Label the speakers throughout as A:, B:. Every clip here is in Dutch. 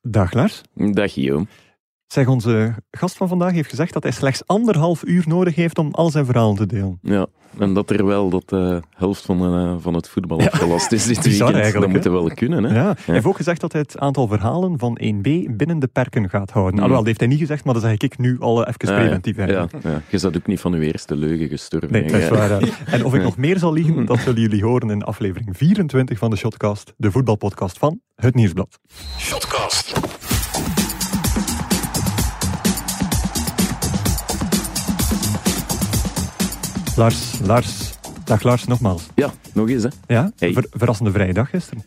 A: Dag Lars.
B: Dag Guillaume.
A: Zeg, onze gast van vandaag heeft gezegd dat hij slechts anderhalf uur nodig heeft om al zijn verhalen te delen.
B: Ja, en dat er wel dat de helft van, eh, van het voetbal afgelast is dit
A: Bizar
B: weekend.
A: eigenlijk,
B: Dat
A: hè?
B: moet wel kunnen, hè?
A: Ja. Hij heeft ook gezegd dat hij het aantal verhalen van 1B binnen de perken gaat houden. Alhoewel, dat heeft hij niet gezegd, maar dat zeg ik nu al even
B: Ah,
A: preventief.
B: ja.
A: eigenlijk.
B: Ja, ja. Je zat ook niet van uw eerste leugen gestorven.
A: Nee,
B: hè?
A: dat is
B: Ja.
A: waar. hè. En of ik nog meer zal liegen, dat zullen jullie horen in aflevering 24 van de Shotcast, de voetbalpodcast van Het Nieuwsblad.
C: Shotcast.
A: Lars, Lars, dag Lars nogmaals.
B: Ja, nog eens, hè.
A: Ja,
B: Hey.
A: ver- verrassende vrije dag gisteren.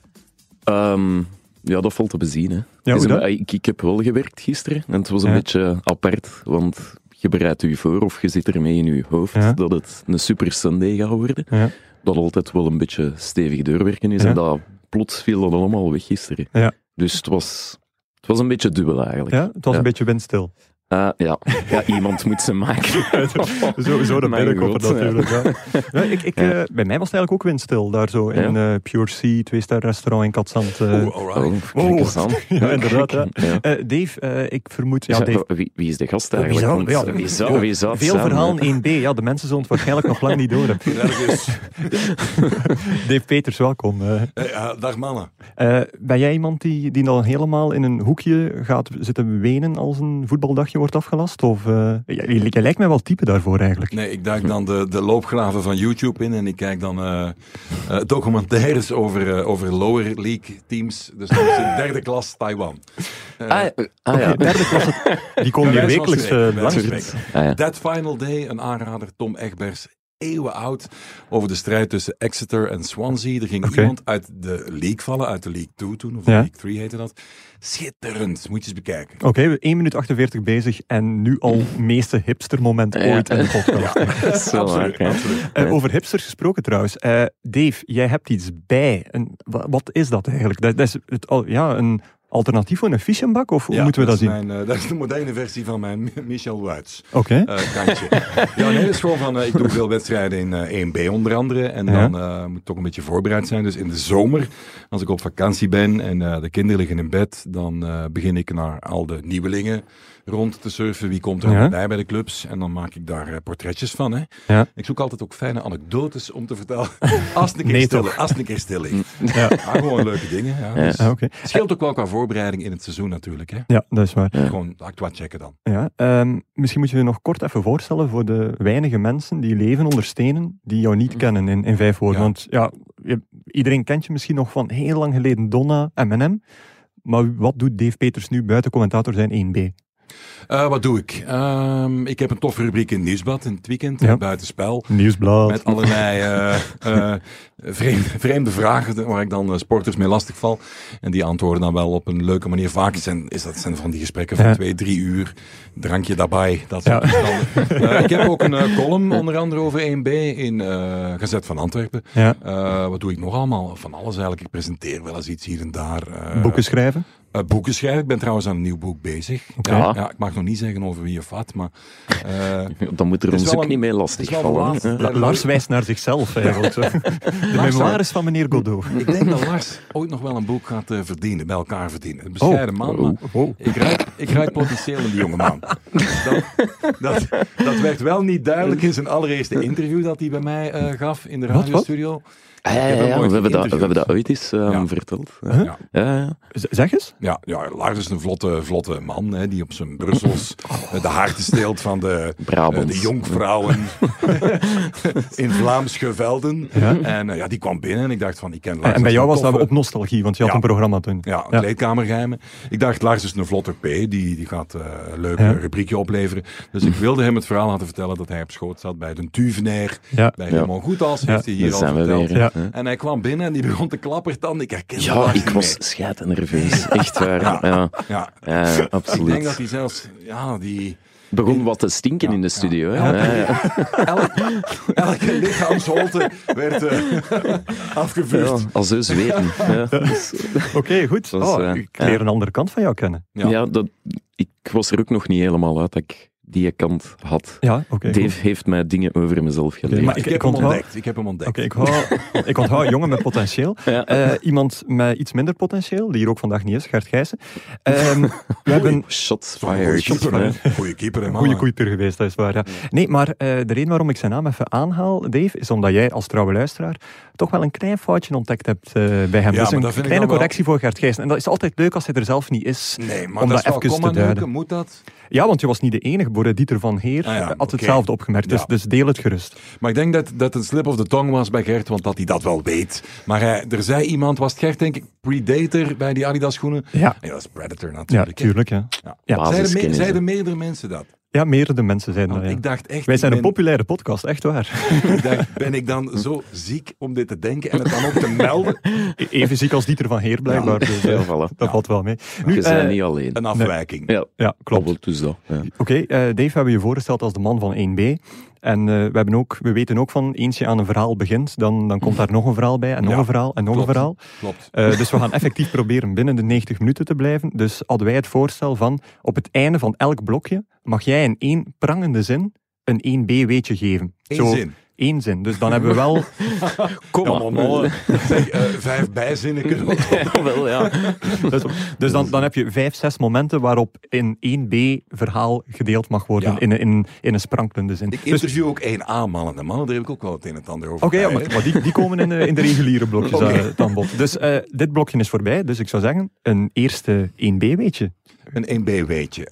B: Ehm, ja, dat valt te bezien, hè.
A: Ja,
B: Is
A: hoe
B: een-
A: dan?
B: ik, ik heb wel gewerkt gisteren, en het was een
A: Ja.
B: beetje apart, want... Je bereidt u voor of je zit ermee in je hoofd
A: Ja.
B: dat het een super Sunday gaat worden.
A: Ja.
B: Dat altijd wel een beetje stevig doorwerken is.
A: Ja.
B: En dat plots viel dat allemaal weg gisteren.
A: Ja.
B: Dus het was, het was een beetje dubbel eigenlijk.
A: Ja, het was
B: Ja.
A: een beetje windstil.
B: Ah, ja. ja, iemand moet ze maken. Oh,
A: Zo, zo de
B: Mijn
A: binnenkopper
B: god, ja.
A: natuurlijk. Ja. Ja, ik, ik, eh, bij mij was het eigenlijk ook windstil, daar zo in eh Pure Sea, twee-ster restaurant in Katzand. eh.
C: Oeh, alright.
B: Oh, kijk eens aan.
A: ja, inderdaad. hè.
B: Ja.
A: Eh, Dave, eh, ik vermoed... Ja,
B: Ja,
A: Dave,
B: wie, wie is de gast
A: wie
B: eigenlijk?
A: zou-
B: Want
A: ja,
B: wie zou, wie zou het
A: veel
B: zijn, hè?
A: verhalen 1B, ja, de mensen zullen het waarschijnlijk nog lang niet door hebben.
C: Nergens.
A: Dave Peters, welkom. eh.
C: Eh, ja, dag mannen.
A: Eh, ben jij iemand die, die dan helemaal in een hoekje gaat zitten wenen als een voetbaldagje wordt afgelast? Of, eh, jij, jij lijkt mij wel type daarvoor eigenlijk.
C: Nee, ik duik dan de, de loopgraven van YouTube in en ik kijk dan eh, eh, documentaires over, eh, over lower league teams. Dus dat is de derde klas Taiwan.
B: Ah, eh, ah, ja.
A: Oké, derde klasse, die komen
C: Bij
A: hier
C: wijze van
A: wekelijks
C: spreken,
A: eh,
C: bij wijze van
A: langs.
C: spreken.
B: Ah, ja.
C: That Final Day, een aanrader, Tom Egbers, eeuwen oud, over de strijd tussen Exeter en Swansea. Er ging
A: Oké.
C: iemand uit de league vallen, uit de League 2 toen, of
A: Ja.
C: de League 3 heette dat. Schitterend, moet je eens bekijken.
A: Oké, we 1 minuut 48 bezig en nu al meeste hipster moment
B: Ja.
A: ooit in de podcast.
B: Dat is wel
C: Absoluut,
B: waar, ja.
C: absoluut.
A: Eh, over hipsters gesproken trouwens. Eh, Dave, jij hebt iets bij. En wa- wat is dat eigenlijk? Dat, dat is het, al- ja, een alternatief voor een fischenbak? Of hoe
C: Ja,
A: moeten we dat
C: is
A: zien?
C: Mijn, eh, dat is de moderne versie van mijn Michel Wuits.
A: Oké.
C: eh, kantje. ja, nee, dat is gewoon van, eh, ik doe veel wedstrijden in eh, 1B onder andere. En
A: Ja.
C: dan eh, moet ik toch een beetje voorbereid zijn. Dus in de zomer, als ik op vakantie ben en eh, de kinderen liggen in bed, dan eh, begin ik naar al de nieuwelingen rond te surfen. Wie komt er
A: Ja.
C: allemaal bij bij de clubs? En dan maak ik daar eh, portretjes van. Hè.
A: Ja.
C: Ik zoek altijd ook fijne anekdotes om te vertellen. Als het een keer,
A: Nee,
C: stil,
A: toch? Mm.
C: als het een keer stil ligt.
A: Ja.
C: Maar gewoon leuke dingen. Ja.
B: Ja.
C: Dus
A: Ah, oké.
C: het scheelt ook wel qua voorbereiding in het seizoen natuurlijk. Hè.
A: Ja, dat is waar.
B: Ja.
C: Gewoon actua checken dan.
A: Ja, ehm, misschien moet je je nog kort even voorstellen voor de weinige mensen die leven onder stenen, die jou niet kennen in, in vijf woorden.
C: Mhm. Ja.
A: Want ja, je- iedereen kent je misschien nog van heel lang geleden Donna, M&M. Maar wat doet Dave Peters nu buiten commentator zijn 1B?
C: Eh, wat doe ik? Ehm, ik heb een toffe rubriek in het nieuwsblad in het weekend,
A: Ja.
C: eh, buitenspel.
A: Nieuwsblad.
C: Met allerlei eh, eh, vreemde, vreemde vragen waar ik dan eh, sporters mee lastig val. En die antwoorden dan wel op een leuke manier. Vaak zijn, is dat, zijn van die gesprekken van
A: Ja.
C: twee, drie uur. Drankje daarbij, dat soort
A: Ja.
C: toestanden. Eh, ik heb ook een eh, column onder andere over 1B in eh, Gazet van Antwerpen.
A: Ja.
C: Eh, wat doe ik nog allemaal? Van alles eigenlijk. Ik presenteer wel eens iets hier en daar. eh,
A: Boeken schrijven.
C: eh, boeken schrijven. Ik ben trouwens aan een nieuw boek bezig.
A: Oké.
C: Ja, ja, ik mag nog niet zeggen over wie of wat, maar eh,
B: Dan moet er
C: Het is
B: ons
C: wel
B: ook
C: een-
B: niet mee
C: het is
B: lastig
C: wel de
B: vallen.
C: laatste.
B: hè?
A: La- Lars wijst naar zichzelf eigenlijk. zo. De
C: Lars,
A: memoires van meneer Godot.
C: ik denk dat Lars ooit nog wel een boek gaat eh, verdienen, bij elkaar verdienen.
A: Oh,
C: Een bescheiden man, maar
A: Wow.
C: ik ruik, ik ruik potentieel in die jonge man. Dat, dat, dat werd wel niet duidelijk in zijn allereerste interview dat hij bij mij eh, gaf in de
A: Wat, wat?
C: radiostudio.
B: Ah, ja,
C: Ik heb
B: ja,
C: hem
B: ja,
C: ooit
B: we, hebben dat, we
C: geïnterviewd.
B: hebben dat ooit eens ehm,
C: Ja.
B: verteld. Ja.
C: Ja.
B: Ja, ja.
A: Z- Zeg eens.
C: Ja, ja, Lars is een vlotte, vlotte man hè, die op zijn Brussels eh, de harten steelt van de, eh,
B: Brabants.
C: de jonkvrouwen in Vlaams gevelden. En eh, ja, die kwam binnen en ik dacht van, ik ken Lars.
A: En bij jou was dat
C: we
A: op nostalgie, want je had
C: Ja.
A: een programma toen.
C: Ja,
A: Ja.
C: kleedkamergeheimen. Ik dacht, Lars is een vlotte P, die, die gaat eh, een leuk
A: Ja.
C: eh, rubriekje opleveren. Dus ik wilde hem het verhaal laten vertellen dat hij op schoot zat bij de Tuvenair,
A: Ja.
C: bij
B: Ja.
C: Raymond Goethals, heeft hij hier
B: Daar
C: al
B: zijn we
C: verteld.
B: weer. hè.
A: Ja.
B: Ja.
C: En hij kwam binnen en die begon te klappertanden. Ik herkende
B: Ja,
C: Lars
B: ik
C: niet
B: was schijt nerveus. Echt waar.
C: Ja.
B: Ja.
C: meer. Ja,
B: Ja,
C: ik denk dat
B: absoluut.
C: hij zelfs, ja, die...
B: Begon wat te stinken in de studio. Hè? Ja, ja.
C: Elke, elke lichaamsholte werd eh, afgevuurd.
B: Ja, al zo zweten. Ja, Dus,
A: Oké, goed.
B: Dat is,
A: Oh,
B: eh,
A: ik leer
B: ja.
A: een andere kant van jou kennen.
C: Ja.
B: ja, dat, ik was er ook nog niet helemaal uit dat ik die ik kant had.
A: Ja, oké.
B: Dave
A: goed.
B: heeft mij dingen over mezelf geleerd.
A: maar
C: ik,
A: ik-
C: heb
A: ik
C: hem
A: onthoud-
C: ontdekt. Ik heb hem ontdekt.
A: Oké, ik, hou, ik onthoud jongen met potentieel.
B: Ja.
A: Eh, iemand met iets minder potentieel, die hier ook vandaag niet is, Gert Gijssen. Ehm, we hebben
B: Shots
C: Zo'n goeie
B: fired.
C: keeper,
B: Ja.
C: hè. Goeie keeper, hè,
A: een
C: man.
A: goede koeiter geweest, dat is waar. Ja. Nee, maar eh, de reden waarom ik zijn naam even aanhaal, Dave, is omdat jij als trouwe luisteraar toch wel een klein foutje ontdekt hebt eh, bij hem.
C: Ja,
A: dus
C: maar
A: een
C: dat vind ik
A: kleine
C: dan wel-
A: correctie voor Gert Gijssen. En dat is altijd leuk als hij er zelf niet is.
C: Nee, maar
A: Om
C: dat
A: dat
C: is wel,
A: even
C: kom
A: te
C: aan,
A: duiden.
C: Heuken, moet dat?
A: Ja, want je was niet de enige. Boer Dieter van Heer
C: Ah ja,
A: eh, had
C: oké.
A: hetzelfde opgemerkt. Dus,
C: Ja.
A: dus deel het gerust.
C: Maar ik denk dat dat een slip of the tong was bij Gert, want dat hij dat wel weet. Maar hij, er zei iemand, was het Gert denk ik, predator bij die Adidas schoenen?
A: Ja,
C: Nee, dat is predator
A: ja
C: natuurlijk. hè.
A: tuurlijk. Ja.
C: Ja.
A: Ja.
C: Zeiden, me-
B: Basiskennis, hè.
C: zeiden meerdere mensen dat?
A: ja, meerdere mensen zijn dat.
C: Want
A: Ja.
C: Nou, ik dacht echt,
A: Wij zijn een
C: ben,
A: populaire podcast, echt waar.
C: ik dacht, ben ik dan zo ziek om dit te denken en het dan ook te melden?
A: E-, Even ziek als Dieter van Heer, blijkbaar. Dus, eh,
B: Ja, voilà.
A: Dat valt wel mee. Nu,
B: Je bent
A: eh,
B: niet alleen.
C: Een afwijking.
B: Ja,
A: ja, klopt.
B: klopt. Dus dat. Ja.
A: Oké, eh, Dave, we hebben je voorgesteld als de man van 1B. En eh, we, hebben ook, we weten ook van, eens je aan een verhaal begint, dan, dan komt daar nog een verhaal bij, en nog
C: Ja,
A: een verhaal, en nog
C: klopt.
A: een verhaal.
C: Klopt.
A: Eh, dus we gaan effectief proberen binnen de 90 minuten te blijven. Dus hadden wij het voorstel van, op het einde van elk blokje, mag jij in één prangende zin een 1B weetje geven.
C: Eén
A: Zo,
C: zin.
A: Één zin. Dus dan hebben we wel...
B: Kom
C: Ja, maar mooi. Zeg, eh, vijf bijzinnen kunnen we
B: Wel, ja.
A: Dus, dus dan, dan heb je vijf, zes momenten waarop in 1B verhaal gedeeld mag worden.
C: Ja.
A: In, een- in, in een sprankelende zin.
C: Ik
A: Dus-
C: interview ook één A-mannen. De mannen, daar heb ik ook wel het een en het ander over.
A: Oké, ja,
C: bij,
A: maar,
C: hè.
A: maar die, die komen in de, in de reguliere blokjes
C: Oké.
A: eh, dan bod. Dus eh, dit blokje is voorbij, dus ik zou zeggen, een eerste 1B weetje.
C: Een 1B weetje.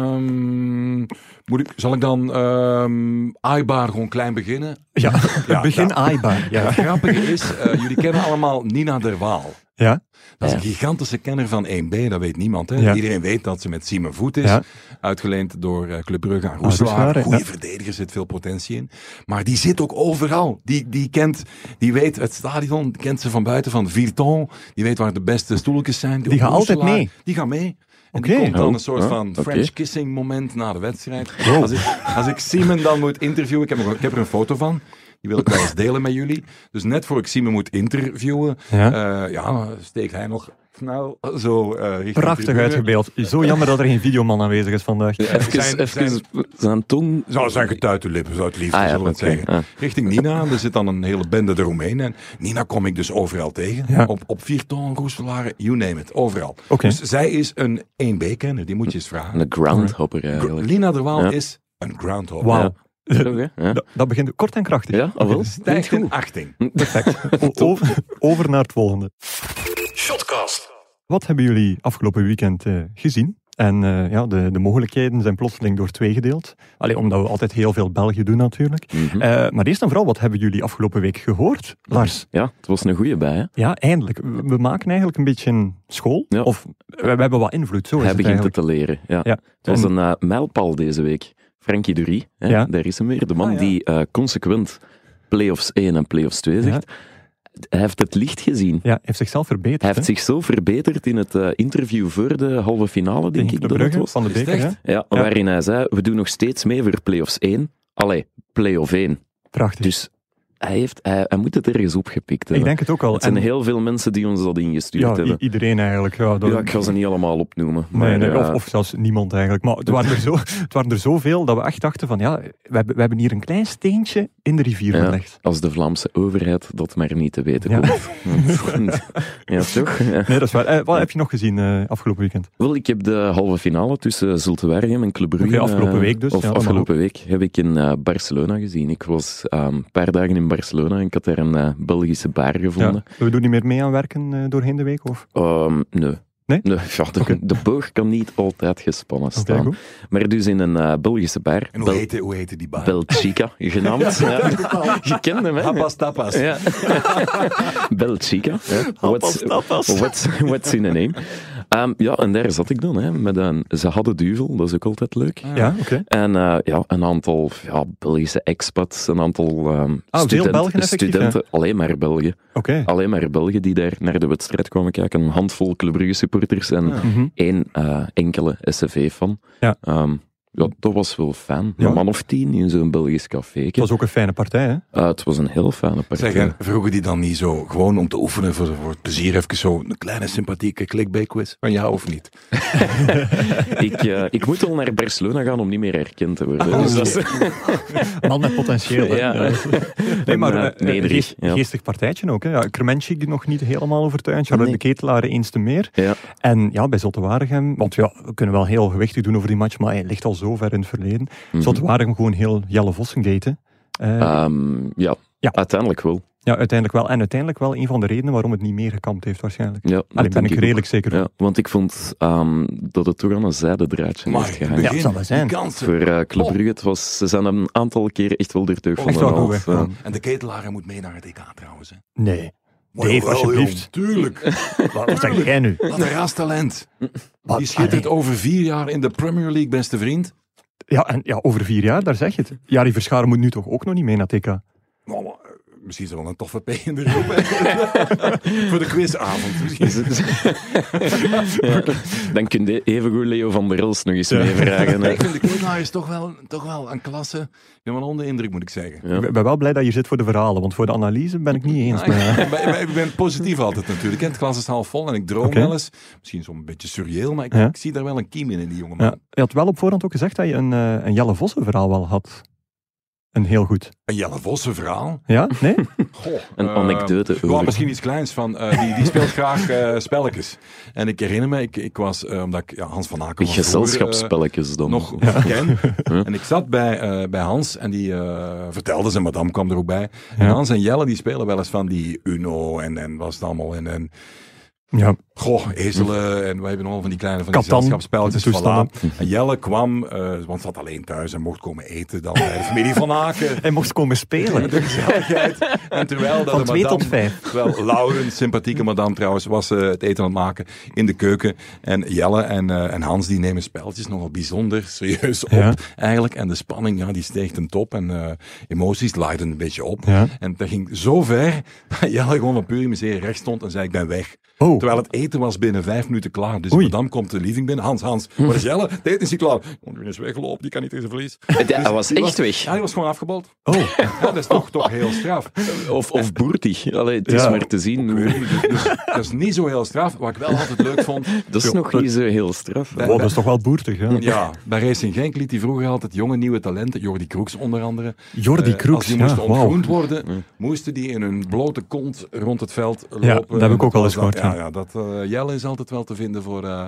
C: Ehm, moet ik, zal ik dan ehm aaibaar gewoon klein beginnen?
A: Ja,
C: Ja,
A: begin
C: ja.
A: aaibaar.
C: Het
A: Ja.
C: grappige is, eh, jullie kennen allemaal Nina der Waal.
A: Ja.
C: Dat is
B: Ja.
C: een gigantische kenner van 1B, dat weet niemand. Hè?
A: Ja.
C: Iedereen weet dat ze met Simon Voet is.
A: Ja.
C: Uitgeleend door eh, Club Brugge aan
A: Roeselaar,
C: Roeselaar.
A: hè,
C: Goede
A: ja.
C: verdediger, zit veel potentie in. Maar die zit ook overal. Die, die kent, die weet het stadion, die kent ze van buiten, van Virton. Die weet waar de beste stoeltjes zijn.
A: Die gaan altijd
C: Roeselaar,
A: mee.
C: Die gaan mee. En
A: Oké.
C: die komt dan
B: Oh,
C: een soort
B: huh?
C: van
B: Oké.
C: French kissing moment na de wedstrijd.
A: Oh.
C: Als, ik, als ik Simon dan moet interviewen, ik heb, er- ik heb er een foto van. Die wil ik wel eens delen met jullie. Dus net voor ik Simon moet interviewen,
A: Ja.
C: ja, ja steekt hij nog snel zo eh richting
A: Prachtig
C: tribune.
A: uitgebeeld. Zo jammer dat er geen videoman aanwezig is vandaag.
B: Even,
C: Zijn-
B: even zijn tong.
C: Zou zijn getuite lippen, zou het liefst
B: Ah ja,
C: zullen we het
B: oké,
C: zeggen.
B: ja.
C: Richting Nina, er zit dan een hele bende eromheen. En Nina kom ik dus overal tegen.
A: Ja.
C: Op, op Vierton, Roeselaren, you name it, overal.
A: Oké.
C: Dus zij is een 1B-kenner, die moet je eens vragen.
B: Een groundhopper eigenlijk.
C: Lina de Waal
B: Ja.
C: is een groundhog.
A: Wauw.
B: Ja. Oké, ja.
A: Dat, dat begint kort en krachtig. Dus
B: Ja, ah, wel.
C: Stijgt in achting.
A: Perfect. O- over, over naar het volgende. Shotcast. Wat hebben jullie afgelopen weekend eh, gezien? En eh, ja, de, de mogelijkheden zijn plotseling door twee gedeeld. Alleen omdat we altijd heel veel België doen natuurlijk.
B: Mhm.
A: Eh, maar eerst en vooral, wat hebben jullie afgelopen week gehoord, Lars?
B: Ja, het was een goeie bij. Hè?
A: Ja, eindelijk. We we maken eigenlijk een beetje school.
B: Ja.
A: Of we, we hebben wat invloed, zo is
B: Hij
A: het
B: begint het
A: eigenlijk.
B: te leren. Ja.
A: Ja.
B: Het was
A: En-
B: een eh, mijlpaal deze week. Frankie Dury, hè,
A: Ja.
B: daar is hem weer. De man
C: Ah, ja.
B: die eh, consequent playoffs 1 en playoffs 2 zegt. Hij heeft het licht gezien.
A: Ja, heeft zichzelf verbeterd.
B: Hij heeft
A: hè?
B: zich zo verbeterd in het eh, interview voor de halve finale, denk
A: Tegen de
B: ik dat het
A: Brugge
B: was.
A: van de
C: Is het
A: beker.
C: echt?
A: hè?
B: Ja,
A: Ja.
B: Waarin hij zei, we doen nog steeds mee voor playoffs 1. Allee, playoff 1.
A: Prachtig.
B: Dus hij, heeft, hij, hij moet het ergens opgepikt
A: ik
B: hebben.
A: denk het ook al.
B: het zijn
A: En-
B: heel veel mensen die ons dat ingestuurd
A: ja, i-
B: hebben.
A: iedereen eigenlijk. Ja, dat-
B: Ja, ik ga ze niet allemaal opnoemen.
A: Nee,
B: Maar,
A: nee,
B: eh,
A: of, of zelfs niemand eigenlijk. Maar het waren, er zo, het waren er zoveel dat we echt dachten van ja, we hebben, we hebben hier een klein steentje in de rivier
B: Ja.
A: gelegd.
B: Als de Vlaamse overheid dat maar niet te weten
A: Ja.
B: komt. ja, toch? Ja.
A: Nee, dat is waar. Eh, wat heb je nog gezien eh, afgelopen weekend?
B: Wel, ik heb de halve finale tussen Zulte Waregem en Club Brugge...
A: Oké, afgelopen
B: eh,
A: week dus,
B: Of
A: ja, dan
B: afgelopen week heb ik in eh, Barcelona gezien. Ik was eh, een paar dagen in Barcelona en ik had daar een eh, Belgische bar gevonden.
A: Ja. We doen niet meer mee aan werken eh, doorheen de week? Of?
B: Ehm, nee.
A: Nee?
B: ja, de,
A: Oké.
B: de boog kan niet altijd gespannen
A: Oké,
B: staan.
A: goed.
B: maar dus in een eh, Belgische bar,
C: En hoe
B: Bel-
C: heette, hoe heette die baan?
B: Belchica genaamd. Ja. Je kent hem, hè?
C: Tapas, tapas.
B: Ja. Belchica. Ja. What's, what's, what's in a name? Ehm, ja, en daar zat ik dan. Hè, met een, ze hadden duvel, dat is ook altijd leuk.
A: Ja, oké.
B: En eh, ja, een aantal ja, Belgische expats, een aantal ehm
A: Ah, veel
B: student-
A: Belgen effectief,
B: studenten, alleen maar Belgen.
A: Oké.
B: Alleen maar Belgen die daar naar de wedstrijd kwamen kijken. Een Oh. handvol Club Brugge supporters en
C: Ja.
A: Mhm.
B: één eh, enkele SCV-fan.
A: Ja.
B: Ja, dat was wel fijn. Een
A: Ja.
B: man of tien in zo'n Belgisch café. Eh,
A: Het was ook een fijne partij, hè?
B: het was een heel fijne partij.
C: Zeg, en vroegen die dan niet zo, gewoon om te oefenen voor, voor het plezier, even zo'n kleine sympathieke clickbait quiz van jou of niet?
B: ik, eh, ik moet al naar Barcelona gaan om niet meer herkend te worden.
A: Oh,
B: dus dat is,
A: Man met potentieel, hè?
B: ja.
A: Ja. Nee, maar
B: En, eh,
A: eh, een
B: nederig,
A: geest-
B: ja.
A: geestig partijtje ook. Hè. Ja, Krementje die nog niet helemaal overtuigd. Charlotte
B: Nee.
A: de Ketelaar eens te meer.
B: Ja.
A: En ja, bij Zottewaregem, want ja, we kunnen wel heel gewichtig doen over die match, maar hij ligt al zo ver in het verleden.
B: Mhm.
A: Zottewaregem gewoon heel Jelle Vossengate. hè. Eh,
B: Ehm, ja.
A: Ja.
B: uiteindelijk wel.
A: ja, uiteindelijk wel. En uiteindelijk wel een van de redenen waarom het niet meer gekampt heeft waarschijnlijk.
B: Ja,
A: Allee,
B: Mm, dat
A: ben
B: denk
A: ik
B: ook.
A: redelijk zeker. van.
B: Ja, want ik vond ehm, dat het toch aan een zijde draadje heeft gehangen.
A: Ja, het zal wel zijn.
C: die kansen.
B: Voor eh Club Brugge, het was, ze zijn een aantal keer echt wel de teug van
A: Oh. Echt
B: de
A: wel goed
B: hand. Eh,
A: weggegaan.
C: En de ketelaren moet mee naar het EK trouwens. Hè.
A: Nee.
C: Maar
A: Dave,
C: jawel,
A: alsjeblieft.
C: jong, Tuurlijk.
A: Wat zeg jij nu?
C: Wat een raas talent.
A: Wat- ah,
C: Die schittert
A: Allee.
C: over vier jaar in de Premier League, beste vriend.
A: Ja, en, ja, over vier jaar, daar zeg je het. Jari Verscharen moet nu toch ook nog niet mee naar TK?
C: Nou, maar, eh, misschien is er wel een toffe P in de groep. hè. voor de quizavond. misschien.
B: ja. Dan kun je evengoed Leo van der Els nog eens meevragen. hè.
C: Ik vind de ketelaren is toch wel, toch wel een klasse. Ik ben wel onder de indruk, moet ik zeggen.
B: Ja.
A: Ik ben- ben wel blij dat je hier zit voor de verhalen, want voor de analyse ben ik niet eens. Maar,
C: Maar Nou, ik, ben- ik ben positief altijd natuurlijk. hè. Het glas is half vol en ik droom
A: Oké.
C: wel eens. Misschien zo'n beetje surreëel, maar ik,
A: Ja.
C: ik zie daar wel een kiem in, in die jongen.
A: Ja, je had wel op voorhand ook gezegd dat je een, eh, een Jelle Vossen verhaal wel had. Een heel goed.
C: Een Jelle Vossen verhaal.
A: Ja? Nee?
C: Goh,
B: Een
C: eh,
B: anekdote
C: gewoon
B: over-
C: misschien iets kleins van, eh, die, die speelt graag eh, spelletjes. En ik herinner me, ik, ik was, eh, omdat ik ja, Hans van Aken was vroeger, eh,
B: Gezelschapsspelletjes dan.
C: nog ken. En ik zat bij, eh, bij Hans en die eh, vertelde ze, madame kwam er ook bij. En
A: Ja.
C: Hans en Jelle die spelen wel eens van die Uno en, en was het allemaal. En, en
A: Ja.
C: Goh, ezelen en we hebben allemaal van die kleine van die
A: Catan,
C: gezelschapsspelletjes.
A: toestanden.
C: voilà. En Jelle kwam, eh, want zat alleen thuis en mocht komen eten dan bij de familie van Aken.
A: Hij mocht komen spelen.
C: De gezelligheid. En terwijl dat
A: Van
C: de
A: twee
C: madame-
A: tot vijf.
C: Terwijl Lauren, sympathieke madame trouwens, was eh, het eten aan het maken in de keuken. En Jelle en, eh, en Hans die nemen spelletjes nogal bijzonder serieus op
A: Ja.
C: eigenlijk. En de spanning ja, die steeg ten top en eh, emoties laaiden een beetje op.
A: Ja.
C: En dat ging zo ver dat Jelle gewoon van pure miserie recht stond en zei ik ben weg.
A: Oh.
C: Terwijl het eten was binnen vijf minuten klaar. Dus
A: Oei.
C: madame komt de living binnen. Hans, Hans, waar is Jelle? Het eten is hier klaar. Oh, die is weggelopen, die kan niet tegen zijn verlies.
B: hij was
C: Die
B: echt weg.
C: Ja, die was gewoon afgebald.
A: Oh,
C: Ja, dat is toch, toch heel straf.
B: Of, of boertig. Allee, het is
A: Ja.
B: maar te zien. hoe-
C: Dus dat is niet zo heel straf. Wat ik wel altijd leuk vond.
B: Dat is nog niet zo heel straf.
A: wow, dat is toch wel boertig. Hè?
C: Ja, bij Racing Genk liet hij vroeger altijd jonge nieuwe talenten, Jordi Kroeks onder andere.
A: Jordi
C: eh,
A: Kroeks,
C: Als die
A: ja,
C: moesten
A: wauw.
C: ontgroend worden, moesten die in hun blote kont rond het veld lopen.
A: dat heb ik
C: En
A: ook wel
C: was
A: eens
C: dat-
A: gehoord,
C: Ja, ja, dat eh, Jelle is altijd wel te vinden voor, eh,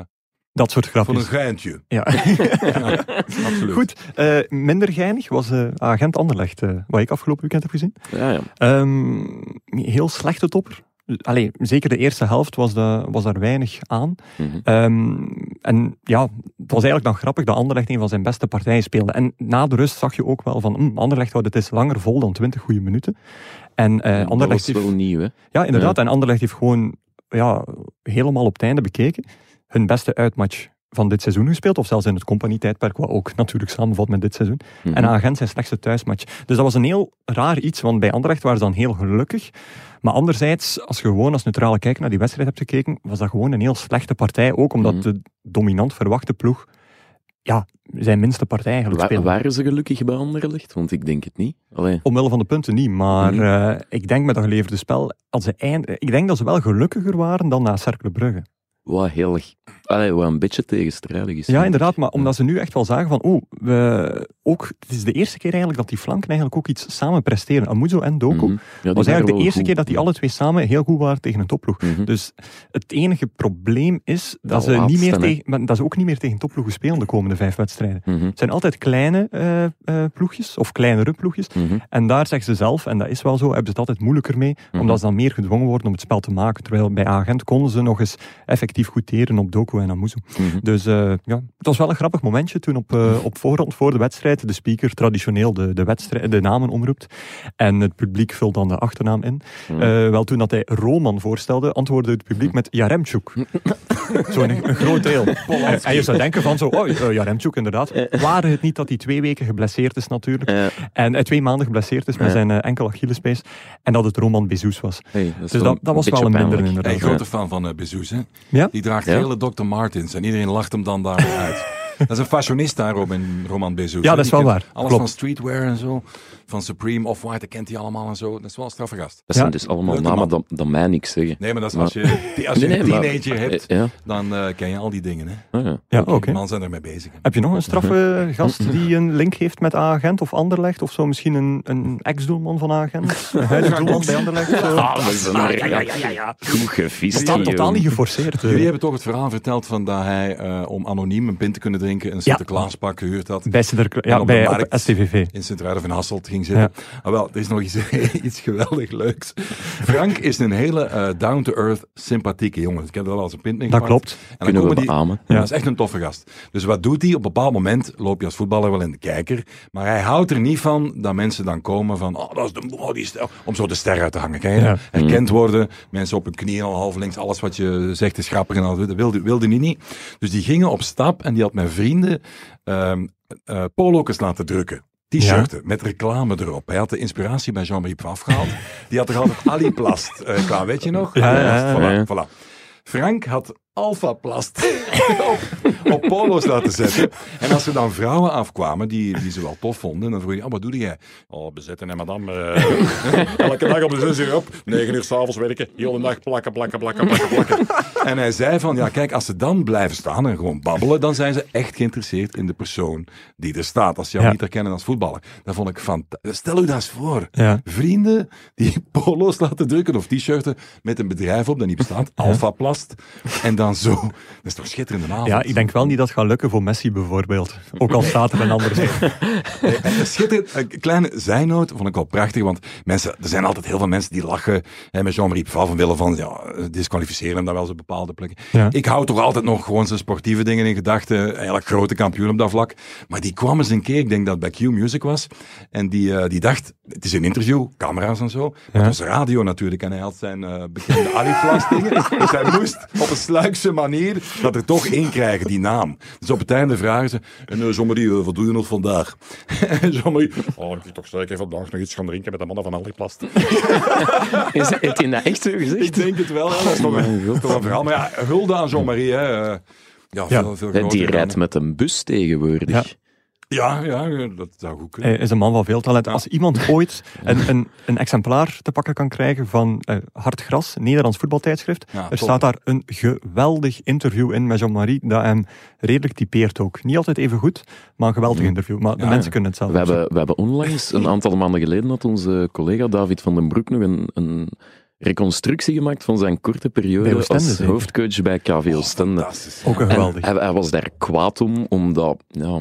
A: Dat soort
C: voor een
A: grapjes.
C: geintje.
A: Ja.
C: Ja, absoluut.
A: Goed, eh, minder geinig was eh, agent Anderlecht, eh, wat ik afgelopen weekend heb gezien.
B: Ja, ja.
A: Ehm, heel slechte topper. Allee, zeker de eerste helft was, da- was daar weinig aan.
B: Mhm.
A: Ehm, en ja, het was eigenlijk dan grappig dat Anderlecht een van zijn beste partijen speelde. En na de rust zag je ook wel van, mm, Anderlecht houdt het is langer vol dan 20 goede minuten. En eh,
B: dat
A: Anderlecht
B: was
A: heeft,
B: wel nieuw, hè.
A: ja, inderdaad, en Anderlecht heeft gewoon ja, helemaal op het einde bekeken hun beste uitmatch van dit seizoen gespeeld, of zelfs in het compagnie-tijdperk, wat ook natuurlijk samenvalt met dit seizoen.
B: Mhm.
A: En Agent zijn slechtste thuismatch. Dus dat was een heel raar iets, want bij Anderlecht waren ze dan heel gelukkig. Maar anderzijds, als je gewoon als neutrale kijker naar die wedstrijd hebt gekeken, was dat gewoon een heel slechte partij. Ook omdat
B: Mhm.
A: de dominant verwachte ploeg ja, zijn minste partij eigenlijk
B: Wa-
A: speelde.
B: waren ze gelukkig bij Anderlecht? Want ik denk het niet. Allee.
A: Omwille van de punten niet, maar
B: Mhm.
A: eh, ik denk met dat geleverde spel, als ze eind... ik denk dat ze wel gelukkiger waren dan na Cercle Brugge.
B: Wat heel... Allee, wat een beetje tegenstrijdig is.
A: Ja, inderdaad, maar omdat ze nu echt wel zagen van, oh, we... ook, het is de eerste keer eigenlijk dat die flanken eigenlijk ook iets samen presteren. Amuzo en Doku.
B: Mhm. Ja, die
A: Dat was
B: waren
A: eigenlijk
B: wel
A: de eerste
B: goed.
A: keer dat die alle twee samen heel goed waren tegen een topploeg.
B: Mhm.
A: Dus het enige probleem is dat,
B: Dat
A: ze, niet meer
B: laatste, hè.
A: tegen, maar dat ze ook niet meer tegen topploegen spelen de komende vijf wedstrijden.
B: Mhm.
A: Het zijn altijd kleine eh, eh, ploegjes, of kleinere ploegjes.
B: Mhm.
A: En daar zeggen ze zelf, en dat is wel zo, hebben ze het altijd moeilijker mee, omdat ze dan meer gedwongen worden om het spel te maken. Terwijl bij Agent konden ze nog eens effectief goed teren op Doku en Amuzu.
B: Mhm.
A: Dus eh, ja, het was wel een grappig momentje toen op, eh, op voorhand voor de wedstrijd de speaker traditioneel de, de, wedstrijd, de namen omroept. En het publiek vult dan de achternaam in.
B: Hmm.
A: Eh, wel toen dat hij Roman voorstelde, antwoordde het publiek met Jaremchuk. Zo'n een groot deel. En, en je zou denken van zo, oh, eh, Jaremchuk inderdaad. Waren het niet dat hij twee weken geblesseerd is natuurlijk.
B: Ja.
A: En eh, twee maanden geblesseerd is met
B: Ja.
A: zijn eh, enkel Achillespees. En dat het Roman Bezous was.
B: Hey, dat is
A: Dus
B: wel
A: dat, dat was wel
B: beetje
A: een minder
B: pijnlijk.
A: inderdaad.
C: Hey, grote fan van eh Bezoes, eh, hè?
A: Ja?
C: Die draagt
B: Ja.
C: hele Dr. Martens en iedereen lacht hem dan daarom uit. Dat is een fashionista, Robin, Roman Bezos.
A: Ja,
C: hè.
A: dat is
C: Die
A: wel
C: kent
A: waar.
C: Alles
A: Klopt.
C: van streetwear en zo. Van Supreme, Off-White, dat kent hij allemaal en zo. Dat is wel een straffe gast.
B: Dat zijn
A: Ja.
B: dus allemaal
C: Leuke
B: namen
C: man.
B: dat, dat mij niks zeggen.
C: Nee, maar dat is
B: Maar-
C: als je, als je een
B: maar-
C: teenager hebt,
B: Ja,
C: dan eh, ken je al die dingen. Hè.
B: ah, ja.
A: Ja, eh, Oh, oké.
C: Man zijn ermee bezig. hè.
A: Heb je nog een straffe gast die een link heeft met A-agent of Anderlecht? Of zo misschien een, een ex-doelman van A-agent? Een huidige doelman bij Anderlecht? eh. Zo.
B: Ah, we zijn er, ja, Goed gevist.
A: Het staat
B: hier,
A: totaal
B: jongen.
A: niet geforceerd. eh.
C: Jullie hebben toch het verhaal verteld van dat hij eh, om anoniem een pint te kunnen drinken een Sinterklaaspak gehuurd had.
A: Bij, Sinterkla-
C: En
A: ja,
C: op de
A: bij op
C: markt.
A: STVV.
C: in sint ruiden van Hasselt ging zitten. Ah, wel, er is nog iets, iets geweldig leuks. Frank is een hele eh, down-to-earth, sympathieke jongen. Ik heb dat al als een pint mee
A: Dat
C: gepakt.
A: klopt.
C: En dan
B: Kunnen we
C: komen die,
B: beamen.
A: Ja.
C: Dat is echt een toffe gast. Dus wat doet hij? Op een bepaald moment loop je als voetballer wel in de kijker. Maar hij houdt er niet van dat mensen dan komen van. Oh, dat is de oh, die ster, Om zo de ster uit te hangen. Ken je
A: Ja.
C: dat? Herkend worden. Mensen op hun knieën al half links. Alles wat je zegt is grappig. En al dat wilde, wilde hij niet. Dus die gingen op stap. En die had mijn vrienden ehm eh, polokers laten drukken. T-shirten met reclame erop. Hij had de inspiratie bij Jean-Marie Pfaff gehaald. Die had er altijd Aliplast eh klaar, weet je nog?
A: Ja,
C: Aliplast,
A: ja,
B: ja,
C: voilà,
B: ja.
C: voilà. Frank had alfaplast op, op polo's laten zetten. En als er dan vrouwen afkwamen die, die ze wel tof vonden, dan vroeg je, oh, wat doe jij?
D: Oh, bezetten en madame. eh, elke dag om zes uur op. Negen uur s'avonds werken. Heel de dag plakken, plakken, plakken, plakken, plakken.
C: En hij zei van, ja kijk, als ze dan blijven staan en gewoon babbelen, dan zijn ze echt geïnteresseerd in de persoon die er staat. Als ze jou
A: Ja.
C: niet herkennen als voetballer. Dat vond ik fantastisch. Stel u dat eens voor.
A: Ja.
C: Vrienden die polo's laten drukken of t-shirten met een bedrijf op dat niet bestaat, Alpha Plast. En dan zo. Dat is toch een schitterende avond.
A: Ja, ik denk wel niet dat het gaat lukken voor Messi bijvoorbeeld. Ook al staat er een ander.
C: En een schitterend, een kleine zijnoot vond ik al prachtig, want mensen, er zijn altijd heel veel mensen die lachen hè, met Jean-Marie Pfaff omwille van, ja, disqualificeren hem dan wel eens op bepaalde plekken.
A: Ja.
C: Ik hou toch altijd nog gewoon zijn sportieve dingen in gedachten, eigenlijk grote kampioen op dat vlak. Maar die kwam eens een keer, ik denk dat het bij Q Music was, en die, eh, die dacht, het is een interview, camera's en zo, maar het was radio natuurlijk, en hij had zijn eh, bekende Aliflas dingen, dus hij moest op een sluikse manier dat er toch in krijgen, die naam. Dus op het einde vragen ze, en uh, Jean-Marie, eh, wat doe je nog vandaag? En Jean-Marie,
D: Oh, dan moet ik toch zeker vandaag nog iets gaan drinken met de mannen van Aliplast.
B: Is dat- heeft hij dat echt zo gezegd?
C: Ik denk het wel, hè. dat is toch een, dat is toch een verhaal. Maar ja, hulde aan Jean-Marie, hè. eh, Ja, veel, veel
B: Hè,
C: groter
B: Die
C: dan-
B: rijdt met een bus tegenwoordig.
A: Ja.
C: Ja, ja, eh, dat zou goed kunnen.
A: Hij Eh, is een man van veel talent. Als iemand ooit een, een, een exemplaar te pakken kan krijgen van eh, Hard Gras, een Nederlands voetbaltijdschrift,
C: Ja,
A: er
C: top.
A: staat daar een geweldig interview in met Jean-Marie, dat hem redelijk typeert ook. Niet altijd even goed, maar een geweldig interview. Maar de
C: Mhm. Ja,
A: mensen
C: ja.
A: kunnen het zelf.
B: We hebben, we hebben onlangs, een aantal maanden geleden, had onze collega David van den Broek nog een, een reconstructie gemaakt van zijn korte
A: Bij
B: periode
A: Oostende
B: als
A: zeker.
B: hoofdcoach bij KV Oostende.
C: Fantastisch.
A: Ook een
B: En
A: geweldig.
B: hij, hij was daar kwaad om, omdat ja,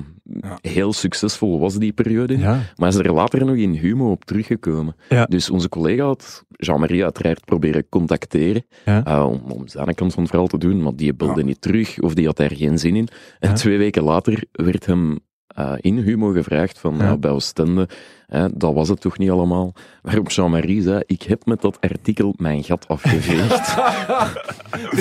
B: heel succesvol was die periode.
A: Ja.
B: Maar hij is er later nog in Humo op teruggekomen.
A: Ja.
B: Dus onze collega had Jean-Marie uiteraard proberen contacteren.
A: Ja.
B: eh, om, om zijn kant van het verhaal te doen, maar die belde niet terug of die had daar geen zin in. En
A: Ja.
B: twee weken later werd hem eh, in Humo gevraagd van
A: Ja.
B: ja, bij Oostende, eh, dat was het toch niet allemaal. Waarop Jean-Marie zei, ik heb met dat artikel mijn gat afgeveegd.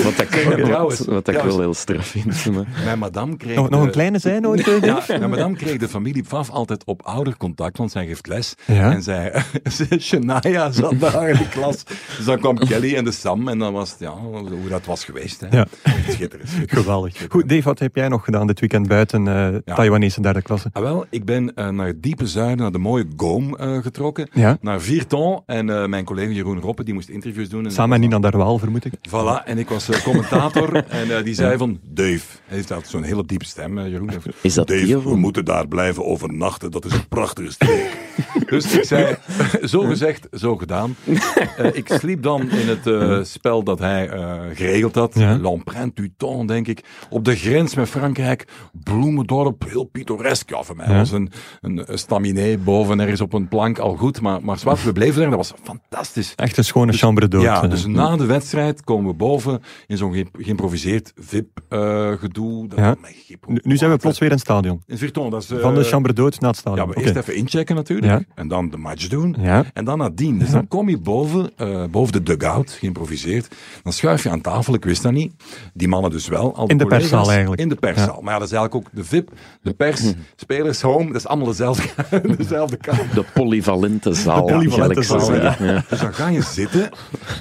B: wat ik,
C: maar trouwens,
B: wat, wat ik
C: trouwens.
B: wel heel straf vind. maar-
C: Mijn madame kreeg...
A: Nog, nog
C: de-
A: een kleine zijnoot. eh,
C: Ja, mijn madame kreeg de familie Pfaff altijd op oudercontact, want zij geeft les.
A: Ja.
C: En zij, Shania zat daar in de klas. Dus dan kwam Kelly en de Sam en dan was het, ja, hoe dat was geweest. Hè.
A: Ja.
C: Schitterend.
A: Geweldig. Goed, Dave, wat heb jij nog gedaan dit weekend buiten eh
C: Ja.
A: Taiwanese derde klasse?
C: Ah, wel, ik ben eh, naar het diepe zuiden, naar de mooie Goom eh, getrokken.
A: Ja.
C: Naar Vierton. En eh, mijn collega Jeroen Roppe, die moest interviews doen. En
A: Samen met Nina Derwaal, vermoed ik.
C: Voilà, en ik was eh, commentator. en eh, die zei van, Dave. Hij heeft altijd zo'n hele diepe stem, eh, Jeroen.
B: Is dat die
C: Dave,
B: of-
C: we moeten daar blijven overnachten. Dat is een prachtige streek. dus ik zei, zo gezegd, zo gedaan. Eh, ik sliep dan in het eh, spel dat hij eh, geregeld had.
A: Ja.
C: L'empreinte du temps, denk ik. Op de grens met Frankrijk. Bloemendorp, heel pittoresk. Ja, voor mij
A: Ja.
C: was een, een staminé boven ergens op een plank al goed. Maar, maar zwart, we bleven daar. Dat was fantastisch.
A: Echt een schone chambre d'hôte.
C: Ja,
A: eh.
C: dus na de wedstrijd komen we boven in zo'n ge- geïmproviseerd eh, VIP-gedoe.
A: Ja. Nu- nu zijn we plots weer in het stadion.
C: In Virton, dat is... eh,
A: Van de chambre d'hôte naar het stadion.
C: Ja, maar
A: Oké.
C: eerst even inchecken natuurlijk. natuurlijk. En dan de match doen.
A: Ja.
C: En dan nadien. Dus dan kom je boven, eh, boven de dugout, geïmproviseerd. Dan schuif je aan tafel, ik wist dat niet. Die mannen dus wel. Al
A: In de
C: collega's.
A: perszaal eigenlijk. Mhm.
C: In de perszaal. Maar ja, dat is eigenlijk ook de VIP, de pers, spelers, home. Dat is allemaal dezelfde, dezelfde kamer.
B: De polyvalente zaal.
C: De polyvalente
B: eigenlijk zo,
C: zaal,
B: ja. Ja.
C: Dus dan ga je zitten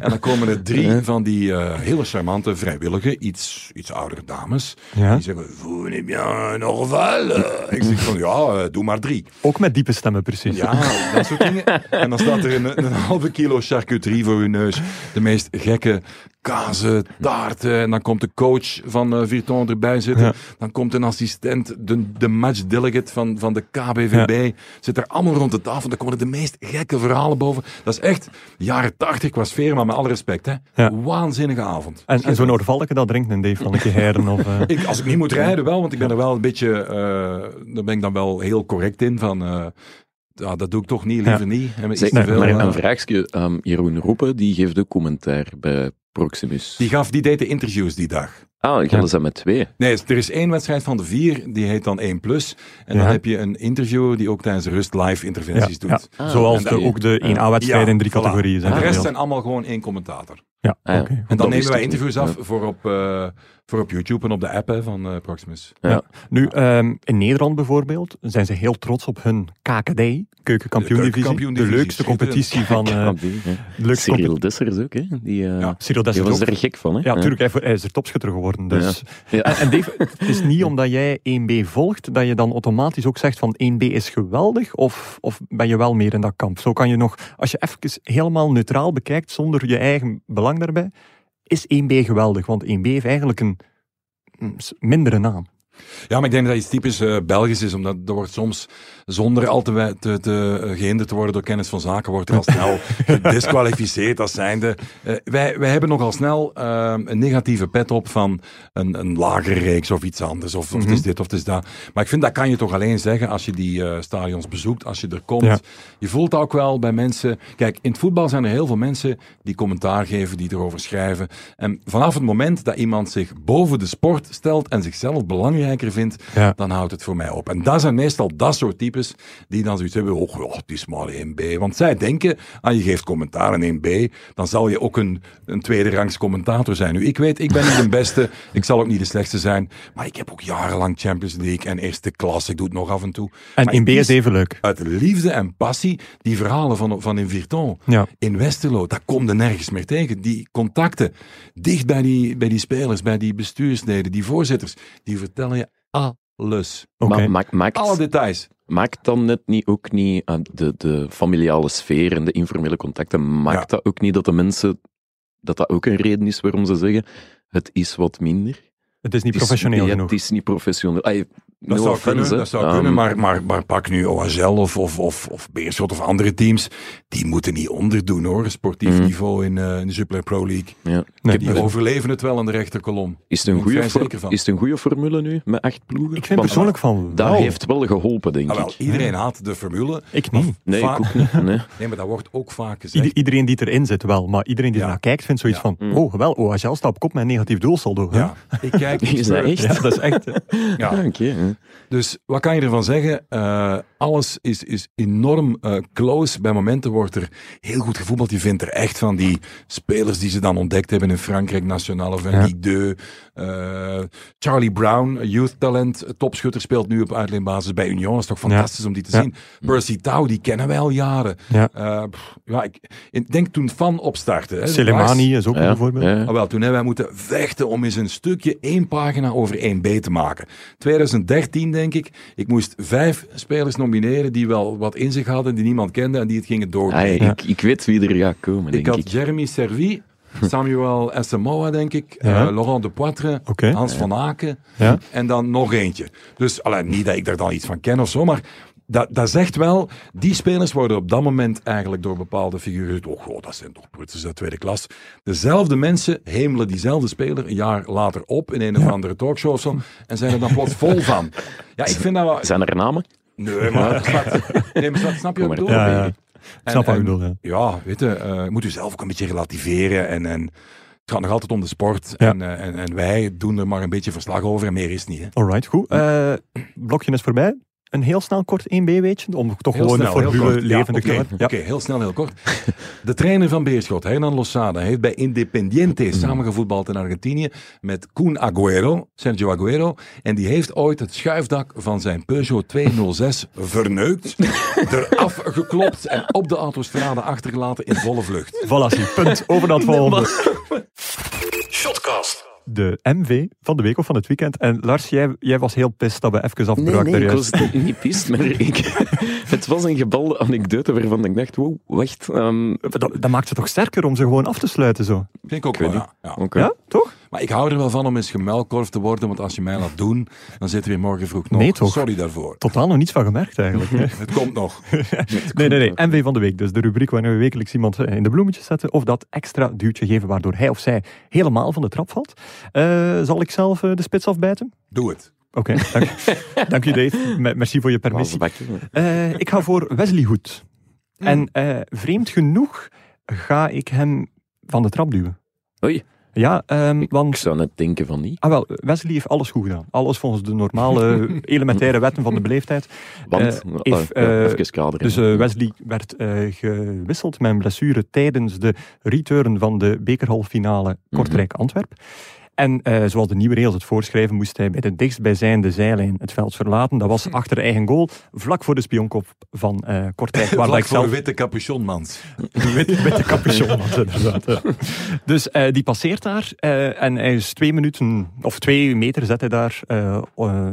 C: en dan komen er drie van die eh, hele charmante vrijwillige, iets, iets oudere dames.
A: Ja.
C: Die zeggen, vous n'êtes bien normal. Eh, Ik zeg van, ja, eh, doe maar drie.
A: Ook met diepe stemmen, precies.
C: Ja, dat soort dingen. En dan staat er een, een halve kilo charcuterie voor uw neus. De meest gekke kazen, taarten. En dan komt de coach van eh Virton erbij zitten.
A: Ja.
C: Dan komt een assistent, de, de match delegate van, van de KBVB. Zit er allemaal rond de tafel. Dan komen de meest gekke verhalen boven. Dat is echt jaren tachtig qua sfeer, maar met alle respect. Hè.
A: Ja.
C: Waanzinnige avond.
A: En, en zo noordvalken dat drinkt een Dave van een keer heren of... eh,
C: Ik, als ik niet moet rijden wel, want ik ben er wel een beetje, eh daar ben ik dan wel heel correct in van, eh, ja, dat doe ik toch niet, liever
A: Ja.
C: niet. En met iets
B: Zeg,
C: te veel,
B: maar
C: eh,
B: een vraagje. ehm, Jeroen Roepen, die geeft ook commentaar bij Proximus.
C: Die, gaf, die deed de interviews die dag.
B: Ah, ik
A: Ja.
B: hadden ze met twee.
C: Nee, er is één wedstrijd van de vier, die heet dan 1 plus. En
A: Ja.
C: dan heb je een interviewer die ook tijdens de rust live interventies
A: Ja,
C: doet.
B: Ah,
A: Zoals
B: oké.
A: de, ook de
B: Ja.
A: 1A-wedstrijden in drie
C: voilà.
A: categorieën zijn.
C: En de rest
A: verdeeld.
C: zijn allemaal gewoon één commentator.
A: Ja,
B: Ah, ja.
A: oké.
C: En
B: Dat
C: dan
B: wist
C: nemen wij
B: ik
C: interviews
B: niet.
C: af voor, op, eh, voor op YouTube en op de app hè, van eh, Proximus.
B: Ja.
A: Nu, ehm, in Nederland bijvoorbeeld zijn ze heel trots op hun KKD, keukenkampioen-divisie. De,
C: keukenkampioendivisie,
A: leukste competitie van... eh,
B: Ja, Ah, die, hè.
A: de leukste competitie.
B: Cyril Dessers ook, hè? Die, eh,
C: Ja.
A: Cyril Dessers
B: die was
A: ook.
B: er gek van, hè?
A: Ja, natuurlijk, hij voor- hij is er topschutter geworden. Dus.
B: Ja.
A: En, en Dave, het is niet omdat jij 1B volgt, dat je dan automatisch ook zegt van 1B is geweldig, of, of ben je wel meer in dat kamp? Zo kan je nog, als je even helemaal neutraal bekijkt, zonder je eigen belang daarbij, is 1B geweldig, want 1B heeft eigenlijk een mm, s- mindere naam.
C: Ja, maar ik denk dat iets typisch eh, Belgisch is, omdat er wordt soms, zonder al te, we- te, te, eh, gehinderd te worden door kennis van zaken, wordt er al snel gedisqualificeerd als zijnde. Eh, wij, wij hebben nogal snel eh, een negatieve pet op van een, een lagere reeks of iets anders, of, of het is dit of het is dat. Maar ik vind, dat kan je toch alleen zeggen als je die eh, stadions bezoekt, als je er komt.
A: Ja.
C: Je voelt ook wel bij mensen... Kijk, in het voetbal zijn er heel veel mensen die commentaar geven, die erover schrijven. En vanaf het moment dat iemand zich boven de sport stelt en zichzelf belangrijker vindt,
A: Ja.
C: dan houdt het voor mij op. En dat zijn meestal dat soort types die dan zoiets hebben, oh, oh het is maar 1B. Want zij denken, ah, je geeft commentaar in 1B, dan zal je ook een, een tweede rangs commentator zijn. Nu, ik weet, ik ben niet de beste, ik zal ook niet de slechtste zijn, maar ik heb ook jarenlang Champions League en eerste klas, ik doe het nog af en toe. Maar
A: En 1B
C: ik
A: is
C: kies
A: even leuk.
C: uit liefde en passie die verhalen van, van in Virton,
A: Ja.
C: in Westerlo, dat komt er nergens meer tegen. Die contacten, dicht bij die, bij die spelers, bij die bestuursleden, die voorzitters, die vertellen je alles.
A: Oké.
B: Maar maakt,
C: Alle
B: maakt,
C: details.
B: maakt dan net niet ook niet eh, de, de familiale sfeer en de informele contacten, maakt
C: Ja.
B: dat ook niet dat de mensen, dat dat ook een reden is waarom ze zeggen, het is wat minder?
A: Het is niet
B: Het is-
A: professioneel
B: ja,
A: genoeg.
B: Het is niet professioneel. Ay, no
C: Dat zou
B: offense, hè.
C: kunnen, dat zou
B: Ehm,
C: kunnen maar, maar, maar pak nu OHL of, of, of, of Beerschot of andere teams. Die moeten niet onderdoen hoor, sportief
B: Mhm.
C: niveau in, eh, in de Jupiler Pro League.
B: ja. dus-
A: Nee,
C: Die
A: dat is-
C: overleven het wel aan de rechterkolom.
B: Is het een
C: Daar ben ik
B: goede
C: vrij
B: for-
C: zeker van.
B: is het een goede formule nu met acht ploegen?
A: ik vind
B: Want
A: persoonlijk van
B: Dat
A: wel.
B: heeft wel geholpen, denk
C: Ah, wel,
B: ik.
C: iedereen haat de formule.
A: Ik niet.
B: Nee,
C: Va-
B: ik ook niet. Nee.
C: Nee, maar dat wordt ook vaak gezegd.
A: Ieder- iedereen die erin zit wel, maar iedereen die
C: Ja.
A: ernaar kijkt vindt zoiets
C: Ja.
A: van, oh wel, OHL staat op kop met een negatief doelsaldo. hè?
C: Ja, ik kijk.
B: Is dat echt?
A: Ja, dat is echt... eh,
C: Ja.
B: Ah, oké, hè.
C: Dus wat kan je ervan zeggen? Eh, alles is, is enorm eh, close. Bij momenten wordt er heel goed gevoetbald. Je vindt er echt van die spelers die ze dan ontdekt hebben in Frankrijk, Nationale of
A: Ja.
C: Ligue 2. Eh, Charlie Brown, youth talent, topschutter, speelt nu op uitleenbasis bij Union. Dat is toch fantastisch om die te
A: Ja.
C: zien. Percy Tau, die kennen wij al jaren.
A: Ja.
C: Eh, pff, ja, ik, ik denk toen Fan opstartte. hè,
A: Soleimani is ook
B: Ja,
A: een voorbeeld.
B: ja.
C: Ah, wel, toen hebben wij moeten vechten om eens een stukje één pagina over één B te maken. 2013, denk ik. Ik moest vijf spelers nomineren die wel wat in zich hadden, die niemand kende en die het gingen doorbreken.
B: Ah,
A: Ja.
B: ik, ik weet wie er gaat komen,
C: ik
B: denk
C: had
B: ik.
C: Jeremy Servi, Samuel Asamoah, denk ik,
A: Ja.
C: eh, Laurent de Poitre,
A: Oké.
C: Hans van Aken
A: Ja.
C: en dan nog eentje. Dus allee, niet dat ik daar dan iets van ken of zo, maar dat, dat zegt wel, die spelers worden op dat moment eigenlijk door bepaalde figuren gezegd, oh goh, dat zijn toch prutsers uit tweede klas. Dezelfde mensen hemelen diezelfde speler een jaar later op in een of andere talkshow of zo en zijn er dan plots vol van. Ja, ik vind dat wel...
B: Zijn er namen?
C: Nee, maar, schat, nee, maar schat, snap je wat ik
B: Kom
C: bedoel?
B: maar.
A: Ja, ja. Ik
C: En-
A: snap wat je
C: en-
A: bedoelt. ja.
C: ja, weet je, eh, je moet u zelf ook een beetje relativeren. En, en het gaat nog altijd om de sport.
A: Ja.
C: En, eh, en, en wij doen er maar een beetje verslag over en meer is het niet. Hè.
A: Alright, goed. Eh, blokje is voorbij. een heel snel kort 1B-weetje, om toch
C: Heel
A: gewoon de
C: snel, heel
A: formule
C: kort. Ja,
A: levende te
C: Oké,
A: houden.
C: oké, heel snel, heel kort. De trainer van Beerschot, Hernan Losada, heeft bij Independiente samengevoetbald in Argentinië met Koen Agüero, Sergio Agüero. En die heeft ooit het schuifdak van zijn Peugeot 206 verneukt, eraf geklopt en op de autostrade achtergelaten in volle vlucht.
A: Voilà, zie, punt. Over naar het volgende. De MV van de week of van het weekend. En Lars, jij, jij was heel pist dat we even
B: Nee,
A: afbraken.
B: nee, ik
A: daarjuist.
B: was niet- niet pist, maar ik, het was een gebalde anekdote waarvan ik dacht, wow, wacht. ehm,
A: dat, dat maakt ze toch sterker om ze gewoon af te sluiten zo.
C: Vind ik ook
B: weet
C: wel, ja. ja.
B: oké.
A: Ja, toch?
C: Maar ik hou er wel van om eens gemuilkorf te worden, want als je mij laat doen, dan zitten we hier morgen vroeg nog.
A: Nee, toch?
C: Sorry daarvoor.
A: Totaal nog niets van gemerkt eigenlijk. hè.
C: Het komt nog.
A: Nee, nee, nee. MV van de week. Dus de rubriek waarin we wekelijks iemand eh, in de bloemetjes zetten. Of dat extra duwtje geven waardoor hij of zij helemaal van de trap valt. Eh, zal ik zelf eh, de spits afbijten?
C: Doe het.
A: Oké, dank, dank je Dave. Me- Merci voor je permissie.
B: Wasbakken.
A: Eh, ik ga voor Wesley Hoed. En eh, vreemd genoeg ga ik hem van de trap duwen.
B: Oei.
A: Ja, ehm,
B: Ik
A: want
B: zou net denken van niet.
A: ah, wel, Wesley heeft alles goed gedaan. Alles volgens de normale elementaire wetten van de beleefdheid.
B: Want,
A: Eh,
B: eh,
A: if,
B: ja,
A: eh,
B: even kaderen.
A: Dus eh, Wesley werd eh, gewisseld met een blessure tijdens de return van de bekerhalffinale
C: Mhm.
A: Kortrijk-Antwerp. En eh, zoals de nieuwe regels het voorschrijven, moest hij bij de dichtstbijzijnde zijlijn het veld verlaten. Dat was achter eigen goal, vlak voor de spionkop van eh, Kortrijk. Waarbij
C: Vlak
A: ik
C: voor
A: zelf
C: witte capuchonmans.
A: Wit, witte capuchon was, inderdaad. ja. Dus eh, die passeert daar eh, en hij is twee minuten of twee meter zet hij daar eh, eh,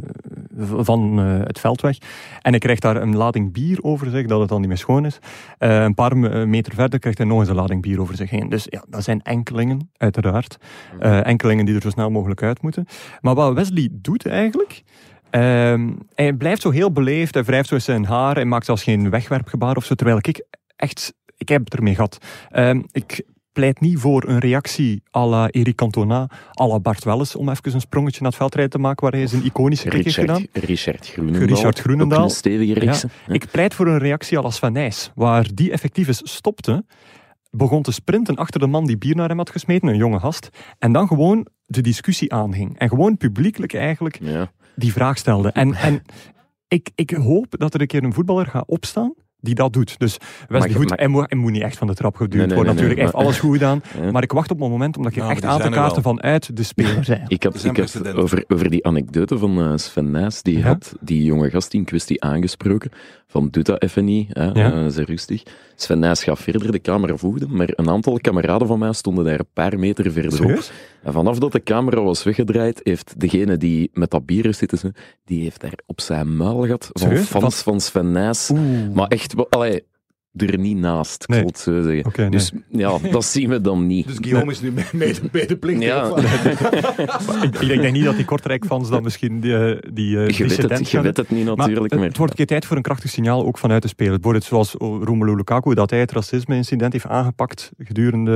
A: van eh, het veld weg. En hij krijgt daar een lading bier over zich, dat het dan niet meer schoon is. Eh, een paar me- meter verder krijgt hij nog eens een lading bier over zich heen. Dus ja, dat zijn enkelingen, uiteraard. Eh, enkelingen die er zo snel mogelijk uit moeten. Maar wat Wesley doet eigenlijk... ehm, hij blijft zo heel beleefd, hij wrijft zo eens zijn haar en maakt zelfs geen wegwerpgebaar of zo. Terwijl ik echt, ik heb het ermee gehad. Ehm, ik pleit niet voor een reactie à la Eric Cantona, à la Bart Welles, om even een sprongetje naar het veldrijden te maken waar hij zijn iconische kick heeft gedaan.
B: Richard, Richard Groenendaal.
A: Richard Groenendaal.
B: Ook een stevige rechtse. Ja.
A: Ik pleit voor een reactie à la Sven Nys, waar die effectief eens stopte, begon te sprinten achter de man die bier naar hem had gesmeten, een jonge gast, en dan gewoon de discussie aanging. En gewoon publiekelijk eigenlijk
B: Ja.
A: die vraag stelde. En, en ik, ik hoop dat er een keer een voetballer gaat opstaan die dat doet. Dus Wesley
B: je-
A: Goed,
B: maar-
A: hij, moet, hij moet niet echt van de trap geduwd
B: Nee, nee,
A: worden
B: nee,
A: natuurlijk.
B: nee,
A: hij heeft alles goed gedaan.
B: Ja.
A: Maar ik wacht op mijn moment, omdat ik
C: Nou,
A: echt
C: maar
A: aan
C: die
A: te
C: zijn er
A: kaarten vanuit de speler zijn.
B: Ik had,
C: Er zijn
B: ik had
C: precedenten.
B: over, over die anekdote van eh, Sven Nys, die
A: Ja.
B: had die jonge gast in kwestie aangesproken, van doe dat even niet, hè,
A: Ja.
B: eh, ze rustig. Sven Nys gaat verder, de camera volgde, maar een aantal kameraden van mij stonden daar een paar meter verderop.
A: Serieus?
B: En vanaf dat de camera was weggedraaid, heeft degene die met dat bier is zitten, die heeft daar op zijn muil gehad van
A: Serieus?
B: fans
A: Wat?
B: van Sven Nys.
A: Oeh.
B: Maar echt, wel- allee, er niet naast, ik
A: Nee.
B: zal het zo zeggen.
A: Oké, nee.
B: Dus ja, dat zien we dan niet.
C: Dus Guillaume is nu mee- mee de- mee de plicht.
B: Ja.
A: ik, ik denk niet dat die Kortrijk-fans dan misschien die, eh, die eh,
B: je, weet
A: dissident
B: het, je
A: gaan-
B: weet het niet natuurlijk,
A: Maar
B: maar...
A: het wordt een keer tijd voor een krachtig signaal ook vanuit de speler. Bijvoorbeeld zoals Romelu Lukaku, dat hij het racisme-incident heeft aangepakt gedurende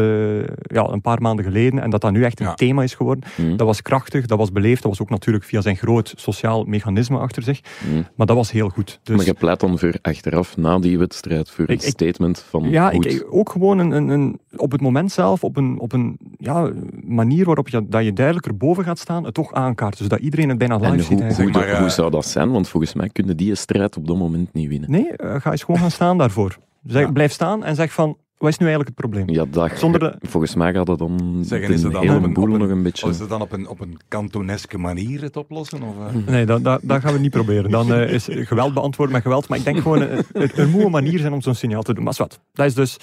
A: ja, een paar maanden geleden. En dat dat nu echt een
C: Ja.
A: thema is geworden.
B: Mhm.
A: Dat was krachtig, dat was beleefd. Dat was ook natuurlijk via zijn groot sociaal mechanisme achter zich.
B: Mhm.
A: Maar dat was heel goed. Dus,
B: Maar je pleit dan voor achteraf, na die wedstrijd, voor een
A: Ik- ik-
B: statement van
A: ja,
B: goed.
A: ik, ook gewoon een, een, een- op het moment zelf, op een, op een ja, manier waarop je, dat je duidelijker boven gaat staan, het toch aankaart. Dus dat iedereen het bijna
B: en
A: live ziet.
B: hoe,
A: eigenlijk.
B: hoe,
C: Zeg maar, eh,
B: hoe zou dat zijn? Want volgens mij kunnen die een strijd op dat moment niet winnen.
A: Nee, eh, ga eens gewoon gaan staan daarvoor. Zeg, Blijf staan en zeg van, wat is nu eigenlijk het probleem?
B: Ja, dat,
A: Zonder de-
B: volgens mij gaat dat dan
C: Zeggen,
B: de
C: is het dan
B: hele
C: op een- Oh,
B: boel
C: op een-
B: nog een beetje...
C: Is het dan op een, op een kantoneske manier het oplossen? Of,
B: Hm.
C: eh?
A: Nee, dat, dat, dat gaan we niet proberen. Dan eh, is geweld beantwoord met geweld. Maar ik denk gewoon, eh, er, er moet een manier zijn om zo'n signaal te doen. Maar zwart, dat is dus...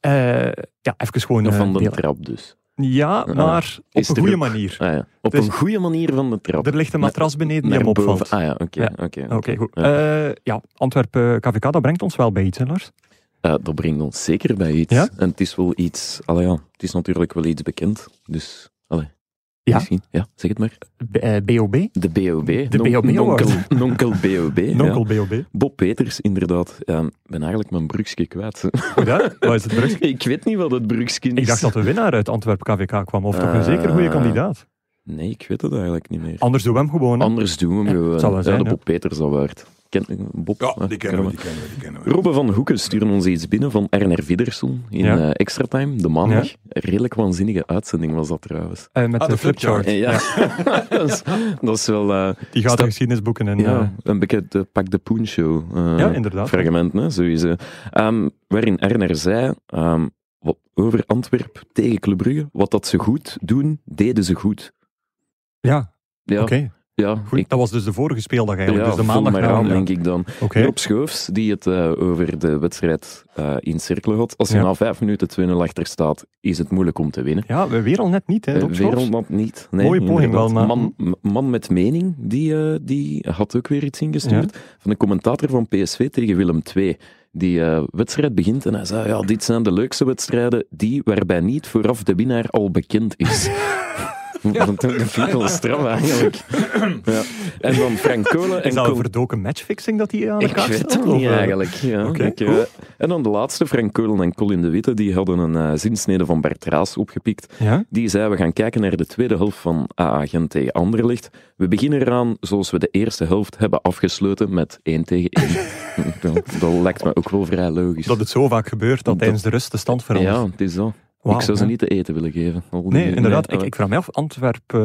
A: eh, ja, even gewoon... eh,
B: van de
A: delen.
B: trap dus.
A: ja, maar op
B: Is
A: een
B: er
A: goede
B: ook-
A: manier.
B: Ah, ja. Op
A: Dus-
B: een goede manier van de trap.
A: Er ligt een matras beneden die
B: Naar
A: hem
B: boven.
A: opvalt.
B: Ah ja, oké.
A: Ja.
B: oké.
A: Oké, goed.
B: Ja.
A: Eh, ja, Antwerpen KVK, dat brengt ons wel bij iets, hè, Lars?
B: Eh, dat brengt ons zeker bij iets.
A: Ja?
B: En het is wel iets... Allee, ja, het is natuurlijk wel iets bekend. Dus, allee.
A: Ja?
B: Misschien. Ja, zeg het maar.
A: B- eh, BOB?
B: De BOB.
A: De
B: Non-
A: BOB Award.
B: Nonkel, nonkel BOB. ja.
A: Nonkel BOB.
B: Bob Peters, inderdaad. Ja, Ik ben eigenlijk mijn brugje kwijt.
A: Goed, hè? Wat is het brug?
B: ik weet niet wat het brugje is.
A: Ik dacht dat de winnaar uit Antwerpen KVK kwam. Of toch een zeker goede
B: Eh,
A: kandidaat.
B: Nee, ik weet het eigenlijk niet meer.
A: Ah, Anders doen we hem gewoon. hè.
B: Anders doen we hem gewoon.
A: zal wel
B: Ja,
A: zijn,
B: de
A: hè.
B: Bob Peters Award. Ken, Bob,
C: Ja,
B: eh,
C: die kennen we, die kennen we, die kennen we.
B: Robbe van Hoeken sturen ons iets binnen van Erner Viddersen in
A: Ja.
B: eh, Extra Time, de maandag. Redelijk waanzinnige uitzending was dat trouwens.
A: Eh, met
C: Ah,
A: de
C: de flipchart.
A: flipchart.
B: Eh, Ja, dat, is, dat is wel eh,
A: Die gaat
B: Stap-
A: de geschiedenisboeken en...
B: ja,
A: eh,
B: een beetje de Pak de Poen show. eh,
A: Ja, inderdaad.
B: Fragment, hè, sowieso. Ehm, waarin Erner zei ehm, wat, over Antwerp tegen Club Brugge, wat dat ze goed doen, deden ze goed.
A: ja,
B: Ja,
A: oké.
B: ja
A: Goed,
B: ik-
A: dat was dus de vorige speeldag eigenlijk.
B: ja,
A: dus de
B: vul
A: maandag
B: maar
A: na-
B: aan,
A: ja.
B: denk ik dan.
A: Oké.
B: Rob Schoofs, die het eh, over de wedstrijd eh, in cirkel had. Als je
A: Ja.
B: na vijf minuten 2-0 achter staat, is het moeilijk om te winnen.
A: Ja, we weer al net niet, hè,
B: Eh,
A: Rob Schoofs?
B: Wereldland niet. Nee,
A: Mooie poging
B: inderdaad.
A: wel, maar-
B: Man, m- man met mening, die, eh, die had ook weer iets ingestuurd. Van de commentator van PSV tegen Willem II. Die eh, wedstrijd begint en hij zei, ja, dit zijn de leukste wedstrijden, die waarbij niet vooraf de winnaar al bekend is. Dat vind ik wel stram eigenlijk. Ja. En dan Frank Kolen en
A: Is dat een
B: Col-
A: verdoken matchfixing dat hij aan
B: ik
A: elkaar
B: weet
A: staat?
B: het
A: of,
B: niet
A: eh?
B: eigenlijk. Ja,
A: oké,
B: ik, eh,
A: cool.
B: en dan de laatste, Frank Keulen en Colin de Witte, die hadden een eh, zinsnede van Bert Raas opgepikt.
A: Ja?
B: Die zei, we gaan kijken naar de tweede helft van AA Gent tegen Anderlecht. We beginnen eraan zoals we de eerste helft hebben afgesloten met 1 tegen 1. dat, dat lijkt me ook wel vrij logisch.
A: Dat het zo vaak gebeurt dat tijdens de rust de stand verandert.
B: ja, het is zo.
A: Wauw,
B: ik zou ze
A: ja.
B: niet te eten willen geven. Al die-
A: Nee, inderdaad.
B: nee,
A: ik, ik vraag me af, Antwerp, eh,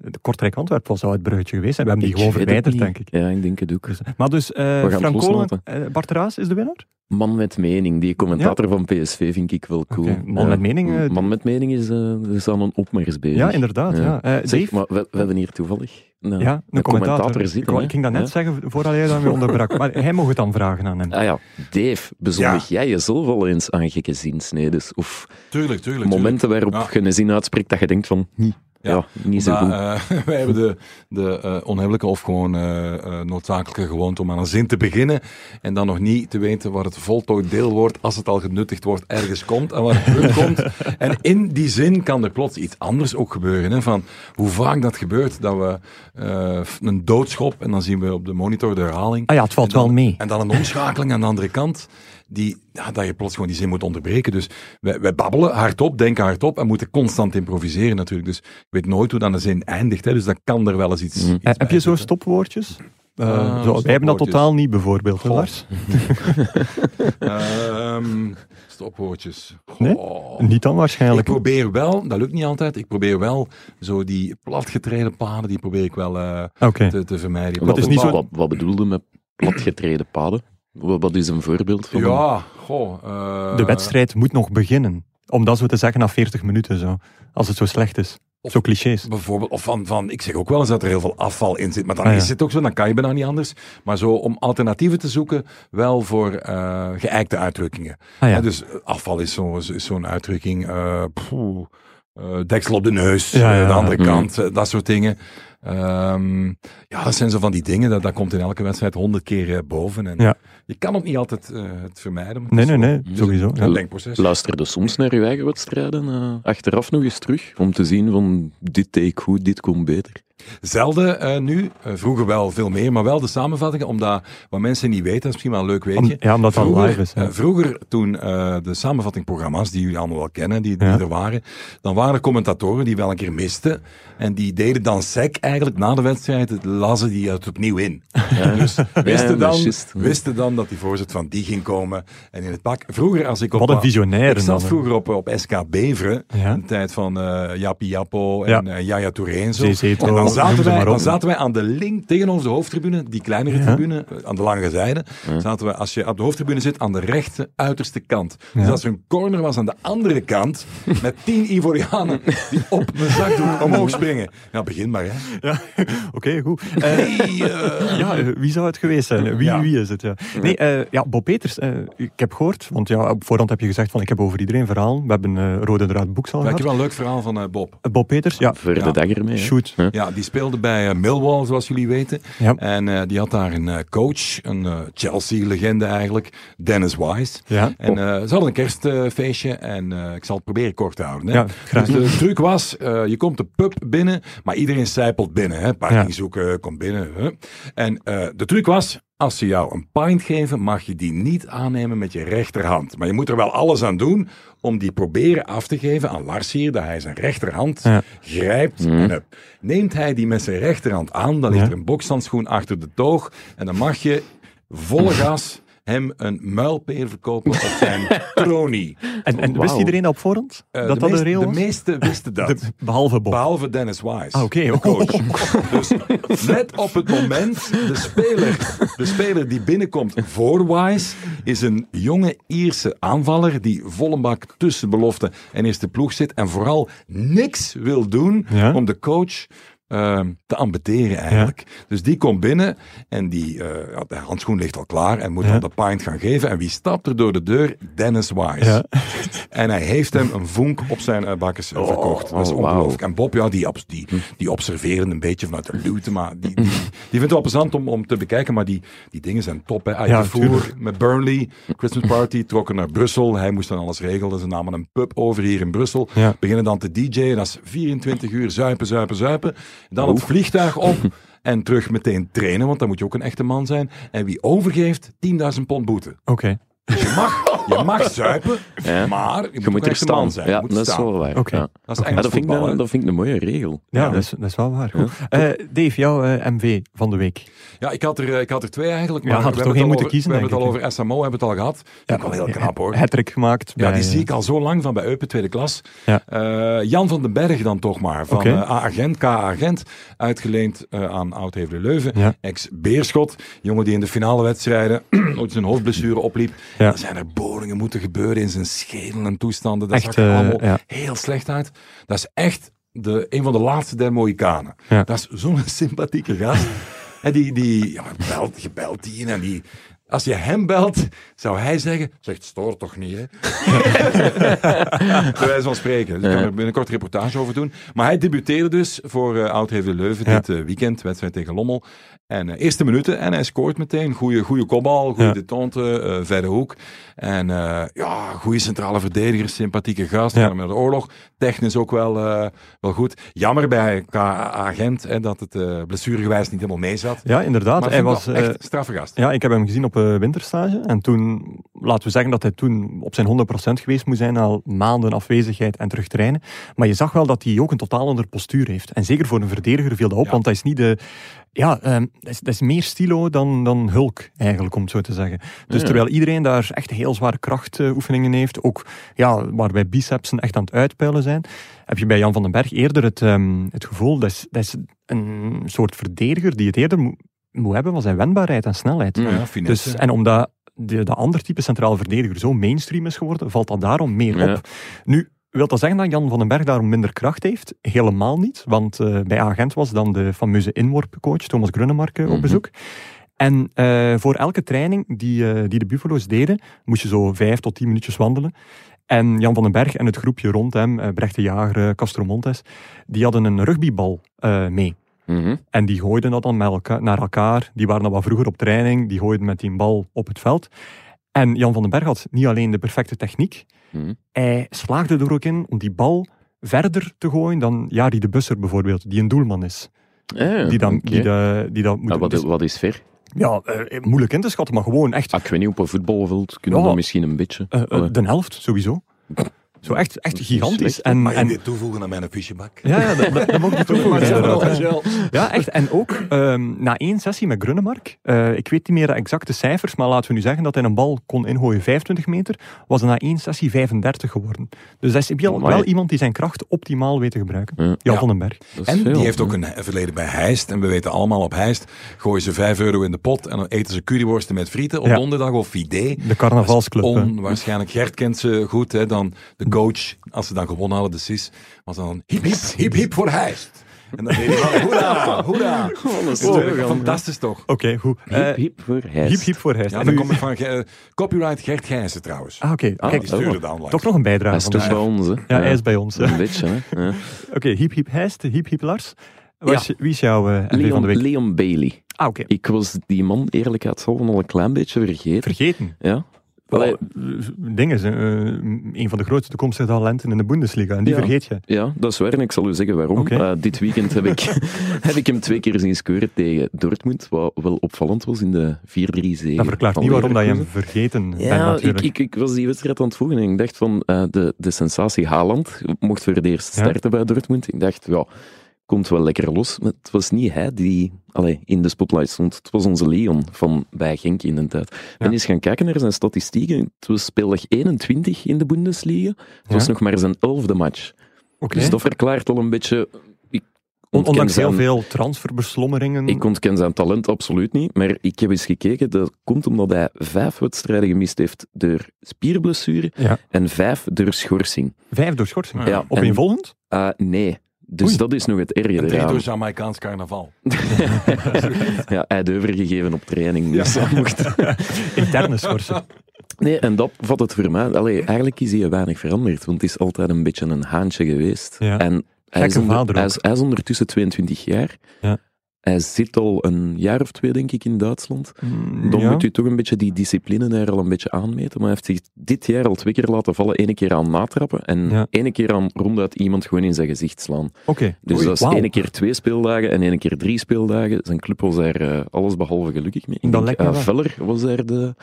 A: de Kortrijk Antwerp was al het bruggetje geweest. En we hebben die
B: ik
A: gewoon
B: weet het
A: verwijderd,
B: niet.
A: denk ik.
B: Ja, ik denk het ook.
A: Maar dus,
B: gaan
A: eh
B: het
A: Frank Kolen,
B: loslaten.
A: eh, Bart Raas is de winnaar?
B: Man met mening, die commentator van PSV vind ik wel cool.
A: Oké, man
B: Ja.
A: met mening, eh,
B: man met mening is, eh, is aan een opmars bezig.
A: Ja, inderdaad. Ja.
B: Ja.
A: Eh,
B: Zeg,
A: Dave,
B: maar we, we hebben hier toevallig een,
A: ja, een commentator. ik,
B: zitten.
A: wou-
B: hè?
A: ik ging dat net
B: Ja.
A: zeggen voordat jij daarmee onderbrak. Maar hij mocht het dan vragen aan hem.
B: Ah ja, Dave, bezondig jij jezelf al eens aan gekke zinsnedes? Of
C: Tuurlijk, tuurlijk.
B: momenten waarop je een zin uitspreekt dat je denkt van, hm, ja,
C: Ja.
B: niet zo goed.
C: Maar, eh, wij hebben de, de eh, onhebbelijke of gewoon eh, eh, noodzakelijke gewoonte om aan een zin te beginnen en dan nog niet te weten waar het voltooid deelwoord, als het al genuttigd wordt, ergens komt en waar het punt komt. En in die zin kan er plots iets anders ook gebeuren. Hè, van hoe vaak dat gebeurt, dat we eh, een doodschop en dan zien we op de monitor de herhaling.
A: Ah ja, het valt
C: En dan-
A: wel mee.
C: En dan een omschakeling aan de andere kant, die, ja, dat je plots gewoon die zin moet onderbreken. Dus wij, wij babbelen hardop, denken hardop en moeten constant improviseren natuurlijk. Dus je weet nooit hoe dan de zin eindigt. Hè. Dus dat kan er wel eens iets. iets
A: Eh, heb
C: bij
A: je zo
C: zitten.
A: stopwoordjes? Eh,
C: Ah,
A: zo,
C: stopwoordjes.
A: wij hebben dat totaal niet, bijvoorbeeld. hè,
C: Goh.
A: Lars?
C: Ehm, stopwoordjes.
A: Nee?
C: Goh.
A: Niet dan waarschijnlijk.
C: Ik probeer wel, dat lukt niet altijd, ik probeer wel zo die platgetreden paden, die probeer ik wel eh,
A: Ah, Oké.
C: te, te vermijden.
B: wat,
A: is niet zo-
B: wat, wat bedoelde met platgetreden paden? Wat, wat is een voorbeeld van? een-
C: Ja, goh. eh,
A: De wedstrijd moet nog beginnen. Om dat zo te zeggen na 40 minuten, zo. als het zo slecht is. Zo clichés.
C: Bijvoorbeeld, of van, van, ik zeg ook wel eens dat er heel veel afval in zit, maar dan
A: Ah, ja.
C: is het ook zo, dan kan je bijna niet anders. Maar zo om alternatieven te zoeken, wel voor eh geëikte uitdrukkingen.
A: Ah ja.
C: Hè, dus afval is zo- is zo'n uitdrukking, eh, poeh, eh, deksel op de neus,
A: Ja,
C: eh,
A: ja. mm.
C: de andere
B: Mhm.
C: kant, eh, dat soort dingen. Ehm, ja, dat zijn zo van die dingen, dat, dat komt in elke wedstrijd honderd keer eh, boven. En
A: Ja.
C: Je kan het niet altijd eh, het vermijden. maar het
A: Nee,
C: is
A: nee,
C: zo-
A: nee,
C: het is
A: sowieso.
C: Een
A: Ja.
C: denkproces.
B: Luisterde soms naar je eigen wedstrijden, eh, achteraf nog eens terug, om te zien van, dit deed ik goed, dit kon beter.
C: Zelden eh, nu, Eh, vroeger wel veel meer, maar wel de samenvattingen, omdat wat mensen niet weten, dat is misschien wel een leuk
A: Om-
C: weetje.
A: ja, omdat het al
C: Vroeger,
A: live is. ja.
C: eh, vroeger, toen eh, de samenvattingprogramma's, die jullie allemaal wel kennen, die, die
A: Ja.
C: er waren, dan waren er commentatoren die wel een keer misten. En die deden dan sec eigenlijk na de wedstrijd, het- lazen die het opnieuw in. Dus
B: Ja,
C: wisten
B: dat is
C: dan,
B: juist.
C: wisten dan dat die voorzet van die ging komen en in het pak. Vroeger, als ik op...
A: Wat een visionair.
C: Ik
A: dan,
C: zat
A: hè.
C: vroeger op, op SK Beveren,
A: Ja.
C: in de tijd van eh Jappie Jappo en
A: Ja.
C: eh, Yaya Touré en zo.
A: Zeezetel,
C: en dan
A: noem
C: zaten,
A: ze
C: wij,
A: maar op.
C: dan zaten wij aan de link tegenover de hoofdtribune, die kleinere
A: Ja.
C: tribune, eh, aan de lange zijde. Zaten wij, als je op de hoofdtribune zit, aan de rechter uiterste kant. Dus als er een corner was aan de andere kant, met tien Ivorianen die op mijn zakdoek omhoog springen. Ja, begin maar, hè.
A: Ja, oké, goed. Eh, ja, eh, wie zou het geweest zijn? Wie,
C: Ja.
A: wie is het? Ja, nee, eh, ja Bob Peters, eh, ik heb gehoord, want ja, op voorhand heb je gezegd van ik heb over iedereen verhalen. We hebben eh, Rode Draad Boeks al
C: Maar ik
A: gehad.
C: heb wel een leuk verhaal van eh, Bob.
A: Eh, Bob Peters, ja,
B: Voor de dag ermee. hè.
A: shoot.
B: Ja.
C: Ja, die speelde bij eh, Millwall, zoals jullie weten.
A: Ja.
C: En eh, die had daar een eh, coach, een eh, Chelsea-legende eigenlijk, Dennis Wise.
A: Ja.
C: En eh, ze hadden een kerstfeestje en eh, ik zal het proberen kort te houden. Hè.
A: Ja, graag.
C: Dus de truc was, eh, je komt de pub binnen, maar iedereen zijpelt binnen. Hè. Parking
A: Ja.
C: zoeken, komt binnen. Hè. En eh, de truc was, als ze jou een pint geven, mag je die niet aannemen met je rechterhand. Maar je moet er wel alles aan doen om die proberen af te geven aan Lars hier, dat hij zijn rechterhand
A: Ja. Mhm.
C: grijpt. En, hup. neemt hij die met zijn rechterhand aan, dan ligt
A: Ja.
C: er een bokshandschoen achter de toog en dan mag je volle gas hem een muilpeer verkopen op zijn tronie.
A: En, en wist
B: Wauw.
A: iedereen dat op voorhand?
C: Eh,
A: dat
C: de,
A: dat
C: meest-
A: een rail
C: de
A: was?
C: meeste wisten dat.
A: De- behalve Bob.
C: Behalve Dennis Wise.
A: Ah, oké.
C: de coach. Dus net op het moment, de speler, de speler die binnenkomt voor Wise, is een jonge Ierse aanvaller die volle bak tussen belofte en eerste ploeg zit en vooral niks wil doen
A: Ja.
C: om de coach ehm, te ambeteren eigenlijk. Dus die komt binnen en die, eh, ja, de handschoen ligt al klaar en moet
A: Ja.
C: dan de pint gaan geven. En wie stapt er door de deur? Dennis Wise.
A: Ja.
C: En hij heeft hem een vonk op zijn eh, bakkes eh, verkocht. Dat is
B: oh,
C: ongelooflijk.
B: wauw.
C: En Bob, ja, die, abs- die,
B: Hm.
C: die observeren een beetje vanuit de lute, maar die, die, die vindt het wel plezant om, om te bekijken, maar die, die dingen zijn top. Hè. Hij
A: Ja,
C: vervoer met Burnley, Christmas Party, trokken naar Brussel. Hij moest dan alles regelen. Ze namen een pub over hier in Brussel,
A: Ja.
C: beginnen dan te DJ'en. Dat is 24 uur zuipen, zuipen, zuipen. Dan het vliegtuig op. En terug meteen trainen, want dan moet je ook een echte man zijn. En wie overgeeft, 10.000 pond boete. Dus
A: Oké.
C: Je mag, je mag zuipen,
B: Ja.
C: maar je moet,
B: Je
C: ook
B: moet
C: een
B: er
C: echte man
B: staan.
C: zijn. Je
B: Ja,
C: moet
B: dat is
C: staan.
B: wel waar.
A: Oké.
B: Ja.
C: Dat is
B: Ja,
C: Engels
B: dat, vind ik,
C: voetbal,
B: dan-
C: hè.
B: dat vind ik een mooie regel.
A: Ja,
B: Ja. dus-
A: Dat, is, dat is wel waar. Goed. Eh, Dave, jouw eh, MV van de week.
C: Ja, ik had er, eh, ik had er twee eigenlijk,
A: Ja,
C: maar
A: had er
C: we
A: toch
C: hebben
A: één
C: het al
A: moeten kiezen,
C: over- We
A: denk
C: hebben het al over SMO, hebben we het al gehad. Ja, wel heel knap hoor.
A: Eh, Hattrick gemaakt.
C: Ja,
A: bij,
C: die zie
A: eh,
C: ik al zo lang van bij Eupen, tweede klas.
A: Ja.
C: Eh, Jan van den Berg dan toch maar, van
A: Oké.
C: eh, A-agent, K-agent, uitgeleend eh, aan Oud-Hevelen Leuven,
A: Ja.
C: ex-Beerschot, jongen die in de finale wedstrijden ooit zijn hoofdblessure opliep.
A: Ja.
C: Dan zijn er boringen moeten gebeuren in zijn schedel en toestanden. Dat
A: Echt,
C: zag er
A: eh,
C: allemaal
A: ja.
C: heel slecht uit. Dat is echt de, een van de laatste der Mohikanen.
A: Ja.
C: Dat is zo'n sympathieke gast. en die, die ja, maar belt, je belt die in en die... Als je hem belt, zou hij zeggen... Zegt, stoor toch niet, hè? Bij wijze van spreken. Dus ik kan er binnenkort een reportage over doen. Maar hij debuteerde dus voor eh oud Leuven
A: Ja.
C: dit eh, weekend. Wedstrijd tegen Lommel. En eh, eerste minuten. En hij scoort meteen. Goede goede kopbal. Goede
A: Ja.
C: detente. eh verre hoek. En eh, ja, goede centrale verdediger. Sympathieke gast.
A: Ja.
C: Ja. Met de oorlog. Technisch ook wel, eh, wel goed. Jammer bij K-agent dat het eh, blessuregewijs niet helemaal mee zat.
A: Ja, inderdaad.
C: Maar
A: hij
C: vind ik
A: was,
C: wel
A: eh,
C: echt straffe gast.
A: ja, ik heb hem gezien op eh, winterstage. En toen, laten we zeggen dat hij toen op zijn 100% geweest moet zijn, al maanden afwezigheid en terug trainen. Maar je zag wel dat hij ook een totaal ander postuur heeft. En zeker voor een verdediger viel dat op,
C: Ja.
A: want hij is niet de... Ja, ehm, dat, is, dat is meer stilo dan, dan Hulk, eigenlijk, om het zo te zeggen. Dus terwijl iedereen daar echt heel zware krachtoefeningen heeft, ook ja, waarbij bicepsen echt aan het uitpuilen zijn, heb je bij Jan van den Berg eerder het, ehm, het gevoel, dat is, dat is een soort verdediger die het eerder moet moet hebben van zijn wendbaarheid en snelheid.
B: Mm.
C: Ja, finesse.
A: Dus, en omdat de, de ander type centraal verdediger zo mainstream is geworden, valt dat daarom meer
B: Ja.
A: op. Nu, wil dat zeggen dat Jan van den Berg daarom minder kracht heeft? Helemaal niet, want eh, bij Agent was dan de fameuze inworpcoach Thomas Grunnemark eh, op
B: Mhm.
A: bezoek. En eh, voor elke training die, eh, die de Buffalo's deden, moest je zo vijf tot tien minuutjes wandelen. En Jan van den Berg en het groepje rond hem, eh, Brecht de Jager, eh, Castro Montes, die hadden een rugbybal eh, mee.
B: Mhm.
A: En die gooiden dat dan met elka- naar elkaar. Die waren dan wat vroeger op training. Die gooiden met die bal op het veld. En Jan van den Berg had niet alleen de perfecte techniek.
B: Mhm.
A: Hij slaagde er ook in om die bal verder te gooien dan Jari de Busser bijvoorbeeld, die een doelman is.
B: Ah,
A: Die dan,
B: oké.
A: die de, die dan moet...
B: Ah, wat,
A: dus-
B: wat is ver?
A: ja, eh, moeilijk in te schatten, maar gewoon echt
B: Ah, ik weet niet, op een voetbalveld kunnen we
A: Ja.
B: dat misschien een beetje. Oh.
A: eh, eh,
B: Allee.
A: de helft, sowieso. Zo echt, echt
B: is
A: gigantisch.
B: slecht.
A: En,
C: Mag je
A: en,
C: dit toevoegen aan mijn fichebak?
A: ja, ja, dat, dat, dat mag ik niet toevoegen.
C: Maar
A: inderdaad.
C: zelf wel, zelf.
A: Ja, echt. En ook ehm, na één sessie met Grunnemark, eh, ik weet niet meer de exacte cijfers, maar laten we nu zeggen dat hij een bal kon ingooien 25 meter, was hij na één sessie 35 geworden. Dus dat is wel,
B: Amai.
A: wel iemand die zijn kracht optimaal weet te gebruiken.
B: Ja.
A: Jan
C: Ja.
A: van den Berg.
B: Dat is
C: En
B: veel.
C: die heeft ook een he- verleden bij Heist. En we weten allemaal, op Heist gooien ze 5 euro in de pot en dan eten ze curryworsten met frieten op
A: Ja.
C: donderdag of idee.
A: De carnavalsclub. hè.
C: Onwaarschijnlijk. Gert kent ze goed. Hè, dan de coach, als ze dan gewonnen hadden, de SIS, was dan hip, hip, hip, hip voor Heist. En dan deed hij van, hoera, hoera.
B: Oh, dat is
C: Dat is
B: wel
C: echt
B: gaan,
C: Fantastisch toch?
A: Oké, goed.
B: hè.
A: Eh,
B: Hip, hip voor hijst.
A: Hiep, hiep voor Heist.
C: Ja,
A: En
C: dan
A: nu-
C: kom ik van ge- eh, copyright Gert Gijzen trouwens.
A: Ah, oké.
B: Ah,
A: Kijk,
C: Die
B: dat
C: stuurde
B: wel.
C: dat online.
A: toch nog een bijdrage.
B: Hij is
A: van
B: toch
A: de-
B: bij ons, hè?
A: ja, hij is bij ons. hè.
B: Een beetje, hè? Ja.
A: Oké, hiep, hiep Heist, hiep, hiep Lars. Wat is- Wie is jouw eh, MV van de
B: Leon,
A: week?
B: Leon Bailey.
A: Ah, oké.
B: Ik was die man eerlijkheidshalve al een klein beetje vergeten.
A: Vergeten.
B: Ja. Allee,
A: Wel, eh, Dingen, zijn, eh, een van de grootste toekomstige talenten in de Bundesliga. En die
B: Ja.
A: vergeet je.
B: Ja, dat is waar en ik zal u zeggen waarom.
A: Oké.
B: Eh, dit weekend heb ik, heb ik hem twee keer zien scoren tegen Dortmund, wat wel opvallend was in de 4-3 zege
A: Dat verklaart
B: van
A: niet waarom dat je hem
B: Leverkusen.
A: vergeten bent
B: Ja, ik,
A: natuurlijk.
B: ik, ik was die wedstrijd aan het volgen en ik dacht van eh, de, de sensatie Haaland mocht voor het eerst
A: Ja.
B: starten bij Dortmund. Ik dacht, ja, komt wel lekker los. Maar het was niet hij die allee, in de spotlight stond. Het was onze Leon van bij Genk in de tijd. Ik ben eens gaan kijken naar zijn statistieken. Het was speeldag 21 in de Bundesliga. Het was
A: Ja.
B: nog maar zijn elfde match.
A: Oké.
B: Dus dat verklaart al een beetje... Ik
A: On-
B: ontken
A: Ondanks heel
B: zijn-
A: veel transferbeslommeringen.
B: ik ontken zijn talent absoluut niet, maar ik heb eens gekeken. Dat komt omdat hij vijf wedstrijden gemist heeft door spierblessure
A: Ja.
B: en vijf door schorsing.
A: Vijf door schorsing.
C: Ja.
A: Op
B: en-
A: een volgend?
B: Ah, nee. Dus
A: Oei.
B: dat is nog het
C: En
B: ergere
C: drie door
B: eraan.
C: Jamaicaans carnaval.
B: Ja, hij had overgegeven op training. Dus dat mocht.
A: Interne schorsen.
B: Nee, en dat vat het voor mij. Allee, eigenlijk is hij weinig veranderd, want het is altijd een beetje een haantje geweest.
A: Ja.
B: En hij
A: Gekke
B: is, onder-
A: vader
B: hij,
A: ook.
B: is, hij is ondertussen 22 jaar.
A: Ja.
B: Hij zit al een jaar of twee, denk ik, in Duitsland. Mm, Dan
A: Ja.
B: moet u toch een beetje die discipline daar al een beetje aanmeten. Maar hij heeft zich dit jaar al twee keer laten vallen. Ene keer aan natrappen en
A: Ja.
B: ene keer aan ronduit iemand gewoon in zijn gezicht slaan.
A: Oké.
B: Dus
A: Oei,
B: dat is
A: wauw.
B: ene keer twee speeldagen en ene keer drie speeldagen. Zijn club was daar eh, alles behalve gelukkig mee.
A: Dat
B: Ik denk,
A: lijkt me
B: eh,
A: wel.
B: Veller was daar de...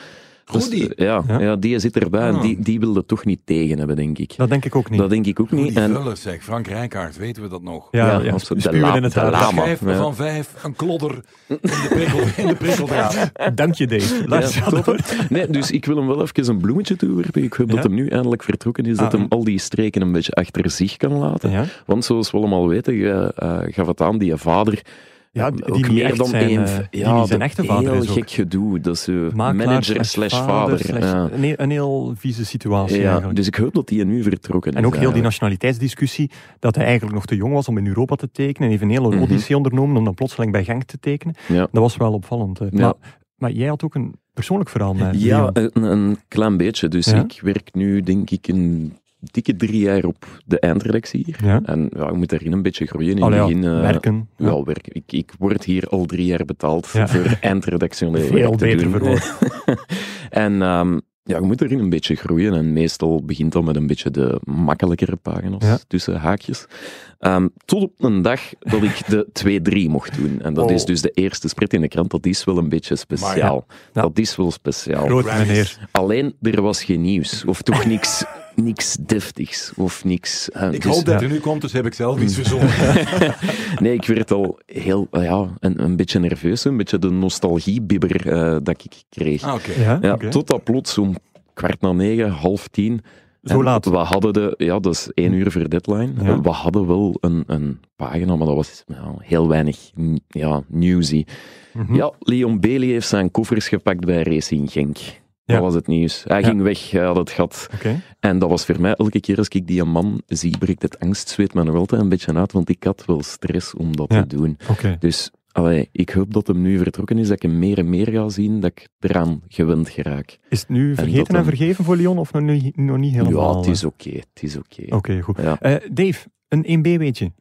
B: was-
C: Goedie.
B: ja,
A: Ja.
B: ja. die zit erbij en
C: Ah.
B: die, die wilde toch niet tegen hebben, denk ik.
A: Dat denk ik ook niet.
B: Dat denk ik ook
C: Goeie
B: niet. En,
C: vullers, zeg. Frank Rijkaard, weten we dat nog?
A: ja, ja,
B: ja, absoluut. De
A: spuwen
B: la-
A: in het
B: de
A: haar.
B: la- Lama,
C: Vijf
B: ja.
C: van vijf, een klodder in de, prikkel, in de prikkeldraad.
A: Dank je, Dave.
B: ja,
A: Laat je
B: top,
A: door.
B: hè? nee, dus ik wil hem wel even een bloemetje toewerpen. Ik hoop
A: Ja?
B: dat hem nu eindelijk vertrokken is, dat
A: Ah.
B: hem al die streken een beetje achter zich kan laten.
A: Ja,
B: Want zoals we allemaal weten, je, eh, gaf het aan, die vader... ehm,
A: ja die,
B: ook
A: die niet
B: meer
A: echt
B: dan
A: zijn,
B: één...
A: eh,
B: v-
A: die niet zijn
B: dat
A: echte vader
B: heel
A: is ook.
B: gek gedoe. Dat is eh,
A: Makelaar
B: manager slash vader.
A: slash-
B: ja.
A: een, heel- een heel vieze situatie
B: Ja,
A: eigenlijk.
B: dus ik hoop dat die nu vertrokken
A: En ook
B: is
A: heel die
B: eigenlijk.
A: nationaliteitsdiscussie, dat hij eigenlijk nog te jong was om in Europa te tekenen, en even een hele
B: Mhm.
A: odyssee ondernomen om dan plotseling bij Genk te tekenen.
B: Ja.
A: Dat was wel opvallend. eh.
B: Ja.
A: Maar, maar jij had ook een persoonlijk verhaal met
B: Ja,
A: Leon.
B: een, een klein beetje. Dus
A: Ja?
B: ik werk nu, denk ik, een dikke drie jaar op de eindredactie hier.
A: Ja?
B: En ja, ik moet daarin een beetje groeien. In
A: Allee,
B: het
A: ja,
B: begin, eh,
A: werken. Ja.
B: wel werken. Ik, ik word hier al drie jaar betaald
A: Ja.
B: voor eindredactioneel werk
A: Veel
B: te
A: beter
B: doen.
A: verwoord.
B: En ehm, ja, je moet erin een beetje groeien. En meestal begint dat met een beetje de makkelijkere pagina's
A: Ja.
B: tussen haakjes. Ehm, tot op een dag dat ik de 2-3 mocht doen. En dat
A: Oh.
B: is dus de eerste spread in de krant. Dat is wel een beetje speciaal.
A: Ja.
B: Dat is wel speciaal.
A: Groot meneer.
B: Alleen, er was geen nieuws. Of toch niks, niks deftigs. Of niks... eh,
C: Ik
B: dus-
C: hoop dat er nu komt, dus heb ik zelf iets verzonnen.
B: Nee, ik werd al heel, eh, ja, een, een beetje nerveus. Een beetje de nostalgiebibber eh dat ik kreeg.
C: Ah, oké.
A: Ja?
B: ja,
A: oké.
B: Tot dat plots om kwart na negen, half tien.
A: Zo
B: En
A: laat.
B: We hadden de, ja, dat is één uur voor deadline.
A: Ja.
B: We hadden wel een, een pagina, maar dat was ja, heel weinig mm, ja, newsy.
A: Mhm.
B: Ja, Leon Bailey heeft zijn koffers gepakt bij Racing Genk.
A: Ja.
B: Dat was het nieuws. Hij
A: Ja.
B: ging weg, hij had het gat.
A: Oké.
B: En dat was voor mij, elke keer als ik die man zie, breekt het angstzweet me nog altijd een beetje uit, want ik had wel stress om dat
A: Ja.
B: te doen.
A: Oké.
B: Dus allee, ik hoop dat hem nu vertrokken is, dat ik hem meer en meer ga zien, dat ik eraan gewend geraak.
A: Is het nu
B: dat
A: vergeten en,
B: dan-
A: vergeven voor Leon of nog niet, nog niet helemaal?
B: ja, het is oké, het is oké.
A: Oké, goed.
B: Ja.
A: Eh, Dave, een 1B weetje.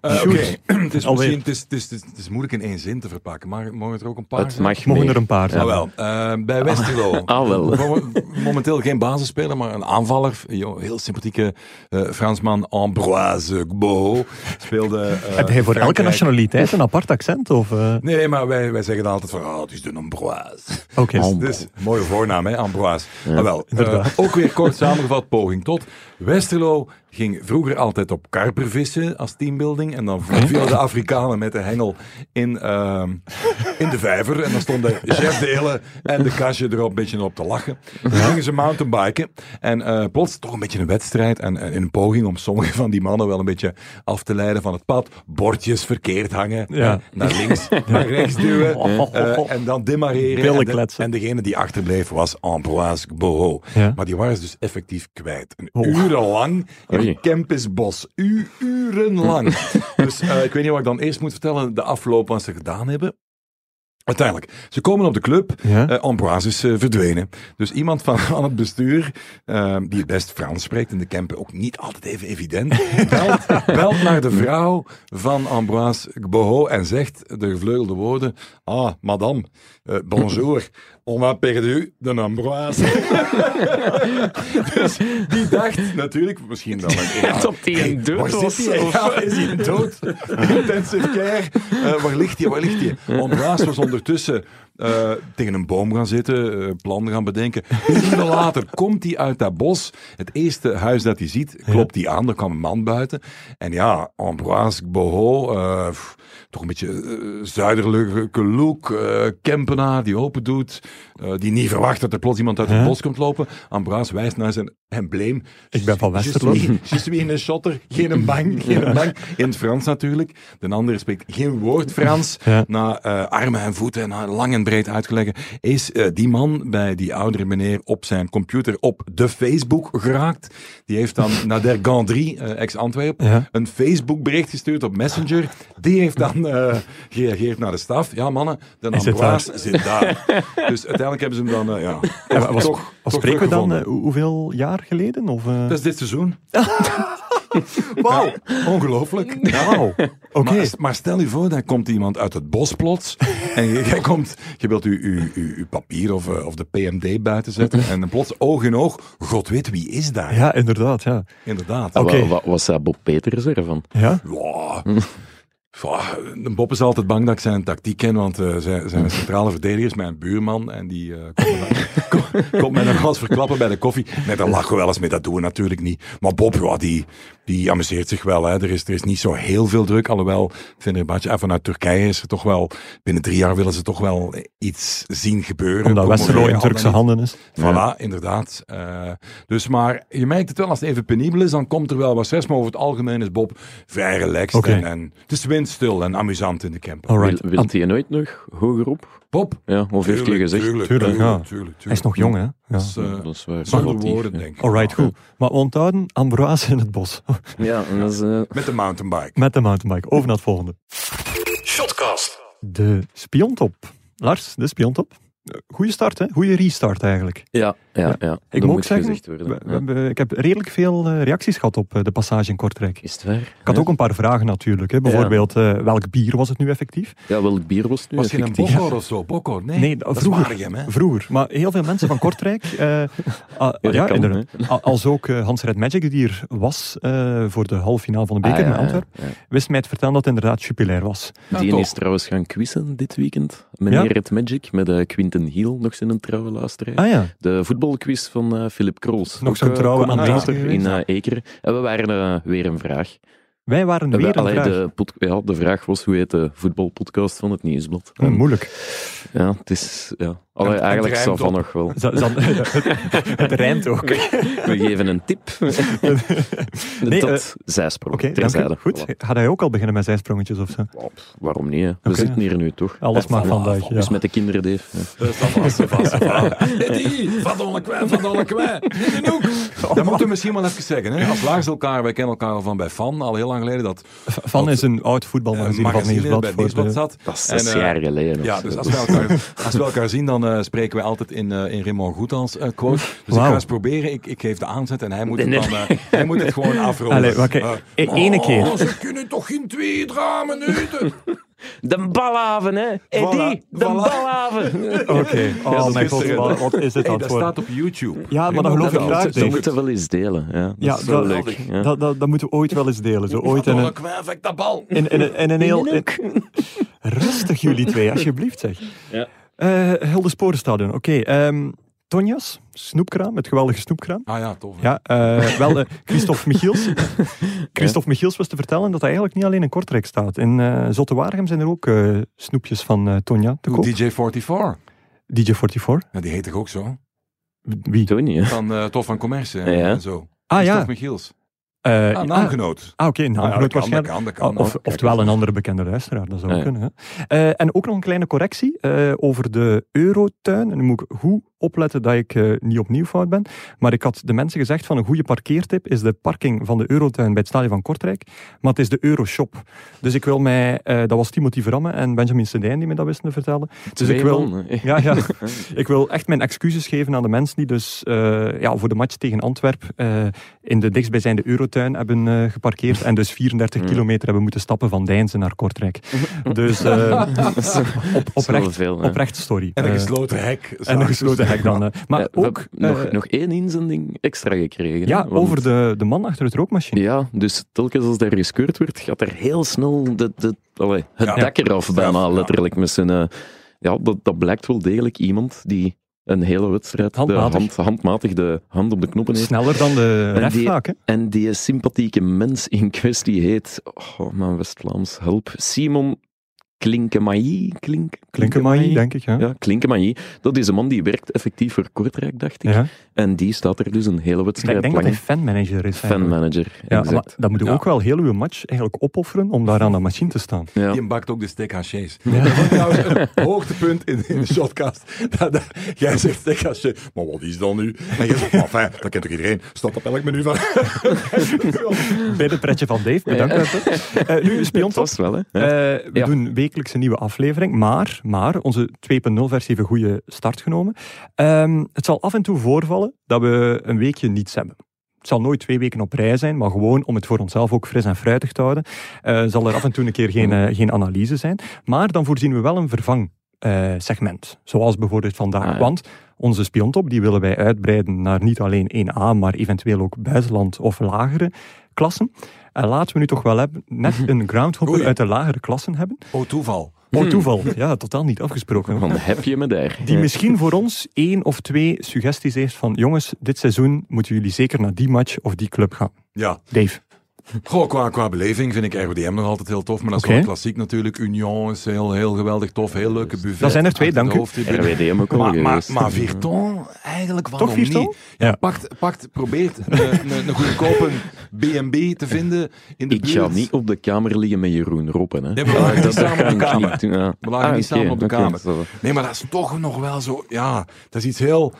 C: Eh, Oké,
A: Shoot.
C: het is
A: Alweer.
C: misschien het is, het, is, het, is, het is moeilijk in één zin te verpakken, maar mogen er ook een paar
B: Het
C: zijn?
B: mag
A: Mogen
B: mee.
A: er een paar zijn?
C: Ah, wel. Eh, bij Westerlo.
B: Ah, wel.
C: Mom- Momenteel geen basisspeler, maar een aanvaller. Een jo- heel sympathieke eh, Fransman, Ambroise Gbo. Speelde. eh,
A: Heb jij voor elke
C: Frankrijk.
A: nationaliteit een apart accent? Of, eh,
C: Nee, nee, maar wij, wij zeggen dan altijd van, oh, het is de Ambroise.
A: Oké.
B: Om-
C: Dus, mooie voornaam, hè, Ambroise. Ah, wel, eh, ook weer kort samengevat, poging tot. Westerlo ging vroeger altijd op karper vissen als teambuilding. En dan vielen de Afrikanen met de hengel in, ehm, in de vijver. En dan stonden Jeff Delen en de kastje er een beetje op te lachen. Dan gingen ze mountainbiken. En eh, plots toch een beetje een wedstrijd. En, en een poging om sommige van die mannen wel een beetje af te leiden van het pad. Bordjes verkeerd hangen.
A: Ja.
C: eh, Naar links, naar rechts duwen. eh, en dan demareren.
A: Billen
C: En de-
A: kletsen.
C: en degene die achterbleef was Ambroise Boho.
A: Ja.
C: Maar die waren ze dus effectief kwijt. Een
A: Oh.
C: urenlang in
B: Oei.
C: het Campusbos. U, urenlang. dus eh, ik weet niet wat ik dan eerst moet vertellen. De afloop wat ze gedaan hebben. Uiteindelijk, ze komen op de club.
A: Ja?
C: Eh, Ambroise is eh, verdwenen. Dus iemand van, van het bestuur, eh, die het best Frans spreekt in de Kempen, ook niet altijd even evident, belt, belt naar de vrouw van Ambroise Gboho en zegt de gevleugelde woorden: Ah, madame, eh, bonjour, on a perdu de Ambroise. dus die dacht natuurlijk, misschien wel een
B: Tot die een dood
C: Waar
B: was,
C: zit hij?
B: of-
C: Ja, is hij dood? Intensive care. Eh, waar ligt hij? Waar ligt hij? Ambroise was ondertussen eh, tegen een boom gaan zitten, eh, plannen gaan bedenken. Uren later komt hij uit dat bos. Het eerste huis dat hij ziet, klopt hij aan. Er kwam een man buiten. En ja, Ambroise Boho, eh, pff, toch een beetje eh, zuiderlijke look. eh, Kempenaar die open doet, eh, die niet verwacht dat er plots iemand uit het
A: Ja.
C: bos komt lopen. Ambroise wijst naar zijn embleem.
A: Ik ben van Westerlo.
C: Je suis- je suis een shotter, geen een bang, geen een bang. In het Frans natuurlijk. De andere spreekt geen woord Frans.
A: Ja.
C: Na eh, armen en voeten en na lang en breed uitgelegd, is eh, die man bij die oudere meneer op zijn computer op de Facebook geraakt. Die heeft dan naar Der Gandry, eh, ex-Antwerp,
A: Ja.
C: een Facebook bericht gestuurd op Messenger. Die heeft dan eh, gereageerd naar de staf. Ja, mannen, de
A: Hij zit
C: Ambroise zit daar. dus uiteindelijk hebben ze hem dan, eh, ja,
A: Ja, was,
C: toch,
A: was
C: toch
A: spreken we dan
C: teruggevonden.
A: eh, hoe- hoeveel jaar geleden? Of, eh?
B: Dus-
C: Dat is dit seizoen. Wauw, ongelooflijk.
A: Wauw, oké.
C: Maar, maar stel je voor, dan komt iemand uit het bos plots. En je- jij komt, je wilt uw uw- uw- uw papier of, eh, of de PMD buiten zetten. En dan plots oog in oog, god weet wie is daar.
A: Ja, inderdaad, ja.
C: Inderdaad.
A: Oké.
B: Wa- wa- was dat Bob Peters ervan?
A: ja?
C: Ja. Ja, Bob is altijd bang dat ik zijn tactiek ken, want eh, zijn, zijn centrale verdediger is mijn buurman en die eh, komt, me dan- kom- komt mij nog wel eens verklappen bij de koffie. Nee, daar lachen we wel eens mee, dat doen we natuurlijk niet. Maar Bob, ja, die, die amuseert zich wel. Hè. Er, is, er is niet zo heel veel druk, alhoewel Fenerbahce en eh, vanuit Turkije is er toch wel, binnen drie jaar willen ze toch wel iets zien gebeuren.
A: Omdat Westerlo in
C: Comoré, al
A: Turkse
C: dan niet.
A: handen is.
C: Voilà, inderdaad. Eh, dus maar je merkt het wel, als het even penibel is, dan komt er wel wat stress. Maar over het algemeen is Bob vrij relaxed.
A: Oké.
C: En, en het is windstil en amusant in de camper.
A: Alright.
B: Wil, wilt hij nooit nog hoger op?
C: Bob?
B: Ja, of heeft hij
C: Tuurlijk,
B: gezegd?
C: tuurlijk,
A: Tuurlijk,
C: tuurlijk,
A: ja.
C: tuurlijk,
A: Hij is nog
C: tuurlijk.
A: jong, hè? Ja.
C: Dat is, eh,
B: Dat is waar.
C: zonder
B: relatief,
C: woorden,
B: ja.
C: denk ik.
A: Alright, goed. Maar we onthouden, Ambroise in het bos.
B: Ja, en dat is, eh,
C: Met de mountainbike.
A: Met de mountainbike. Over naar het volgende.
D: Shotcast.
A: De spiontop. Lars, de spiontop. Eh, Goeie start, hè? Goeie restart eigenlijk.
B: ja, ja, ja.
A: Ik
B: Dat
A: moet ook
B: moet
A: zeggen,
B: gezegd
A: we-
B: worden.
A: we
B: ja.
A: hebben- ik heb redelijk veel eh, reacties gehad op eh, de passage in Kortrijk.
B: Is het waar?
A: Ik had
B: ja.
A: ook een paar vragen natuurlijk. Hè. Bijvoorbeeld, eh, welk bier was het nu effectief?
B: Ja, welk bier was het nu?
C: Was geen een
B: effectief?
C: bokor of zo? Bokor? Nee,
A: Nee,
C: dat is
A: vroeger.
C: Waregem, hè?
A: Vroeger. Maar heel veel mensen van Kortrijk. eh, ah, ja,
B: dat kan,
A: inderdaad. A- Als ook eh, Hans Red Magic, die er was eh, voor de halve finale van de beker
B: Ah, ja,
A: in Antwerpen,
B: ja, ja.
A: wist mij het vertellen dat het inderdaad jupilair was.
C: Ja,
B: Die
C: toch.
B: is trouwens gaan quizzen dit weekend. Meneer
A: Ja?
B: Red Magic met eh, Quinten Hiel, nog zijn een trouwe luisteraar.
A: Ah ja,
B: De voetbalquiz van eh Philip Krols.
A: Nog
B: Ook,
A: zo'n
B: eh,
A: trouwe
B: commentator
A: aanwezige
B: in
A: geweest.
B: eh, Ekeren. En we waren eh, weer een vraag.
A: wij waren
B: We-
A: weer een
B: allee,
A: vraag.
B: De, pod- ja, de vraag was, hoe heet de voetbalpodcast van het Nieuwsblad?
A: Eh, moeilijk.
B: Ja, het is... Ja. Allee,
C: het
B: eigenlijk zou
C: rijmt
B: van
C: op.
B: nog wel.
A: Zal- zal- het, het rijmt ook. Oké,
B: We geven een tip.
A: Nee,
B: dat
A: eh,
B: zijsprong.
A: dank u.
B: terzijde.
A: Goed.
B: Voilà.
A: Gaat hij ook al beginnen met zijsprongetjes of zo?
B: Waarom niet? Hè? We
A: Oké.
B: zitten hier nu toch?
A: Alles mag vandaag.
B: Dus
A: Ja.
B: met de kinderen, Dave. Ja.
C: Dat is dan vast, dat vast, dat vast. Eddie, Van Dolle kwijt, Van Dolle kwijt. In de hoek. Dat moeten we misschien wel even zeggen. Hè? Als Lars elkaar, wij kennen elkaar al van bij Fan, al heel lang geleden, dat
A: Van is een oud
C: eh,
A: voetbalmagazine van
C: magazine bij
A: Nieuwsblad.
C: het
A: voor
C: Nieuwsblad
A: de-
C: zat.
B: Dat is
C: En,
B: zes
C: eh,
B: jaar geleden. of
C: Ja,
B: zo.
C: dus als
B: Dat
C: we
B: is-
C: elkaar, als we elkaar zien, dan eh, spreken we altijd in, eh, in Raymond Goethans eh, quote. Dus ik
A: Wauw.
C: ga eens proberen. Ik, ik geef de aanzet en hij moet,
B: Nee,
C: het,
B: nee.
C: dan, eh, hij moet het gewoon afronden.
A: Allee, oké.
C: Eh,
A: E- ene
C: oh,
A: keer.
C: Ze kunnen toch geen twee, drie minuten.
B: De balhaven, hè? Eddie,
C: Voilà,
B: de
C: voilà.
B: balhaven.
A: Oké. Oh mijn god,
C: gisteren.
A: wat- wat is dit
C: Hey,
A: aan
C: dat
A: het
C: staat
A: worden?
C: op YouTube.
A: Ja, maar dan
C: Raymond
A: geloof ik
C: Goethans.
A: graag,
B: Dat
A: Dave.
B: moeten we wel eens delen. Ja, dat
A: Ja,
B: is wel
A: dat,
B: leuk. Ja.
A: Dat, dat, dat moeten we ooit wel eens delen. Zo ooit in
C: Van Dolle
A: een,
C: kwijt, vek dat bal.
A: in, in, in, in een heel... in- rustig jullie twee, alsjeblieft zeg.
B: Ja.
A: Eh, Heldesporenstadion, oké. ehm, Tonjas, snoepkraam, het geweldige snoepkraam.
C: Ah ja, tof. hè.
A: Ja, eh, wel, eh, Christophe Michiels. Christophe Michiels was te vertellen dat hij eigenlijk niet alleen in Kortrijk staat. In eh Zotte-Waregem zijn er ook eh, snoepjes van eh, Tonja te koop.
C: DJ 44.
A: DJ44.
C: Ja, die heet toch ook zo?
A: Wie?
B: Tony, hè?
C: Van eh Tof van Commerce eh,
B: Ja.
C: en zo.
A: Ah ja,
C: Christophe Michiels.
A: eh,
C: Ah,
A: ah,
C: naamgenoot.
A: ah, oké, een
C: Ah, ja,
A: naamgenoot
C: dat kan, dat
A: waarschijnlijk.
C: kan, dat kan.
A: of,
B: kijk,
A: oftewel
B: dat
A: een
B: is-
A: andere bekende luisteraar, dat zou
B: Ja, ja.
A: kunnen. Hè. Eh, en ook nog een kleine correctie eh, over de Eurotuin. En nu moet ik goed opletten dat ik eh, niet opnieuw fout ben. Maar ik had de mensen gezegd van een goede parkeertip is de parking van de Eurotuin bij het stadion van Kortrijk. Maar het is de Euroshop. Dus ik wil mij, eh, dat was Timothy Vramme en Benjamin Sedijn die me dat wisten te vertellen. Dus ik
B: Twee
A: wil,
B: man, hè.
A: ja, ja. Ik wil echt mijn excuses geven aan de mensen die dus eh, ja, voor de match tegen Antwerp eh, in de dichtstbijzijnde Eurotuin hebben eh, geparkeerd en dus 34
B: Mm.
A: kilometer hebben moeten stappen van Deinzen naar Kortrijk. Dus eh, op,
B: is wel
A: oprecht,
B: veel, hè.
A: oprecht story.
C: En een
A: Eh,
C: gesloten hek.
A: en een gesloten hek dan. eh. Maar
B: Ja, we
A: ook
B: hebben nog,
A: eh,
B: nog één inzending extra gekregen. hè,
A: ja,
B: want-
A: over de, de man achter het rookmachine.
B: Ja, dus telkens als daar geskeurd werd, gaat er heel snel de, de, allee, het
C: Ja.
B: dak eraf bijna,
C: Ja.
B: letterlijk, met zijn... eh, ja, dat, dat blijkt wel degelijk iemand die een hele wedstrijd
A: Handmatig.
B: De hand, handmatig de hand op de knoppen heeft.
A: Sneller dan de
B: En
A: ref
B: die-
A: vaak, hè?
B: En die sympathieke mens in kwestie heet, oh mijn West-Vlaams, help, Simon Klinkemailly. Klink,
A: Klinkemaai, denk ik, ja.
B: Ja, Klinkemailly. Dat is een man die werkt effectief voor Kortrijk, dacht ik.
A: Ja.
B: En die staat er dus een hele
A: Ik
B: wedstrijd
A: denk dat
B: lang.
A: hij fanmanager is. eigenlijk.
B: Fanmanager,
A: Ja, maar
B: exact.
A: dan moet je
C: Ja.
A: ook wel heel uw match eigenlijk opofferen om daar aan de machine te staan.
B: Ja.
C: Die bakt ook de steak hachés. Dat was trouwens een hoogtepunt in, in de shotcast. Dat, dat- jij zegt steak hachés. Maar wat is dat nu? En jij zegt, maar fijn, dat kent toch iedereen? Staat op elk menu van...
A: Bij de pretje van Dave, bedankt. daarvoor. Eh, nu,
B: Dat
A: Spiontop.
B: was wel, hè. Ja.
A: Eh, we
B: Ja.
A: doen wekelijks een nieuwe aflevering, maar, maar onze 2.0-versie heeft een goede start genomen. Ehm, het zal af en toe voorvallen dat we een weekje niets hebben. Het zal nooit twee weken op rij zijn, maar gewoon om het voor onszelf ook fris en fruitig te houden, eh, zal er af en toe een keer geen, eh, geen analyse zijn. Maar dan voorzien we wel een vervang eh, segment, zoals bijvoorbeeld vandaag.
B: Ah, ja.
A: Want onze spiontop die willen wij uitbreiden naar niet alleen 1A, maar eventueel ook buitenland of lagere klassen. En laten we nu toch wel hebben, net
B: Mhm.
A: een groundhopper
C: Oei.
A: uit de lagere klassen hebben.
C: Oh, toeval.
A: Oh, toeval. Ja, totaal niet afgesproken.
B: Van heb je me daar.
A: Die misschien voor ons één of twee suggesties heeft van jongens, dit seizoen moeten jullie zeker naar die match of die club gaan.
C: Ja.
A: Dave.
C: Goh, qua, qua beleving vind ik RODM nog altijd heel tof. Maar dat is
A: Oké.
C: wel klassiek natuurlijk. Union is heel, heel geweldig tof. Heel leuke buffet.
A: Dat zijn er twee,
C: Uit de
A: dank u.
C: hoofdtribune.
B: RWDM ook al
C: Maar, maar,
B: geweest.
C: maar Virton, eigenlijk waarom
A: Toch Virton?
C: niet? Ja,
A: Ja.
C: Pakt, pakt, probeert een, een, een goedkope B&B te vinden in de
B: Ik
C: buurt.
B: ga niet op de kamer liggen met Jeroen Roppen. Hè.
C: Nee, we lagen niet samen op de
B: ga ik
C: kamer.
B: niet doen, ja.
C: We lagen
B: Ah,
C: niet
B: oké,
C: samen op de
B: oké,
C: kamer.
B: zo.
C: Nee, maar dat is toch nog wel zo... Ja, dat is iets heel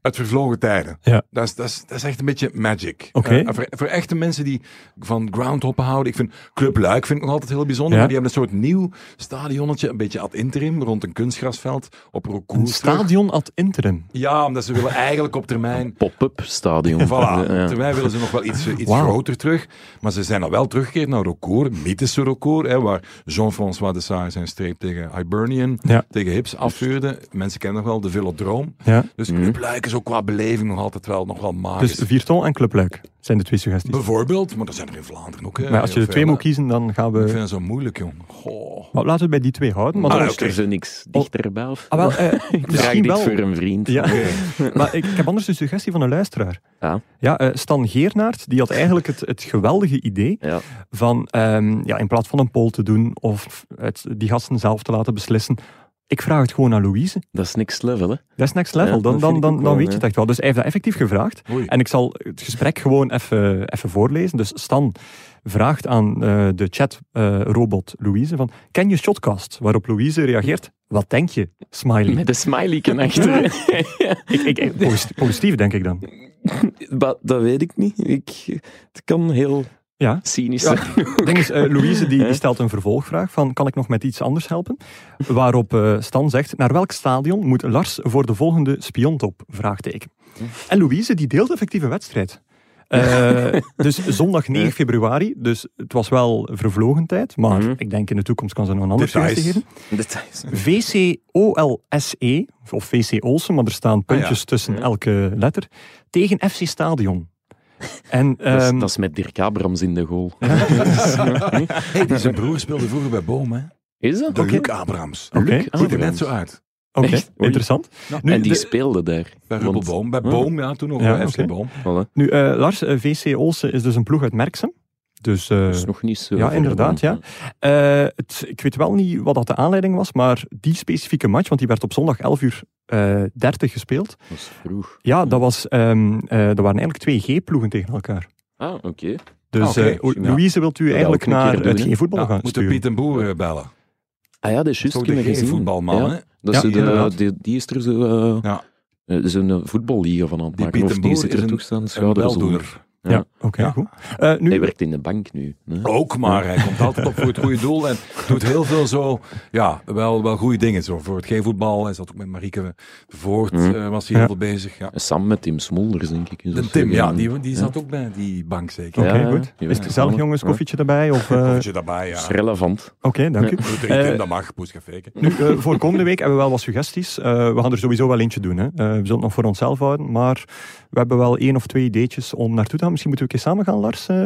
C: uit vervlogen tijden.
A: Ja.
C: Dat, is, dat, is, dat is echt een beetje magic.
A: Oké.
C: Eh, voor, voor echte mensen die van groundhoppen houden. Ik vind Club Luik vind ik nog altijd heel bijzonder.
A: Ja.
C: Maar die hebben een soort nieuw stadionnetje, een beetje ad interim, rond een kunstgrasveld, op
A: Een
C: Rokoers.
A: stadion ad interim.
C: Ja, omdat ze willen eigenlijk op termijn
B: Pop-up stadion.
C: Voilà.
B: Ja.
C: Terwijl willen ze nog wel iets, eh, iets
A: Wauw.
C: groter terug. Maar ze zijn al wel teruggekeerd naar Rocourt, mythische Rocourt, hè, waar Jean-François de Saar zijn streep tegen Hibernian,
A: Ja.
C: tegen Hips afvuurde. Mensen kennen nog wel de Velodroom.
A: Ja. Mhm.
C: Dus Club Luik is ook qua beleving nog altijd wel, nog wel magisch.
A: Dus Vierton en Club Luik zijn de twee suggesties.
C: Bijvoorbeeld, maar er zijn er in Vlaanderen ook. hè,
A: Maar als je
C: heel
A: er twee
C: veel,
A: moet
C: hè.
A: kiezen, dan gaan
C: Ik
A: we...
C: vind het zo moeilijk, jong. Goh.
A: Maar laten we het bij die twee houden. Maar
C: Ah,
A: dan
C: ja,
A: is-
C: oké.
B: Er zo niks dichterbij of...
A: Ah, wel, eh,
B: Vraag
A: misschien
B: dit
A: wel...
B: voor een vriend.
A: Ja. maar ik, ik heb anders een suggestie van een luisteraar.
B: Ja.
A: Ja, eh, Stan Geernaert die had eigenlijk het, het geweldige idee
B: Ja.
A: van ehm, ja, in plaats van een poll te doen of het, die gasten zelf te laten beslissen. Ik vraag het gewoon aan Louise.
B: Dat is niks level, hè.
A: Dat is next level.
B: Ja,
A: dan dan,
B: dat vind ik
A: dan,
B: ook
A: dan
B: wel,
A: weet je het
B: ja.
A: echt wel. Dus hij heeft dat effectief gevraagd.
C: Oei.
A: En ik zal het gesprek gewoon even, even voorlezen. Dus Stan vraagt aan eh, de chatrobot Louise van... Ken je Shotcast? Waarop Louise reageert... Wat denk je? Smiley.
B: Met een smileyken achter.
A: Ik, ik, ik- posit- positief denk ik dan.
B: Maar dat weet ik niet. Ik, het kan heel
A: Ja.
B: cynisch
A: Ja.
B: zijn.
A: Het ding is, eh, Louise die, die stelt een vervolgvraag van kan ik nog met iets anders helpen? Waarop eh, Stan zegt, naar welk stadion moet Lars voor de volgende spiontop? Vraagteken. En Louise die deelt effectief een wedstrijd. Eh, dus zondag 9 februari, dus het was wel vervlogen tijd, maar
B: Mhm.
A: ik denk in de toekomst kan ze nog een ander
C: Details.
A: suggestie geven.
B: Details.
A: VCOLSE, E, of VC Olsen, maar er staan puntjes
C: Ah, ja.
A: tussen
B: Mhm.
A: elke letter, tegen FC Stadion. En,
B: Dat is,
A: ehm,
B: dat is met Dirk Abrams in de goal.
C: Hey, die zijn broer speelde vroeger bij Boom, hè.
B: Is dat?
C: De
B: Oké.
C: Luc Abrams.
A: Oké,
C: Ziet er net
B: Abrams.
C: zo uit.
A: oké,
B: Echt? Oei.
A: interessant.
C: Nu,
B: en die
C: de-
B: speelde daar.
C: bij
B: Want-
C: Rubbel Boom. Bij
B: Ah.
C: Boom, ja, toen nog
A: Ja,
C: bij FC
A: oké.
C: Boom.
B: Voilà.
A: Nu, eh, Lars, eh, VC Olsen is dus een ploeg uit Merksem. Dus, eh,
B: Dat is nog niet zo...
A: ja,
B: ver
A: inderdaad,
B: dan.
A: ja. eh, het, ik weet wel niet wat dat de aanleiding was, maar die specifieke match, want die werd op zondag 11 uur eh 30 gespeeld.
B: Dat is vroeg.
A: Ja, dat, was, ehm, eh, dat waren eigenlijk twee G-ploegen tegen elkaar.
B: Ah, oké.
A: Dus
C: Ah, oké.
A: eh, o-
C: Ja.
A: Louise, wilt u
B: Dat
A: eigenlijk
B: ook een keer
A: naar
B: doen,
A: het
B: hè?
A: G-voetbal
C: Ja,
A: gaan
C: moeten
A: sturen?
C: Piet en Boer eh, bellen.
B: Ah ja, dat is juist
C: Zo de
B: kunnen gezien.
C: voetbalman,
B: Ja.
C: hè?
B: Dat
A: Ja,
B: is de-
C: inderdaad.
B: die, die is er zo... eh,
C: Ja.
B: eh, Zo'n voetballiga van aan het
C: Die
B: maken.
C: Piet
B: of
C: en
B: die
C: Boer
B: zit
C: is
B: er
C: een-
B: toegestaan
C: Een
B: schouderzoen.
C: weldoener.
A: Ja, oké,
C: Ja.
A: goed. Eh, nu,
B: Hij werkt in de bank nu. hè.
C: Ook, maar hij komt altijd op voor het goede doel en doet heel veel zo, ja, wel, wel goede dingen. Zo voor het G-voetbal, hij zat ook met Marieke Voort,
B: Mhm.
C: eh, was hij heel
A: Ja.
C: veel bezig. Ja.
B: Samen met Tim Smolders, denk ik. is
C: De
B: dat
C: Tim,
B: zo.
C: ja, die, die zat ook bij die bank zeker.
A: Oké,
B: Ja, ja,
A: goed.
B: ja.
A: Is het gezellig,
B: Ja.
A: jongens? Koffietje erbij? Of, eh,
C: Of je daarbij, ja.
B: Dat is relevant.
A: Oké, dank u.
C: Doet er
A: Eh,
C: iets in, dat mag, poesgefeken.
A: Nu, eh, voor komende week hebben we wel wat suggesties. Eh, we gaan er sowieso wel eentje doen. Hè. Eh, we zullen het nog voor onszelf houden, maar we hebben wel één of twee ideetjes om naartoe te gaan. Misschien moeten we een keer samen gaan, Lars. eh,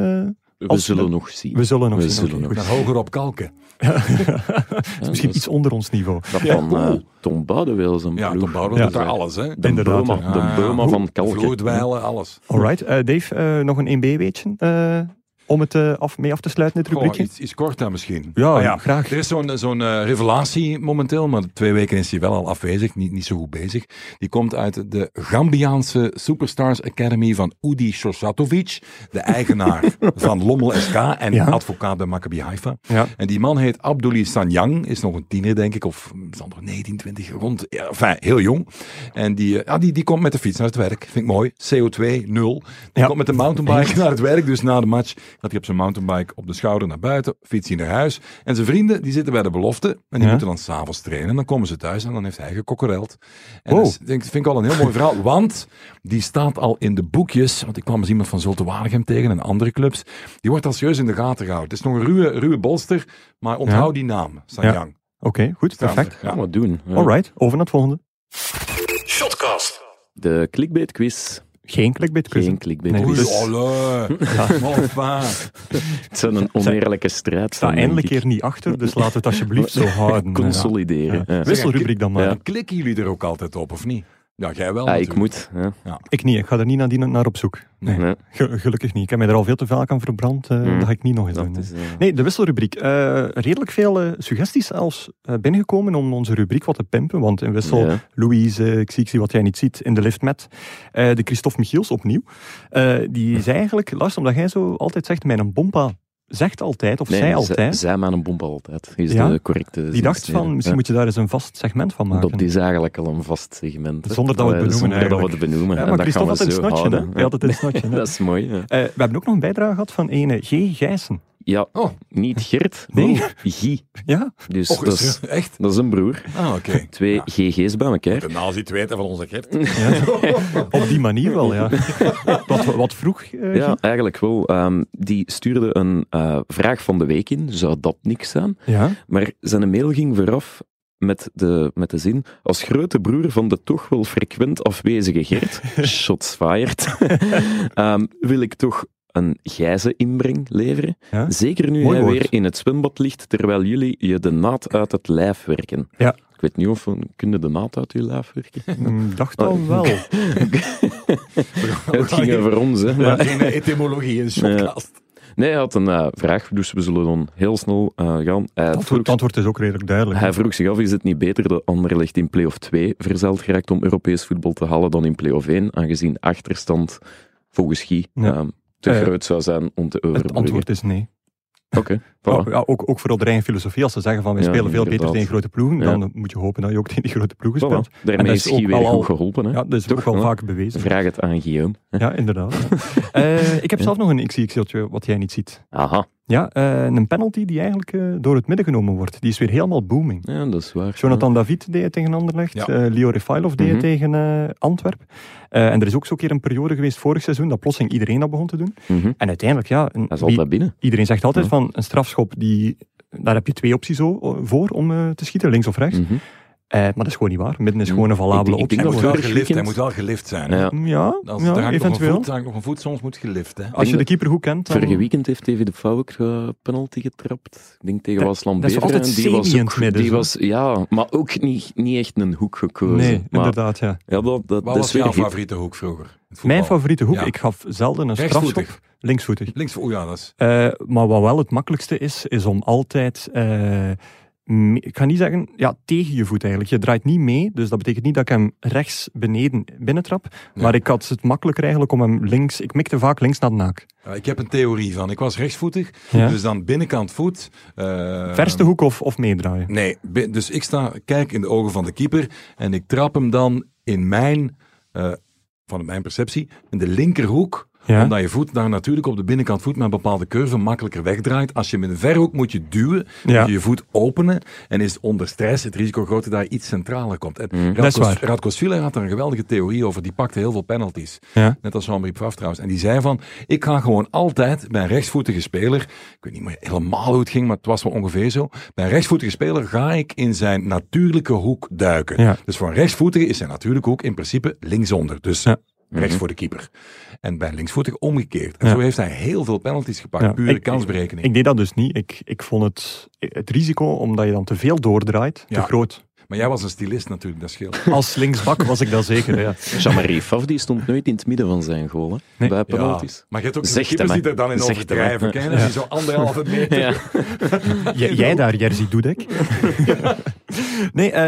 B: We
A: Als we-
B: zullen nog zien.
A: We zullen nog
B: We
A: zien.
B: zullen
A: oké,
B: nog
A: goed.
C: Naar hoger op kalken.
A: Het is misschien iets onder ons niveau.
B: Dat
C: Ja,
B: van
C: cool.
B: eh, Tom Boudewijl zijn
C: Ja,
B: ploeg.
C: Tom Bouwer
A: Ja.
C: doet daar alles, hè. eh,
B: De
A: Inderdaad,
B: Beuma,
A: ja.
B: de Beuma van Kalken.
C: Vloedwijlen, alles.
A: Alright, eh, Dave, eh, nog een 1B-weetje om het eh, af, mee af te sluiten, dit
C: Goh,
A: rubriekje.
C: iets, iets kort dan misschien.
A: Ja,
C: Ah
A: graag.
C: Er is zo'n zo'n, eh, revelatie momenteel, maar twee weken is hij wel al afwezig, niet, niet zo goed bezig. Die komt uit de Gambiaanse Superstars Academy van Udi Sosatovic, de eigenaar van Lommel SK en
A: Ja.
C: advocaat bij Maccabi Haifa.
A: Ja.
C: En die man heet Abdouli Sanyang, is nog een tiener denk ik, of mm, zal nog 19, 20 rond, ja, enfin, heel jong. En die, eh, ja, die, die komt met de fiets naar het werk, vind ik mooi, CO2 nul. Die
A: Ja.
C: komt met de mountainbike naar het werk, dus na de match gaat hij op zijn mountainbike op de schouder naar buiten, fietst hij naar huis. En zijn vrienden, die zitten bij de belofte en die
A: Ja.
C: moeten dan s'avonds trainen. Dan komen ze thuis en dan heeft hij gekokkereld. En
A: Wow.
C: dat is- ik denk- vind ik al een heel mooi verhaal, want die staat al in de boekjes, want ik kwam eens iemand van Zulte Waregem tegen en andere clubs. Die wordt al serieus in de gaten gehouden. Het is nog een ruwe, ruwe bolster, maar onthoud die naam, Sanyang.
A: Oké, goed, perfect.
C: Ja.
B: Gaan we doen. Ja.
A: Alright, over naar het volgende.
B: De clickbait quiz.
A: Geen clickbait quiz.
B: Geen clickbait
A: Nee,
B: quiz.
C: Oei,
A: Dus-
C: olé. Maar enfin.
B: Het zijn een oneerlijke strijd.
A: Ik sta eindelijk hier niet achter, dus laten we het alsjeblieft zo houden.
B: Consolideren.
A: Ja.
B: Ja.
A: Wisselrubriek dan maar.
B: Ja.
C: Klikken jullie er ook altijd op, of niet? Ja, jij wel.
B: Ah, ik
C: natuurlijk.
B: moet. Ja.
A: Ik niet, ik ga er niet nadien naar op zoek. Nee.
B: Nee,
A: Ge- gelukkig niet. Ik heb mij er al veel te vaak aan verbrand. eh,
B: Mm.
A: Dat ga ik niet nog eens doen.
B: dat
A: nee.
B: is, eh,
A: Nee, de wisselrubriek. Eh, redelijk veel eh, suggesties zelfs eh, binnengekomen om onze rubriek wat te pimpen. Want in wissel,
B: ja.
A: Louise, eh, ik zie, ik zie wat jij niet ziet, in de lift met eh, de Christophe Michiels opnieuw. eh, die zei eigenlijk, Lars, omdat jij zo altijd zegt, mijn bompa zegt altijd, of
B: Nee,
A: zij
B: z-
A: altijd.
B: Zij maar een bompa altijd. Is
A: Ja?
B: de correcte
A: die dacht
B: zinsnede.
A: van, misschien
B: Ja.
A: moet je daar eens een vast segment van maken.
B: Dat is eigenlijk al een vast segment. hè.
A: Zonder dat we het
B: Eh,
A: benoemen
B: Zonder dat we
A: eigenlijk.
B: het benoemen.
A: Ja,
B: En
A: maar
B: dat gaan
A: Christophe
B: we
A: had een
B: zo
A: snotje, hè?
B: houden,
A: Hij had het een snotje. hè.
B: Dat is mooi. ja.
A: Eh, we hebben ook nog een bijdrage gehad van ene G. Gijssen.
B: Ja,
C: Oh.
B: niet Gert,
A: Nee.
B: maar Guy.
A: Ja?
B: Dus
C: Och,
B: dat,
C: is
B: is,
C: er- echt?
B: dat is een broer.
C: Ah, oké.
B: Twee
C: Ja.
B: GG's bij elkaar.
D: De nazi het weten van onze Gert.
A: Op die manier wel, ja. wat, wat vroeg, eh,
B: Ja, eigenlijk wel. Ehm, die stuurde een eh, vraag van de week in. Zou dat niks zijn?
A: Guy? Ja.
B: Maar zijn mail ging vooraf met de, met de zin als grote broer van de toch wel frequent afwezige Gert, shots fired, ehm, wil ik toch een gijze inbreng leveren.
A: Ja.
B: Zeker nu
A: Mooi
B: hij
A: woord.
B: weer in het zwembad ligt, terwijl jullie je de naad uit het lijf werken.
A: Ja.
B: Ik weet niet of we kunnen de naad uit je lijf werken.
A: Mm, dacht
B: Oh,
A: al wel.
B: het ging over ons, hè.
C: Ja,
B: Maar-
C: geen etymologie in shotcast.
B: Nee, hij had een eh, vraag, dus we zullen dan heel snel eh, gaan. Hij
A: Het
B: vroeg-
A: antwoord, het antwoord is ook redelijk duidelijk.
B: Hij vroeg zich af, is het niet beter dat Anderlecht in play-off 2 verzeild geraakt om Europees voetbal te halen dan in play-off 1, aangezien achterstand volgens Guy
A: Ja.
B: ehm, te
A: Eh,
B: groot zou zijn om te
A: Het
B: overbruggen.
A: antwoord is nee.
B: Oké, voilà.
A: Oh, ja, ook, ook vooral de reine filosofie. Als ze zeggen van wij
B: Ja,
A: spelen veel beter
B: inderdaad.
A: tegen grote ploegen,
B: Ja.
A: dan moet je hopen dat je ook tegen die grote ploegen speelt.
B: Voilà.
A: En
B: Daarmee
A: dat
B: is
A: is
B: Guy
A: ook
B: weer
A: al-
B: goed geholpen. Hè?
A: Ja, dat is
B: Toch,
A: ook wel
B: hè?
A: vaak bewezen.
B: Vraag het aan Guillaume.
A: Ja, inderdaad. Eh, ik heb zelf nog een XXL'tje wat jij niet ziet.
B: Aha,
A: Ja, eh, een penalty die eigenlijk eh, door het midden genomen wordt. Die is weer helemaal booming.
B: ja, dat is waar.
A: Jonathan David deed het tegen Anderlecht.
C: Ja.
A: eh, Leo Refailov deed het
B: Mhm.
A: tegen eh, Antwerp. Eh, en er is ook zo'n keer een periode geweest vorig seizoen dat plotseling iedereen dat begon te doen.
B: Mhm.
A: En uiteindelijk, ja, een-
B: Hij
A: wie-
B: zal dat binnen.
A: iedereen zegt altijd van een strafschop, die, daar heb je twee opties zo, eh, voor om eh, te schieten, links of rechts.
B: Mhm.
A: Eh, maar dat is gewoon niet waar. Midden is
B: Mm.
A: gewoon een valabele
B: Ik
A: optie.
B: denk-
C: Hij
B: dat
C: moet
B: we
C: wel
B: vorig
C: gelift, hij
B: weekend-
C: moet wel gelift zijn. hè.
B: Ja.
A: Ja,
C: Als
A: ja,
C: er hangt nog een,
A: eventueel.
C: voet, er hangt nog een voet, soms moet gelift. Hè.
A: Als je de keeper goed kent, dan...
B: Vorige weekend heeft David de Pauw ook eh, penalty getrapt. Ik denk tegen
A: Dat-
B: Waasland
A: dat is
B: Beveren.
A: altijd
B: Die was
A: semi in
B: ook,
A: het midden,
B: die
A: zo.
B: was, ja, maar ook niet, niet echt een hoek gekozen.
A: Nee,
B: maar,
A: inderdaad, ja.
B: ja, dat, dat,
C: Wat
B: dat
C: was
B: is weer
C: jouw
B: hip.
C: favoriete hoek vroeger? Het voetbal.
A: Mijn favoriete hoek,
C: Ja.
A: ik gaf zelden een
C: Rechtsvoetig.
A: strafschop. Linksvoetig.
C: Links voor oh ja, dat is-
A: Eh, maar wat wel het makkelijkste is, is om altijd... eh, me- ik ga niet zeggen, ja, tegen je voet eigenlijk. Je draait niet mee, dus dat betekent niet dat ik hem rechts beneden binnentrap. Maar ik had het makkelijker eigenlijk om hem links... Ik mikte vaak links naar de naak.
C: Ja, Ik heb een theorie van. Ik was rechtsvoetig,
A: Ja.
C: dus dan binnenkant voet. eh,
A: Verste hoek of, of meedraaien.
C: Nee, bi- dus ik sta, kijk in de ogen van de keeper en ik trap hem dan in mijn, eh, van mijn perceptie, in de linkerhoek.
A: Ja.
C: Omdat je voet daar natuurlijk op de binnenkant voet met een bepaalde curve makkelijker wegdraait. Als je hem in de verhoek moet je duwen,
A: Ja.
C: moet je je voet openen. En is onder stress het risico groter dat je iets centraler komt. En
A: Mm. Dat is waar.
C: Radko Sviller had er een geweldige theorie over. Die pakte heel veel penalties.
A: Ja.
C: Net als Jean-Marie Pfaff trouwens. En die zei van, ik ga gewoon altijd bij een rechtsvoetige speler, ik weet niet meer helemaal hoe het ging, maar het was wel ongeveer zo. Bij een rechtsvoetige speler ga ik in zijn natuurlijke hoek duiken.
A: Ja.
C: Dus voor een rechtsvoetige is zijn natuurlijke hoek in principe linksonder. Dus
A: Ja. Mhm.
C: rechts voor de keeper. En bij een linksvoetig omgekeerd. En
A: Ja.
C: zo heeft hij heel veel penalties gepakt,
A: Ja,
C: pure
A: ik-
C: kansberekening.
A: Ik deed dat dus niet. Ik, ik vond het, het risico, omdat je dan te veel doordraait,
C: Ja.
A: te groot.
C: maar jij was een stylist natuurlijk, dat scheelt.
A: Als linksbak was ik dat zeker. Ja.
B: Jean-Marie Faf die stond nooit in het midden van zijn goal, hè,
A: Nee.
B: bij
C: Ja,
B: penalties.
C: maar je hebt ook
B: Zegt
C: zo'n
B: hem,
C: keepers
B: hè.
C: die er dan in
B: Zegt hem,
C: overdrijven.
B: hè.
C: Ken je dat? Die zo anderhalve meter.
B: Ja.
A: J- jij daar, Jerzy Dudek. nee, eh,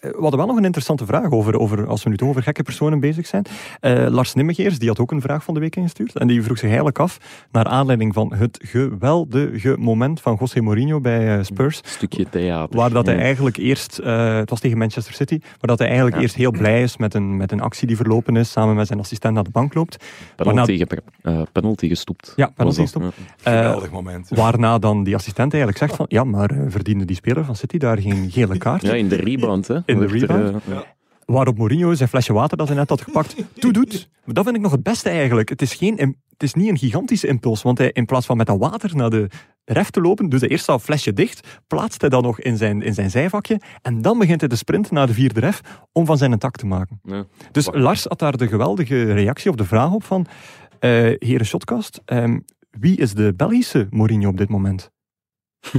A: we hadden wel nog een interessante vraag over, over als we nu toch over gekke personen bezig zijn. Eh, Lars Nimmegeers, die had ook een vraag van de week ingestuurd. En die vroeg zich eigenlijk af, naar aanleiding van het geweldige moment van José Mourinho bij eh, Spurs.
B: Stukje theater.
A: Waar dat hij
B: Ja.
A: eigenlijk eerst, eh, het was tegen Manchester City, waar dat hij eigenlijk
B: Ja.
A: eerst heel blij is met een, met een actie die verlopen is, samen met zijn assistent naar de bank loopt.
B: penalty,
A: waarna-
B: gepre- eh, penalty gestopt.
A: Ja, penalty
B: was dat.
A: gestopt.
B: Ja.
A: Eh,
C: Geweldig moment.
A: waarna dan die assistent eigenlijk zegt van, ja, maar eh, verdiende die speler van City daar geen gele kaart?
B: Ja, in de rebound, hè.
A: de
B: Werd er,
A: rebound?
B: eh,
A: Waarop Mourinho zijn flesje water dat hij net had gepakt toedoet. Maar dat vind ik nog het beste eigenlijk. Het is, geen, im- het is niet een gigantische impuls, want hij, in plaats van met dat water naar de ref te lopen, doet hij eerst dat flesje dicht, plaatst hij dat nog in zijn, in zijn zijvakje en dan begint hij te sprinten naar de vierde ref om van zijn een tak te maken.
B: Ja.
A: Dus Lars had daar de geweldige reactie op de vraag op van eh heren Shotcast, ehm, wie is de Belgische Mourinho op dit moment?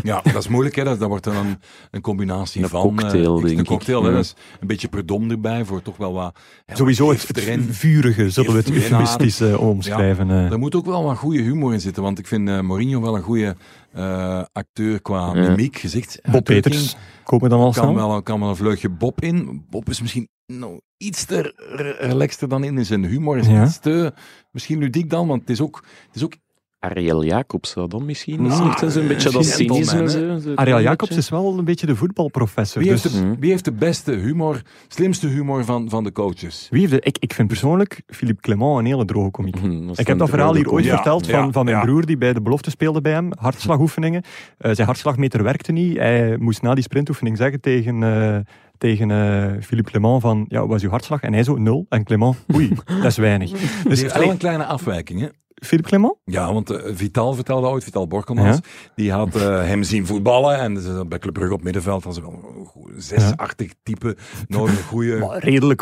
C: Ja, dat is moeilijk, hè? Dat, dat wordt dan een, een combinatie
B: Een
C: van.
B: cocktail,
C: eh, iets-
B: denk
C: Een
B: ik.
C: cocktail, hè?
B: Ja.
C: Dat is een beetje predom erbij voor toch wel wat. ja,
A: Sowieso
C: wat
A: het,
C: gif
A: het
C: erin.
A: vurige, zullen we het
C: Heeft erin.
A: eufemistische omschrijven. eh.
C: Er moet ook wel wat goede humor in zitten, want ik vind eh, Mourinho wel een goede eh, acteur qua
B: Ja.
C: mimiek, gezicht.
A: Bob Peters, komen we dan al
C: Kan
A: snel?
C: wel, kan wel een vleugje Bob in. Bob is misschien nou, iets te re- relaxter dan in. in Zijn humor is
A: Ja.
C: iets te... Misschien ludiek dan, want het is ook... Het is ook
B: Ariel Jacobs zou dan
A: Ah,
B: misschien
C: Nou,
B: nou, een beetje dat
C: misschien
B: cynisme.
C: gentleman,
B: zo- zo-
A: Ariel
B: een
A: Jacobs
B: beetje.
A: is wel een beetje de voetbalprofessor.
C: wie,
A: dus
C: heeft de,
B: Mhm.
C: wie heeft de beste humor, slimste humor van, van de coaches?
A: wie heeft de- ik, ik vind persoonlijk Philippe Clement een hele droge komiek.
C: Mhm.
B: Hm, was
A: Ik
B: dan
A: heb dat
B: de
A: verhaal
B: rode
A: hier ooit
C: Ja,
A: verteld
C: ja,
A: van, van mijn
C: ja.
A: broer die bij de belofte speelde bij hem. Hartslagoefeningen. Eh, zijn hartslagmeter werkte niet. Hij moest na die sprintoefening zeggen tegen, eh, tegen eh, Philippe Clement van, ja, wat was uw hartslag? En hij zo, nul. En Clement, oei, dat is weinig.
C: Dus
A: Dus
C: heeft
A: allee,
C: wel een kleine afwijking, hè?
A: Philippe Clement?
C: Ja, want eh, Vital vertelde ooit, Vital Borkelmans, die had eh, hem zien voetballen en ze zat bij Club Brugge op middenveld was wel een goe- zesachtig type, nooit een goede...
A: Maar redelijk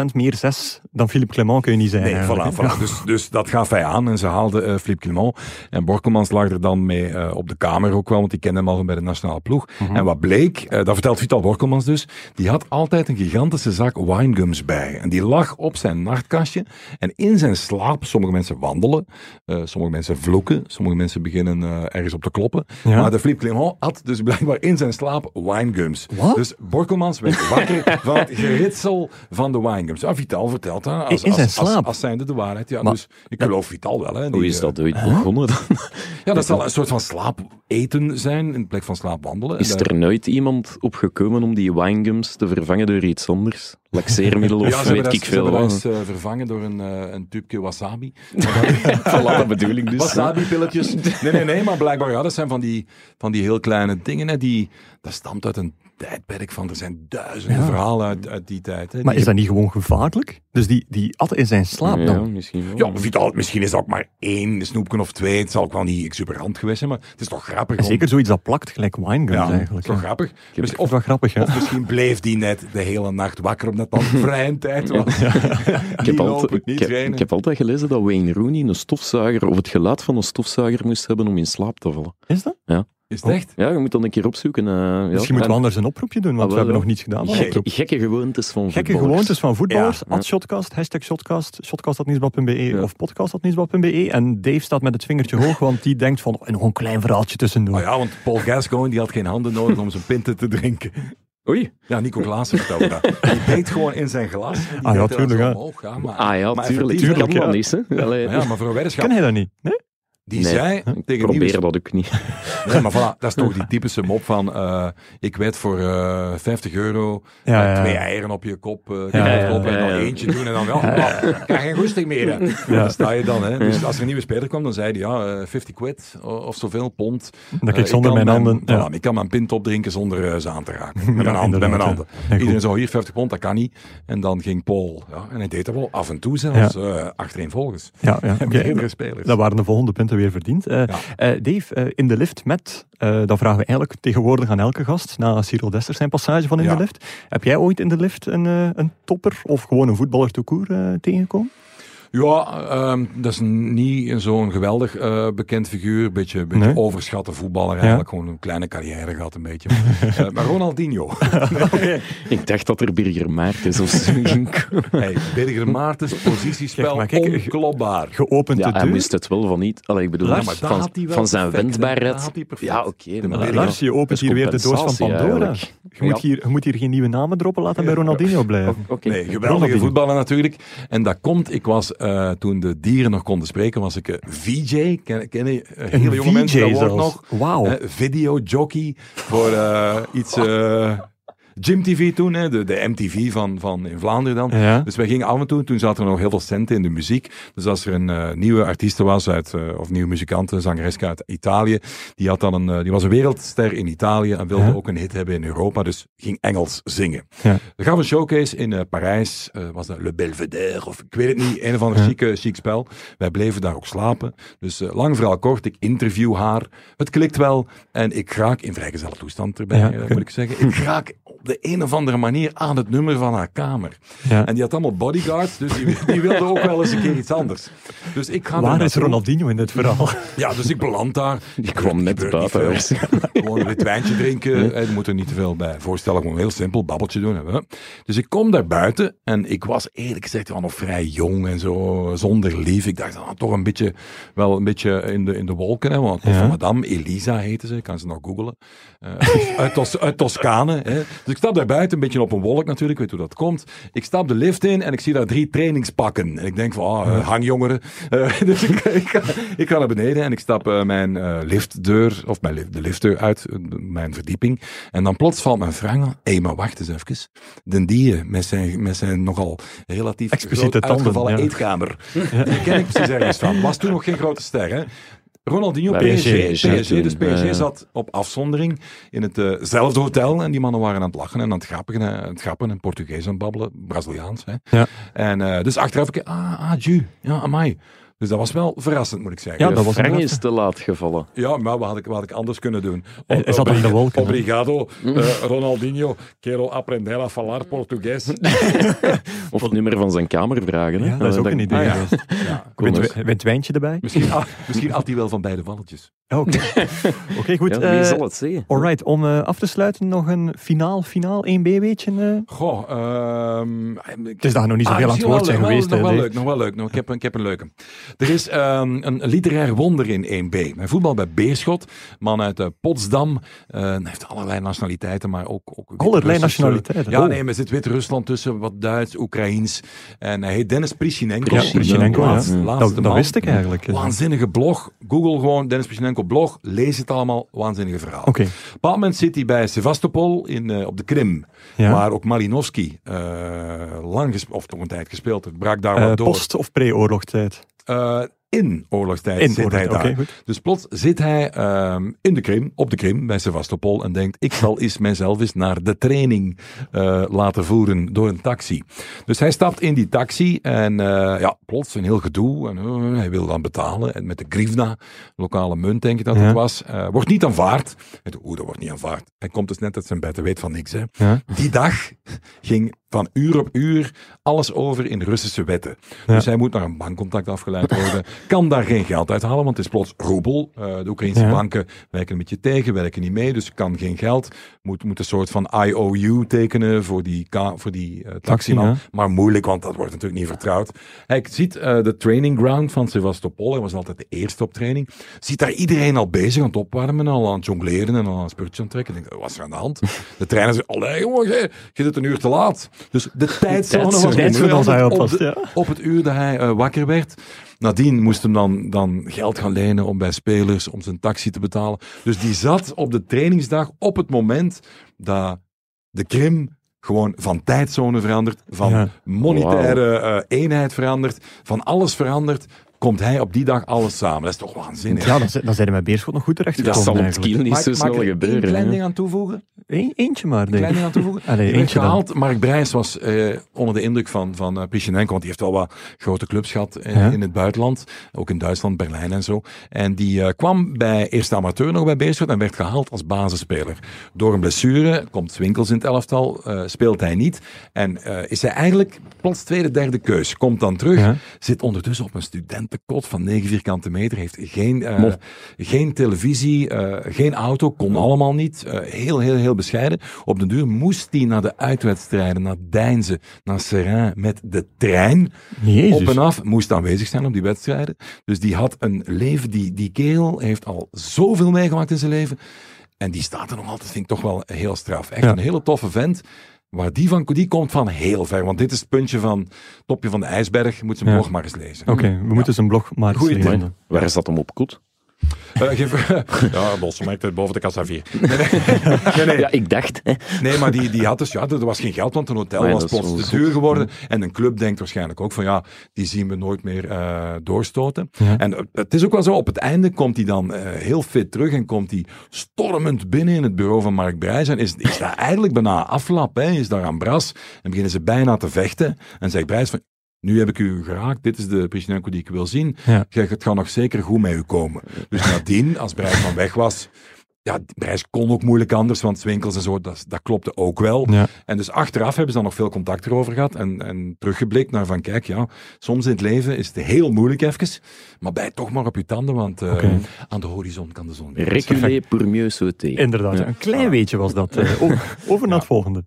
A: 100% meer zes dan Philippe Clement kun je niet zijn.
C: Nee,
A: eigenlijk,
C: voilà,
A: hè.
C: voilà. Dus, dus dat gaf hij aan en ze haalde eh Flip Clement. En Borkelmans lag er dan mee eh, op de kamer ook wel, want die kende hem al van bij de nationale ploeg.
A: Mhm.
C: En wat bleek, eh, dat vertelt Vital Borkelmans dus, die had altijd een gigantische zak winegums bij. En die lag op zijn nachtkastje en in zijn slaap, sommige mensen wandelen, eh, sommige mensen vloeken, sommige mensen beginnen eh, ergens op te kloppen.
A: Ja.
C: Maar de Flip Clement had dus blijkbaar in zijn slaap winegums.
A: Wat?
C: Dus Borkelmans werd wakker van het geritsel van de winegums. Ah, Vital vertelt dat. Als,
A: In zijn
C: als- als-
A: slaap?
C: als zijnde de waarheid. Ja,
B: Maar-
C: dus ik geloof Vital wel. Hè, die,
B: Hoe is
C: eh,
B: dat ooit begonnen dan?
C: Ja, dat zal een soort van slaapeten zijn, in plek van slaapwandelen.
B: Is
C: En, eh,
B: er nooit iemand op gekomen om die winegums te vervangen door iets anders? Laxeermiddel of
C: ja, ze hebben
B: weet
C: dat-
B: ik
C: ze hebben
B: veel
C: dat
B: wat?
C: eens eh, vervangen door een, eh, een tubje wasabi.
B: Voilà, dat bedoel ik dus.
C: Wasabi-pilletjes. Nee, nee, nee, maar blijkbaar, ja, dat zijn van die, van die heel kleine dingen. Hè, die, dat stamt uit een tijdperk van, er zijn duizenden verhalen uit, uit die tijd. Hè,
A: Maar
C: die-
A: is dat niet gewoon gevaarlijk? Dus die, die at in zijn slaap
B: Ja,
A: dan?
B: misschien wel.
C: ja, Vital, misschien is dat ook maar één snoepje of twee. Het zal ook wel niet exuberant geweest zijn, maar het is toch grappig.
A: En
C: om-
A: zeker zoiets dat plakt, gelijk winegums
C: ja, het is
A: eigenlijk.
C: toch
A: ja.
C: grappig. Dus-
A: Of wel grappig, hè?
C: Of misschien bleef die net de hele nacht wakker omdat dat vrije tijd was.
B: Ik heb, altijd,
C: Niet lopen, niet
B: ik, heb,
C: trainen.
B: ik heb altijd gelezen dat Wayne Rooney een stofzuiger of het geluid van een stofzuiger moest hebben om in slaap te vallen.
A: Is dat?
C: Is het echt?
B: Ja, je moet dan een keer opzoeken. eh, ja.
A: Misschien moeten we
B: En
A: anders een oproepje doen,
B: Ah,
A: want we
B: wel,
A: hebben
B: ja.
A: nog niets gedaan. van
B: gekke,
A: oproep.
B: gekke gewoontes van
A: Gekke
B: voetballers.
A: gewoontes van voetballers.
C: Ja.
A: At Shotcast, hashtag Shotcast, shotcast.nieuwsblad.be
B: Ja.
A: of podcast.nieuwsblad.be. En Dave staat met het vingertje hoog, want die denkt van, oh, nog een klein verhaaltje tussendoor.
C: Ah ja, want Paul Gascoigne die had geen handen nodig om zijn pinten te drinken.
B: Oei.
C: Ja, Nico Glaas vertelde dat. Die deed gewoon in zijn glas. en Die
A: Ah ja,
C: deed er dan
A: tuurlijk,
C: zo
A: hè.
C: omhoog, ja, maar,
B: Ah ja,
C: maar
B: tuurlijk.
C: effectief,
B: tuurlijk
A: tuurlijk,
B: kan
A: ja.
B: dat niet, hè. Allee,
C: Maar ja, maar voor een weddenschap,
A: Ken jij dat niet? Nee?
C: die
B: Nee,
C: zei
B: ik
C: tegen
B: probeer
C: Nieuws...
B: dat ook niet.
C: Nee, maar voilà, dat is toch die typische mop van... eh, ik weet voor eh 50 euro
A: Ja, ja, ja.
C: twee eieren op je kop. eh
A: Ja,
C: ja,
A: ja,
C: kop en
B: ja,
C: dan
B: ja.
C: eentje doen en dan... Ja, ja. Ik krijg geen goesting meer. hè.
A: Ja.
C: Daar sta je dan. Hè. Dus als er een nieuwe speler kwam, dan zei hij... Ja, eh, 50 quid o- of zoveel pond.
A: Dat
C: Eh,
A: ik zonder
C: kan
A: mijn handen...
C: Voilà,
A: ja.
C: ik kan mijn pint opdrinken zonder eh, ze aan te raken. Met mijn, hand,
A: inderdaad,
C: met mijn
A: ja.
C: handen.
A: Ja, goed.
C: Iedereen zo hier 50 pond, dat kan niet. En dan ging Paul. Ja, en hij deed dat wel af en toe zelfs. eh achtereenvolgens.
A: Ja, ja. Oké.
C: En meerdere spelers.
A: Dat waren de volgende punten weer verdiend. Eh, eh, Dave, eh, in de lift met, eh dat vragen we eigenlijk tegenwoordig aan elke gast, na Cyril Dester zijn passage van in
C: Ja.
A: de lift. Heb jij ooit in de lift een, eh, een topper of gewoon een voetballer te koer tegengekomen?
C: Ja, ehm, dat is niet zo'n geweldig eh, bekend figuur. Een beetje, beetje
A: Nee?
C: overschatte voetballer eigenlijk. Gewoon een kleine carrière gehad een beetje. Eh, maar Ronaldinho.
B: Ik dacht dat er Birger Maartens of zo ging komen.
C: hey, Birger Maartens,
A: Kijk,
C: positiespel
A: maar kijk,
C: onklopbaar.
A: Geopend
B: Ja,
A: de
B: hij
A: deur.
B: wist het wel van niet. Allee, ik bedoel,
A: Lars,
B: van,
C: daar had hij wel
B: van zijn
C: perfect, hè.
B: wendbaarheid.
C: Daar had hij perfect.
B: Ja, oké. maar
C: Lars,
B: ja,
A: Lars, je
B: dat
A: opent
B: is
A: hier weer de doos
B: compensatie
A: van Pandora.
B: eigenlijk.
A: Je moet,
B: Ja.
A: hier, je moet hier geen nieuwe namen droppen, laten bij Ronaldinho blijven.
B: Oké.
C: Nee, geweldige
A: Ronaldinho.
C: voetballer natuurlijk. En dat komt, ik was eh, toen de dieren nog konden spreken, was ik eh, VJ. Ken, ken je eh,
A: Een
C: hele jonge mensen dat
A: VJ
C: woord
A: zelfs.
C: nog?
A: Wauw.
C: Eh, videojockey voor eh, iets... eh Gym TV toen, hè, de, de MTV van, van in Vlaanderen dan.
A: Ja.
C: Dus wij gingen af en toe, toen zaten er nog heel veel centen in de muziek. Dus als er een eh, nieuwe artiest was, uit, eh, of nieuwe muzikant, een zangereske uit Italië, die, had dan een, eh, die was een wereldster in Italië en wilde
A: Ja.
C: ook een hit hebben in Europa, dus ging Engels zingen.
A: Ja.
C: Er gaf een showcase in eh, Parijs, eh, was dat Le Belvedere of ik weet het niet, een of ander
A: Ja.
C: chique, chic spel. Wij bleven daar ook slapen. Dus eh, lang verhaal kort, ik interview haar, het klikt wel en ik raak in vrijgezelle toestand erbij,
A: Ja.
C: eh, moet ik zeggen. Ik raak op de een of andere manier aan het nummer van haar kamer.
A: Ja.
C: En die had allemaal bodyguards, dus die, die wilde ook wel eens een keer iets anders. Dus ik ga daar
A: Waar is
C: naartoe.
A: Ronaldinho in dit verhaal?
C: Ja, dus ik beland daar. Die
B: kwam net buiten,
C: Gewoon een wit wijntje drinken. Eh, Je moet er niet te veel bij voorstellen. Gewoon heel simpel, babbeltje doen. hè. Dus ik kom daar buiten en ik was eerlijk gezegd wel nog vrij jong en zo, zonder lief. Ik dacht, ah, toch een beetje, wel een beetje in de, in de wolken. Hè, want
A: Ja.
C: van madame Elisa heette ze, ik kan ze nog googelen. Eh, uit, Tos- uit Toscane. Hè. Dus ik stap daar buiten, een beetje op een wolk natuurlijk, ik weet hoe dat komt. Ik stap de lift in en ik zie daar drie trainingspakken. En ik denk van, ah, eh, hangjongeren. Eh, dus ik, ik, ga, ik ga naar beneden en ik stap eh, mijn eh, liftdeur, of mijn lift, de liftdeur uit, eh, mijn verdieping. En dan plots valt mijn vraag aan, hé, maar wacht eens even. Den die met zijn, met zijn nogal relatief
A: Expliciete
C: groot
A: tanden,
C: uitgevallen
A: ja.
C: eetkamer. Die ken ik precies ergens van. Was toen nog geen grote ster, hè? Ronaldinho,
B: Bij
C: PSG.
B: PSG,
C: PSG, dus
B: toen, ja, ja.
A: eh,
C: PSG zat op afzondering in hetzelfde hotel. En die mannen waren aan het lachen en aan het grappen. En, aan het grappen en Portugees aan het babbelen. Braziliaans, hè.
A: Ja.
C: En eh, dus achteraf, ik, ah, ah, ju, ja, amai. Dus dat was wel verrassend, moet ik zeggen.
A: Ja, dat was
B: Frank
A: een-
B: is te laat gevallen.
C: Ja, maar wat had ik, wat had ik anders kunnen doen?
A: Hij hij zat in de wolken. hè.
D: Obrigado, eh, Ronaldinho. Quero aprender a falar portugués.
B: Of het nummer van zijn kamer vragen. Hè?
A: Ja, dat is ook
B: Eh,
A: een idee.
C: Ah, ja.
A: geweest.
C: Ja.
B: Kom
A: Wint-
B: eens.
A: Wint wijntje erbij?
C: Misschien, ah, misschien had hij wel van beide walletjes.
A: Ja, Oké, Oké, goed.
B: Ja, wie
A: eh,
B: zal het zeggen?
A: Alright, om eh, af te sluiten nog een finaal, finaal 1B-weetje.
C: Goh, ehm, ik-
A: Het is daar nog niet
C: Ah,
A: zoveel aan het
C: misschien
A: woord
C: wel
A: zijn
C: leuk, wel-
A: geweest.
C: Nog
A: hè,
C: wel
A: Dave.
C: leuk, nog wel leuk. Nog, ik, heb, een- ik heb een leuke. Er is ehm, een literair wonder in 1B. Hij voetbal bij Beerschot, man uit eh, Potsdam. Eh, hij heeft allerlei nationaliteiten, maar ook... ook
A: Allerlei
C: Wit-Russisch,
A: nationaliteiten,
C: eh, Ja,
A: oh.
C: nee, maar er zit Wit-Rusland tussen, wat Duits, Oekraïns. En hij heet Dennis Prishinenko.
B: Ja, Prischinenko,
C: Laatst-
B: ja.
C: laatste
A: Dat, dat
C: man.
A: wist ik eigenlijk. eh. Oké.
C: Waanzinnige blog. Google gewoon Dennis Prishinenko blog. Lees het allemaal. Waanzinnige verhaal. Op een bepaald moment zit hij bij Sevastopol in, eh, op de Krim.
A: Ja.
C: Waar ook Malinowski eh, lang gespeeld, of toch een tijd gespeeld heeft. Brak daar
A: Eh,
C: wat door.
A: post- of pre-oorlogstijd?
C: Eh, in oorlogstijd
A: In
C: zit
A: oorlog,
C: hij
A: oké,
C: daar.
A: goed.
C: Dus plots zit hij ehm, in de Krim, op de Krim, bij Sevastopol. En denkt, ik zal eens mijzelf eens naar de training eh, laten voeren door een taxi. Dus hij stapt in die taxi en eh, ja, plots een heel gedoe. En, eh, hij wil dan betalen. En met de grivna, lokale munt denk ik dat
A: Ja.
C: het was, eh, wordt niet aanvaard. En toen, oeh, dat wordt niet aanvaard. Hij komt dus net uit zijn bed, hij weet van niks. Hè.
A: Ja.
C: Die dag ging van uur op uur alles over in Russische wetten.
A: Ja.
C: Dus hij moet naar een bankcontact afgeleid worden. kan daar geen geld uithalen, want het is plots roebel. Eh, de Oekraïnse
A: Ja.
C: banken werken een beetje tegen, werken niet mee, dus kan geen geld. Moet, moet een soort van IOU tekenen voor die, ka- voor die eh, taximan.
A: ja.
C: Maar moeilijk, want dat wordt natuurlijk niet vertrouwd. Hij ziet eh, de training ground van Sevastopol. Hij was altijd de eerste op training. Ziet daar iedereen al bezig aan het opwarmen, al aan het jongleren en al aan het spurtje aan het trekken. Ik Denk, wat is er aan de hand? De trainer zegt, allee jongen, je, je zit een uur te laat. Dus de tijdzone was
A: tijdzone was hij
C: veranderd
A: op
C: op,
A: vast,
C: de-
A: ja.
C: op het uur dat hij eh, wakker werd. Nadien moest hem dan, dan geld gaan lenen om bij spelers, om zijn taxi te betalen. Dus die zat op de trainingsdag op het moment dat de Krim gewoon van tijdzone verandert, van
A: Ja.
C: monetaire eh, eenheid verandert, van alles verandert. komt hij op die dag alles samen. Dat is toch waanzinnig.
A: Ja, dan, zijn- dan zijn we bij Beerschot nog goed
B: Dat
A: terechtgekomen.
B: zal op
A: eigenlijk.
B: Kiel niet zo snel
C: ik er één
B: gebeuren.
C: klein
B: hè.
C: ding aan toevoegen?
A: Eén- eentje maar, denk
C: Klein
A: ik.
C: ding aan toevoegen?
A: Allee,
C: Die werd
A: eentje dan.
C: gehaald. Mark Brijs was eh, onder de indruk van, van eh, Pichinenko, want die heeft wel wat grote clubs gehad eh,
A: Ja.
C: in het buitenland. Ook in Duitsland, Berlijn en zo. En die eh, kwam bij eerste amateur nog bij Beerschot en werd gehaald als basisspeler. Door een blessure komt Winkels in het elftal, eh, speelt hij niet. En eh, is hij eigenlijk plots tweede, derde keus. Komt dan terug,
A: Ja.
C: zit ondertussen op een studentenkot van 9 vierkante meter, heeft geen, eh,
B: Mof.
C: geen televisie, eh, geen auto, kon allemaal niet. eh, heel, heel, heel bescheiden. Op de duur moest hij naar de uitwedstrijden, naar Deinzen, naar Seraing met de trein.
A: Jezus.
C: Op en af moest aanwezig zijn op die wedstrijden. Dus die had een leven, die, die kerel heeft al zoveel meegemaakt in zijn leven. En die staat er nog altijd, vind ik toch wel heel straf. Echt
A: Ja.
C: een hele toffe vent. Maar die, van, die komt van heel ver. Want dit is het puntje van topje van de ijsberg. Moet zijn
A: Ja. Oh.
C: blog maar eens lezen.
A: Oké, we moeten zijn blog maar eens
C: Goeie
A: lezen.
C: tip.
A: dan.
B: Waar zat hem op kot?
C: Eh, geef-
D: Ja, Bosse maakt het boven de kassa 4.
C: nee, nee.
B: Ja, ik dacht. hè.
C: Nee, maar die, die had dus, ja, er was geen geld, want een hotel
B: Nee,
C: was
B: dat is Mm.
C: plots
B: wel
C: te
B: zot.
C: duur geworden. En een club denkt waarschijnlijk ook van, ja, die zien we nooit meer eh, doorstoten.
A: Ja.
C: En eh, het is ook wel zo, op het einde komt hij dan eh, heel fit terug en komt hij stormend binnen in het bureau van Mark Brijs. En is, is daar eigenlijk bijna aflap, hè, is daar aan bras. En beginnen ze bijna te vechten. En zegt Brijs van, nu heb ik u geraakt, dit is de Prischenko die ik wil zien.
A: Ja.
C: Zeg, het gaat nog zeker goed met u komen. Dus nadien, als Brijs van weg was... Ja, Brijs kon ook moeilijk anders, want Swinkels en zo, dat, dat klopte ook wel.
A: Ja.
C: En dus achteraf hebben ze dan nog veel contact erover gehad en, en teruggeblikt naar van kijk, ja, soms in het leven is het heel moeilijk even, maar bij toch maar op je tanden, want eh,
A: Oké.
C: aan de horizon kan de zon weer.
B: Reculé pour mieux sauter.
A: Inderdaad,
B: Ja.
A: een klein weetje was dat. eh, over over naar het volgende.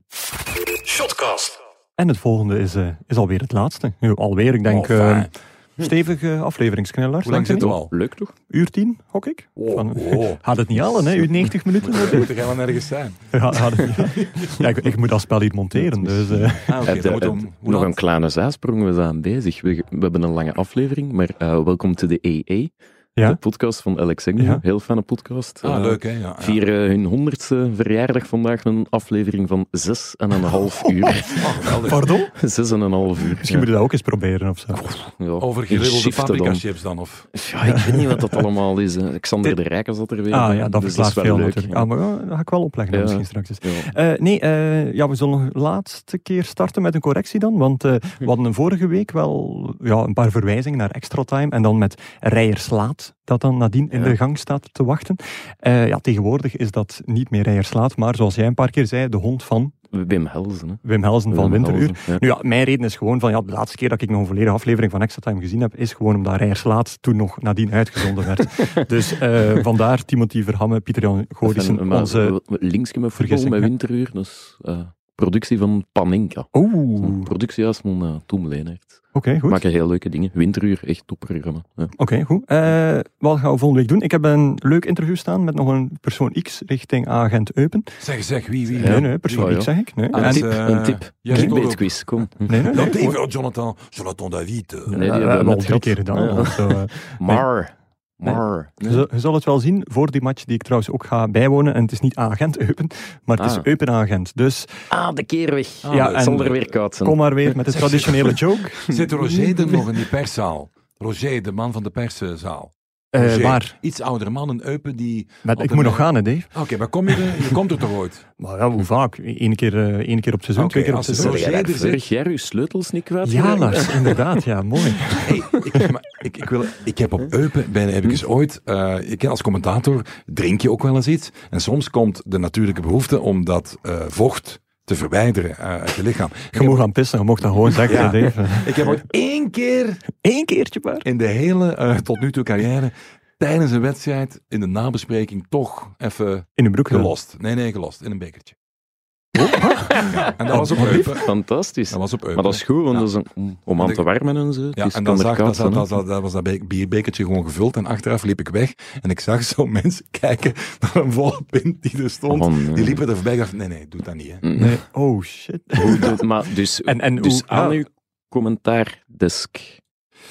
A: Shotcast. En het volgende is, eh, is alweer het laatste. Nu, alweer, ik denk...
C: Oh, fijn.
A: eh, Stevige afleveringsknellers.
C: Hoe lang
A: denk
C: zitten
A: je
C: we al?
B: Leuk toch?
A: niet? Uur tien, hok ik. Van- Had het niet allen, hè? Uw 90 minuten. eh,
C: We moeten gaan ergens zijn.
A: Ja, had het niet. ja, ik, ik moet dat spel hier monteren, dus... eh,
C: Ah, oké,
B: Het, eh,
C: dan moeten we
B: het-
C: om- hoe
B: nog
C: laat?
B: een kleine zijsprong, we zijn bezig. We, we hebben een lange aflevering, maar eh, welkom to de EE,
A: Ja.
B: de podcast van Alex Engel.
A: Ja.
B: Heel fijne podcast.
C: Ah,
B: Eh,
C: leuk hè. Ja, ja.
B: Vieren hun honderdste verjaardag vandaag een aflevering van zes en een half uur.
C: Oh, geweldig.
A: Pardon?
B: Zes en een half uur.
A: Misschien moet je dat ook eens proberen of zo.
B: ja.
C: Over
B: In
C: geribbelde
B: shiften
C: paprika
B: dan.
C: chips dan, of?
B: Ja, ik weet niet wat dat allemaal is. hè. Xander de Rijken zat er weer.
A: Ah ja, dat
B: Dus
A: verklaart
B: wel
A: veel
B: leuk,
A: natuurlijk.
B: ja.
A: Ah, maar ja, dat ga ik wel opleggen dan
B: Ja.
A: misschien straks. eens.
B: Ja.
A: Eh, nee, eh, ja, we zullen nog laatste keer starten met een correctie dan. Want eh,
B: Hm.
A: we hadden vorige week wel ja, een paar verwijzingen naar extra time. En dan met Rijerslaat, dat dan nadien in
B: Ja.
A: de gang staat te wachten. Eh, ja, tegenwoordig is dat niet meer Rijerslaat, maar zoals jij een paar keer zei, de hond van
B: Wim Helsen. Hè.
A: Wim Helsen van
B: Wim
A: Winteruur.
B: Helsen, ja.
A: Nu ja, mijn reden is gewoon van ja, de laatste keer dat ik nog een volledige aflevering van Extra Time gezien heb, is gewoon omdat Rijers laat toen nog nadien uitgezonden werd. dus eh, vandaar Timothy Verhamme, Pieter Jan
B: Enfin,
A: Gorissen,
B: maar
A: onze...
B: w- w- Linkske met voetbal,
A: vergissing,
B: met
A: hè.
B: Winteruur. Dus eh, productie van Paninka.
A: Oeh,
B: Een
A: oké,
B: productiehuis van eh Tom Leenert.
A: goed.
B: Maken heel leuke dingen. Winteruur, echt topprogramma. Ja.
A: Oké, goed. Eh, wat gaan we volgende week doen? Ik heb een leuk interview staan met nog een persoon X richting agent Eupen.
C: Zeg, zeg, wie, wie?
B: Ja.
A: Nee, nee, persoon
B: Ja, ja.
A: X zeg ik. Nee,
C: Ah,
B: Een
A: En-
C: dat is,
B: tip,
C: eh,
B: een tip.
C: ja,
B: Clickbait
C: ook.
B: quiz, kom.
A: nee, nee,
C: Ja,
A: nee,
C: David,
A: goed.
C: oh, Jonathan, Jonathan David. eh.
B: Nee,
A: Eh,
B: die
A: we
B: hebben
A: hebben
B: we
A: al
B: net
A: drie keer
B: gehad.
A: gedaan.
B: Ja.
A: want zo, eh,
B: Mar. Mar.
A: Je zal- Je zal het wel zien voor die match die ik trouwens ook ga bijwonen. En het is niet agent Eupen, maar het is
B: Ah.
A: Eupen agent. Dus
B: Ah, de keer weg.
A: Ja,
B: ja,
A: en-
B: Sander weer koud zijn.
A: kom maar weer met de traditionele joke.
C: Zit Roger er nog in die perszaal? Roger, de man van de perszaal.
A: Eh
C: Roger,
A: maar,
C: Iets oudere man, een eupen die...
A: maar
C: Op
A: ik
C: een- eh,
A: moet nog gaan, hè, Dave.
C: Oké, maar kom je er? Je komt er toch ooit?
A: Maar ja, hoe vaak? Eén keer, eh, één keer op het seizoen,
C: Oké,
A: twee keer op
C: als
A: het
C: het
A: seizoen.
B: Zeg jij daar
C: Roger, er zit-
B: vorig jaar uw sleutels niet kwijt?
A: Ja, Lars, inderdaad. Ja, mooi.
C: Hey, ik, maar ik, ik, wil, ik heb op Eupen, ben, heb ik eens
A: Hm.
C: ooit, eh, ik ken als commentator drink je ook wel eens iets. En soms komt de natuurlijke behoefte om dat eh, vocht te verwijderen eh, uit je lichaam.
A: Je mocht gaan pissen, je mocht dat gewoon zeggen,
C: Ja.
A: hè, Dave.
C: Ik heb ooit één keer
A: Eén keertje maar.
C: in de hele eh, tot nu toe carrière, tijdens een wedstrijd, in de nabespreking toch even
A: In de broek gelost.
C: gelost. Nee, nee, gelost. In een bekertje.
B: Oh,
C: Ja, en dat was op
A: Wat lief.
C: Eupen.
B: Fantastisch.
C: Dat was op
A: Eh,
C: Eupen.
B: Maar dat is goed, want
C: Ja.
B: dat is een- om- om aan te warmen en zo. Het
C: Ja,
B: is- kan
C: en dan
B: er
C: zag,
B: koud
C: dat,
B: zijn,
C: dat,
B: hè.
C: dat, dat was dat be- bierbekertje gewoon gevuld. En achteraf liep ik weg. En ik zag zo mensen kijken naar een volle pint die er stond.
B: Oh, nee.
C: Die liepen er voorbij. Ik dacht, nee, nee, doe dat niet. Hè.
B: Mm.
A: Nee. Oh, shit.
B: Hoe doet- maar dus,
A: En, en
B: dus
A: hoe...
B: aan
A: ah,
B: uw commentaardesk.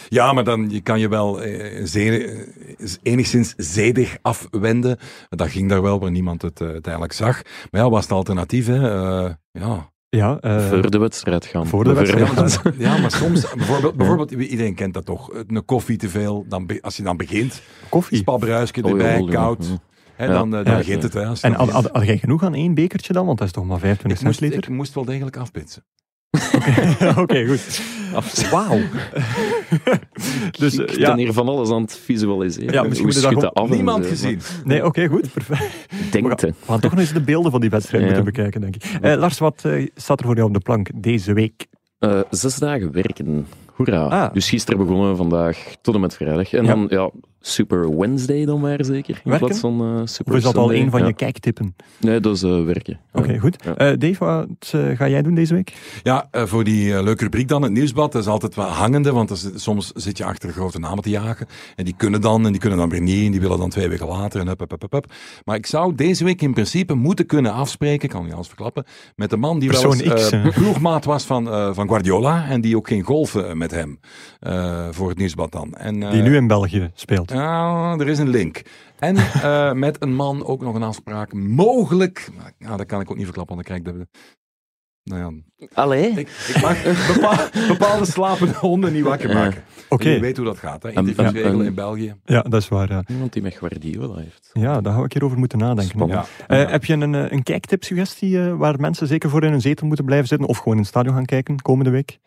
C: Ja, maar dan je kan je wel eh, zeer, eh, enigszins zedig afwenden. Dat ging daar wel, waar niemand het eh, uiteindelijk zag. Maar ja, was het alternatief. Hè? Eh, ja,
A: Ja, eh,
B: voor de wedstrijd gaan.
A: voor de wedstrijd.
C: Ja, maar, ja, maar soms, bijvoorbeeld, bijvoorbeeld, iedereen kent dat toch, Eh, een koffie te veel, dan, be- als je dan begint,
A: koffie.
C: spabruisje
B: Oh,
C: erbij,
B: jawel, jawel.
C: koud, hè,
B: Ja.
C: dan, eh, dan
B: Ja,
C: begint
B: ja.
C: het. Hè, als je
A: En
C: dan
A: had,
C: begint.
A: had, had jij genoeg aan één bekertje dan? Want dat is toch maar 25
C: ik, moest,
A: centiliter?
C: ik moest wel degelijk afpitsen.
A: Oké, goed. Wauw. dus eh,
B: ik ben
A: ja,
B: hier van alles aan het visualiseren.
A: Ja, misschien
B: Hoe
A: moeten we
B: schudt
A: daar
B: dat af en
C: Niemand
B: zo,
C: gezien.
A: nee, oké, goed. Perfect.
B: maar
A: We
B: Denkt,
A: gaan,
B: hè.
A: we gaan toch nog eens de beelden van die wedstrijd
B: Ja.
A: moeten bekijken, denk ik. Eh, Lars, wat eh, staat er voor jou op de plank deze week?
B: Eh, zes dagen werken. Hoera.
A: Ah.
B: Dus gisteren begonnen, vandaag tot en met vrijdag. En
A: Ja.
B: dan, ja, Super Wednesday dan maar zeker. In
A: Werken?
B: plaats van eh, Super
A: Of is dat al
B: Sunday.
A: een van
B: Ja.
A: je kijktippen?
B: Nee, dat is eh, werken. Ja.
A: Oké, goed.
B: Ja.
A: Eh, Dave, wat eh, ga jij doen deze week?
C: Ja, eh, voor die eh, leuke rubriek dan, het nieuwsblad, dat is altijd wel hangende, want dat is- soms zit je achter grote namen te jagen. En die kunnen dan, en die kunnen dan weer niet, en die willen dan twee weken later, en hup, hup, hup, hup, hup. Maar ik zou deze week in principe moeten kunnen afspreken, ik kan niet alles verklappen, met de man die wel
A: Persoon
C: eens
A: X,
C: eh,
A: hè.
C: ploegmaat was van, eh, van Guardiola, en die ook ging golfen eh, met hem, eh, voor het nieuwsblad dan. En, eh,
A: Die nu in België speelt.
C: ja, er is een link. En eh, met een man ook nog een afspraak, mogelijk, maar, nou, dat kan ik ook niet verklappen, want dan krijg ik de... Nou ja,
B: Allee.
C: ik, ik mag bepaal- bepaalde slapende honden niet wakker maken.
A: Oké,
C: Je weet hoe dat gaat, hè?
B: en-
C: Interviewsregelen
B: en-
C: in België.
A: ja, dat is waar. Ja.
B: Iemand die met Guardiola heeft.
A: ja, daar ga ik hierover moeten nadenken.
B: Spannend.
C: Ja.
A: Eh, Heb je een, eh, een kijktip-suggestie eh, waar mensen zeker voor in een zetel moeten blijven zitten of gewoon in het stadion gaan kijken komende week?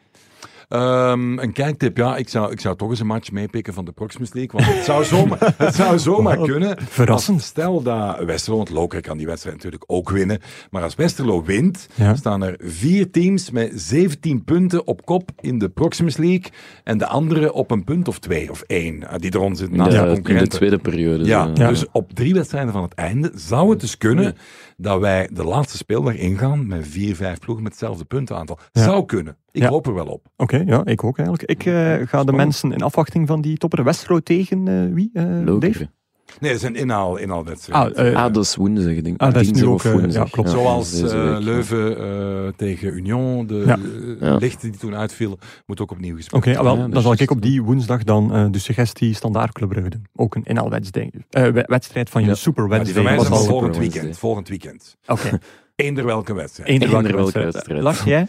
C: Ehm, een kijktip, ja, ik zou, ik zou toch eens een match meepikken van de Proximus League, want het zou zomaar, het zou zomaar kunnen.
A: Verrassend.
C: Als- stel dat Westerlo, want Loker kan die wedstrijd natuurlijk ook winnen, maar als Westerlo wint,
A: Ja.
C: staan er vier teams met 17 punten op kop in de Proximus League en de andere op een punt of twee of één, eh, die eronder zitten
B: In
C: naast de
B: de, in de
C: concurrenten.
B: tweede periode.
C: Ja,
B: eh,
C: dus op drie wedstrijden van het einde zou het dus kunnen dat wij de laatste speeldag ingaan met vier, vijf ploegen met hetzelfde puntenaantal.
A: Ja.
C: Zou kunnen. Ik
A: Ja.
C: hoop er wel op.
A: Oké, ja, ik ook eigenlijk. Ik eh, ga de mensen in afwachting van die topper Westro tegen eh, wie? eh,
B: Lokeren.
A: Dave?
C: Nee, dat is een inhaal, inhaalwedstrijd.
A: Ah, eh,
B: Ah, dat is woensdag, denk ik.
A: Ah, dat is nu
B: Dinsdag
A: ook,
B: of
A: eh,
B: woensdag. dus
A: ja, klopt.
C: Zoals
B: deze
C: eh,
B: week.
C: Leuven eh, tegen Union, de
A: Ja.
C: eh,
B: Ja.
C: lichten die toen uitvielen, moet ook opnieuw gespeeld
A: Oké, ah, wel,
B: Ja,
A: dan
B: dus
A: zal ik
B: juist.
A: op die woensdag dan eh, de suggestie standaard Club Brugge doen. Ook een inhaalwedstrijd eh, we- wedstrijd van je
B: Ja.
A: Super
C: Maar die van
A: Wednesday.
C: dus mij
B: was
C: zijn
B: al
C: al
A: was al...
B: voor- Wednesday.
C: volgend weekend. Volgend weekend.
A: Oké,
C: Eender welke wedstrijd.
A: eender
B: Eender
A: welke
B: welke
A: wedstrijd.
B: wedstrijd.
A: Lars, jij?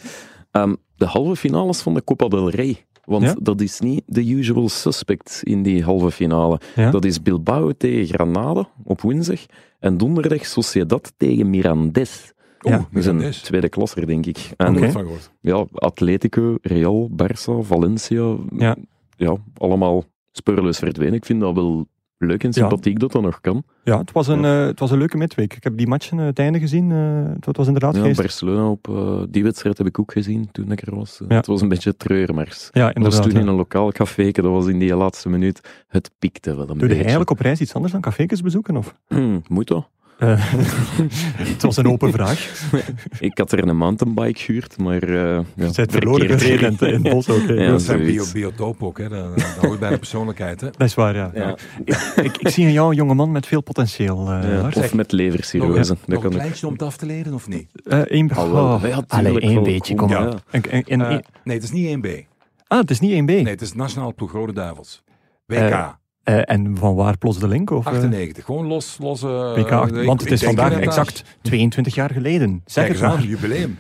B: Ehm, de halve finales van de Copa del Rey. Want
A: Ja?
B: dat is niet de usual suspect in die halve finale.
A: Ja?
B: Dat is Bilbao tegen Granada op woensdag. En donderdag Sociedad tegen Mirandes.
C: Oeh,
A: Ja,
B: Dat is een
C: Mirandes.
B: tweede klasser, denk ik. En
C: Nooit
A: Oké.
C: van gehoord.
B: ja, Atletico, Real, Barça, Valencia.
A: Ja.
B: ja, allemaal speurloos verdwenen. Ik vind dat wel leuk en sympathiek dat dat nog kan.
A: Ja, het was, een, eh, het was een leuke midweek. Ik heb die matchen eh, het einde gezien. eh, het- het was inderdaad
B: Ja,
A: geest.
B: Barcelona op eh, die wedstrijd heb ik ook gezien toen ik er was. Eh,
A: Ja.
B: Het was een beetje treurmars.
A: Ja,
B: Dat was
A: inderdaad.
B: toen
A: ja.
B: in een lokaal café, dat was in die laatste minuut. Het piekte wel een
A: Doe je
B: beetje.
A: eigenlijk op reis iets anders dan cafékes bezoeken? Of?
B: Moet dat?
A: Eh, het was een open vraag.
B: Ik had er een mountainbike gehuurd, maar... eh ja,
A: Je bent verloren
B: verkeerd.
A: gereden in- in het bos. oké.
B: Ja.
C: Dat zijn bio,
B: zoiets.
C: biotoop ook, hè. Dat, dat hoort bij de persoonlijkheid, hè.
A: Dat is waar, ja.
B: Ja.
A: Ik, ik zie in jou een jonge man met veel potentieel. eh
B: Ja,
A: Lars.
B: Of met leversirose.
C: Nog, nog
B: dat
C: een
B: kan ik.
C: kleintje om het af te leren, of niet?
A: Eh, één-
B: Ah, wel.
A: oh,
B: Ja,
A: allee,
B: tuurlijk
A: één
B: wel.
A: beetje, kom
B: Ja.
A: maar. En, en, en-
C: Eh, nee, het is niet 1B.
A: ah, het is niet 1B.
C: Nee, het is Nationaal Ploeg Rode Duivels. WK
A: Eh, Eh, en van waar plots de link? Of, eh,
C: 98. Gewoon los. los eh,
A: WK 8,
C: ik-
A: want het
C: ik
A: is
C: denk
A: vandaag
C: dat daar-
A: exact 22 jaar geleden. Zeg
C: Kijk
A: het
C: eens aan,
A: maar.
C: jubileum.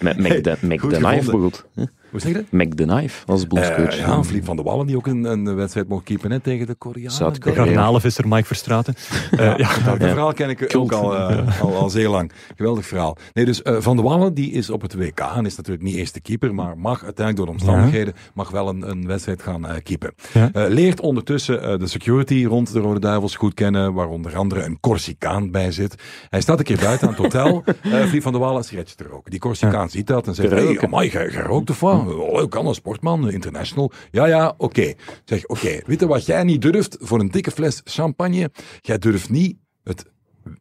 B: Met Mac the, Mac
C: Goed
B: the Knife
C: gevonden.
B: bijvoorbeeld. hè?
C: Hoe zeg je dat?
B: Mac the Knife als bondscoach.
C: Eh, ja, Filip van de Wallen, die ook een, een wedstrijd mocht keepen hè, tegen de Koreanen.
B: Zuid-Korea.
C: denk ik.
A: Garnalenvisser Mike Verstraten. Eh, ja.
C: Dat
B: Ja.
C: verhaal ken ik ook
B: Kult.
C: al, eh, al, al zeer lang. Geweldig verhaal. Nee, dus eh, Van de Wallen die is op het WK en is natuurlijk niet eerste keeper, maar mag uiteindelijk door de omstandigheden mag wel een, een wedstrijd gaan eh keepen.
A: Ja.
C: Eh, leert ondertussen eh, de security rond de Rode Duivels goed kennen, waar onder andere een Corsicaan bij zit. Hij staat een keer buiten aan het hotel, eh Vliet van de Wallen schrijft te roken. Die Corsicaan ziet dat en zegt,
B: Te
C: hey,
B: roken.
C: amai, jij jij rookt of wat? Oh, ik kan een sportman, eh, international. Ja, ja, oké. Zeg, oké, weet je wat jij niet durft voor een dikke fles champagne? Jij durft niet het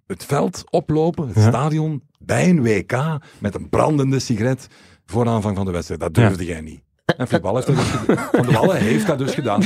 C: het veld oplopen, het
A: Ja.
C: stadion, bij een WK met een brandende sigaret voor aanvang van de wedstrijd. Dat durfde jij niet. En Flip Wallen heeft dat dus ged- Van de Wallen heeft dat dus gedaan.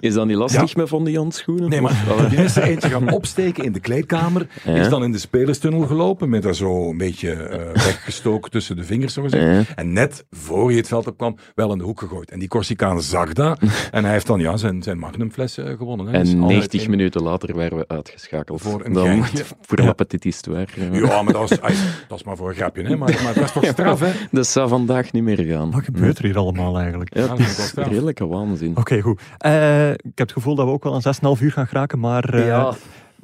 B: Is dat niet lastig met van die handschoenen?
C: Nee, maar
B: Of-
C: die is er eentje gaan opsteken in de kleedkamer. Is dan in de spelerstunnel gelopen. Met daar zo een beetje eh, weggestoken tussen de vingers, zo gezegd.
B: Ja.
C: En net voor je het veld op kwam, wel in de hoek gegooid. En die Corsicaan zag dat. En hij heeft dan ja, zijn, zijn magnumfles eh, gewonnen. Hè. Dus
B: En
C: altijd
B: 90
C: in-
B: minuten later werden we uitgeschakeld.
C: Voor een
B: dan
C: geintje.
B: voor
A: Ja.
B: lapetitis te werken.
C: Ja, maar dat is, ai, dat is maar voor een grapje, hè? Maar, maar dat is toch straf, hè?
B: Dat zou vandaag niet meer gaan.
A: Wat gebeurt er hier allemaal eigenlijk?
B: Ja,
C: dat
B: het
C: is wel
B: is
C: straf.
B: redelijke waanzin.
A: Oké, goed. Eh, ik heb het gevoel dat we ook wel aan 6,5 uur gaan geraken, maar... eh,
B: ja.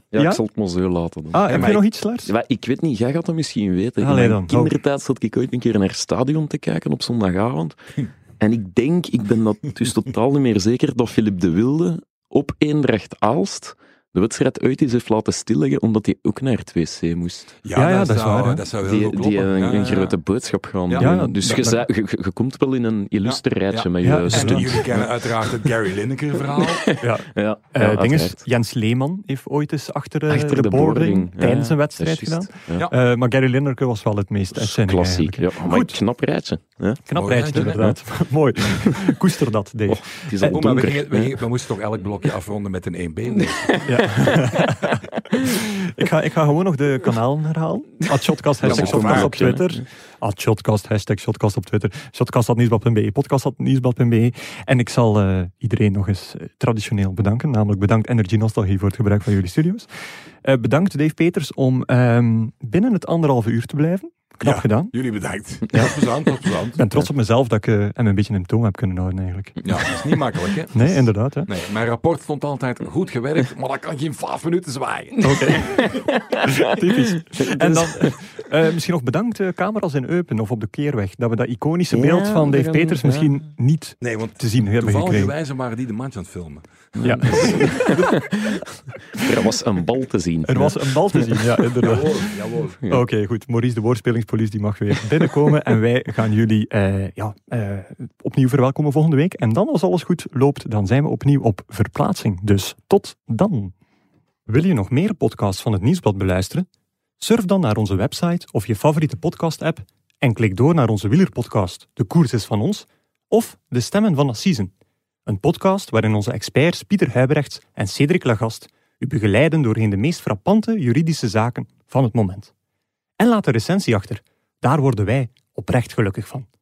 B: Ja,
A: ja?
B: ik zal het maar zo laten. Dan.
A: Ah, heb
C: maar
A: je nog
C: ik-
A: iets, Lars?
B: Ja, ik weet niet, jij gaat dat misschien weten.
A: Allee
B: In
A: dan.
B: mijn kindertijd zat ik ooit een keer naar het stadion te kijken op zondagavond. En ik denk, ik ben dat dus totaal niet meer zeker, dat Filip de Wilde op Eendracht Aalst de wedstrijd uit is heeft laten stilleggen, omdat hij ook naar het wc moest.
A: Ja, ja, dat is
C: zou,
A: waar, hè.
C: Dat zou heel
B: Die,
C: goed
B: die
C: kloppen.
B: een,
C: Ja, ja,
B: een
C: ja.
B: grote boodschap gaan
C: Ja.
B: doen.
A: Ja,
B: dus
C: dat-
B: je,
C: dat-
B: zei- je, je- je komt wel in een illuster
C: Ja.
B: rijtje
C: Ja.
B: met
A: Ja,
B: je
A: en-
C: En
B: stunt.
C: jullie kennen uiteraard het Gary Lineker-verhaal.
A: Ja.
B: Ja,
A: Eh,
B: ja,
A: ding is,
B: uiteraard.
A: Jens Leeman heeft ooit eens achter, eh,
B: Achter
A: de, boarding,
B: ja,
A: tijdens een
B: ja,
A: wedstrijd
B: dat is
A: gedaan.
B: juist. Ja.
C: Ja.
A: Eh, maar Gary Lineker was wel het meest uitzending.
B: Klassiek.
A: eigenlijk.
B: Ja, maar
A: Goed.
B: knap rijtje. Ja.
A: Knap
C: Mooi
A: rijtje,
C: rijtje,
A: inderdaad. Mooi. Koester dat, Dave.
B: Het is al
A: Eh,
C: Oh, maar we,
B: donker.
C: gingen, we, gingen- we moesten toch elk blokje afronden met een 1B.
A: Ja. ik, ga, ik ga gewoon nog de kanalen herhalen. At Shotcast, hashtag
C: maar kom
A: Shotcast
C: maar
A: op
B: op, ja.
A: Twitter. At Shotcast, hashtag Shotcast op Twitter. Shotcast.nieuwsblad.be, podcast.nieuwsblad.be. E. En ik zal eh, iedereen nog eens eh, traditioneel bedanken. Namelijk bedankt Energy Nostalgie voor het gebruik van jullie studio's. Eh, bedankt Dave Peters om ehm, binnen het anderhalve uur te blijven. Knap
C: Ja.
A: gedaan.
C: Jullie bedankt. Tot plezant, tot plezant.
A: Ik ben trots op mezelf dat ik eh, hem een beetje in toon heb kunnen houden eigenlijk.
C: Ja, dat is niet makkelijk, hè?
A: Nee, inderdaad. Hè.
C: Nee, mijn rapport stond altijd goed gewerkt, maar dat kan je in vijf minuten zwaaien.
A: Typisch. En dan eh, misschien nog bedankt eh, camera's in Eupen of op de Keerweg. Dat we dat iconische
B: Ja,
A: beeld van
B: we
A: Dave
B: gaan-
A: Peters
B: ja.
A: misschien niet
C: Nee, want
A: te zien hebben
C: toevallige
A: gekregen.
C: wijze waren die de match aan het filmen.
A: Ja.
B: Er was een bal te zien.
A: Er was een bal te zien, ja, inderdaad.
C: Jawohl, jawohl.
A: Oké, goed. Maurice, de woordspelingspolice, die mag weer binnenkomen. en wij gaan jullie eh, ja, eh, opnieuw verwelkomen volgende week. En dan, als alles goed loopt, dan zijn we opnieuw op verplaatsing. Dus tot dan. Wil je nog meer podcasts van het Nieuwsblad beluisteren? Surf dan naar onze website of je favoriete podcast-app en klik door naar onze wielerpodcast De Koers is van ons of De Stemmen van Assisen. Een podcast waarin onze experts Pieter Huibrechts en Cedric Lagast u begeleiden doorheen de meest frappante juridische zaken van het moment. En laat een recensie achter. Daar worden wij oprecht gelukkig van.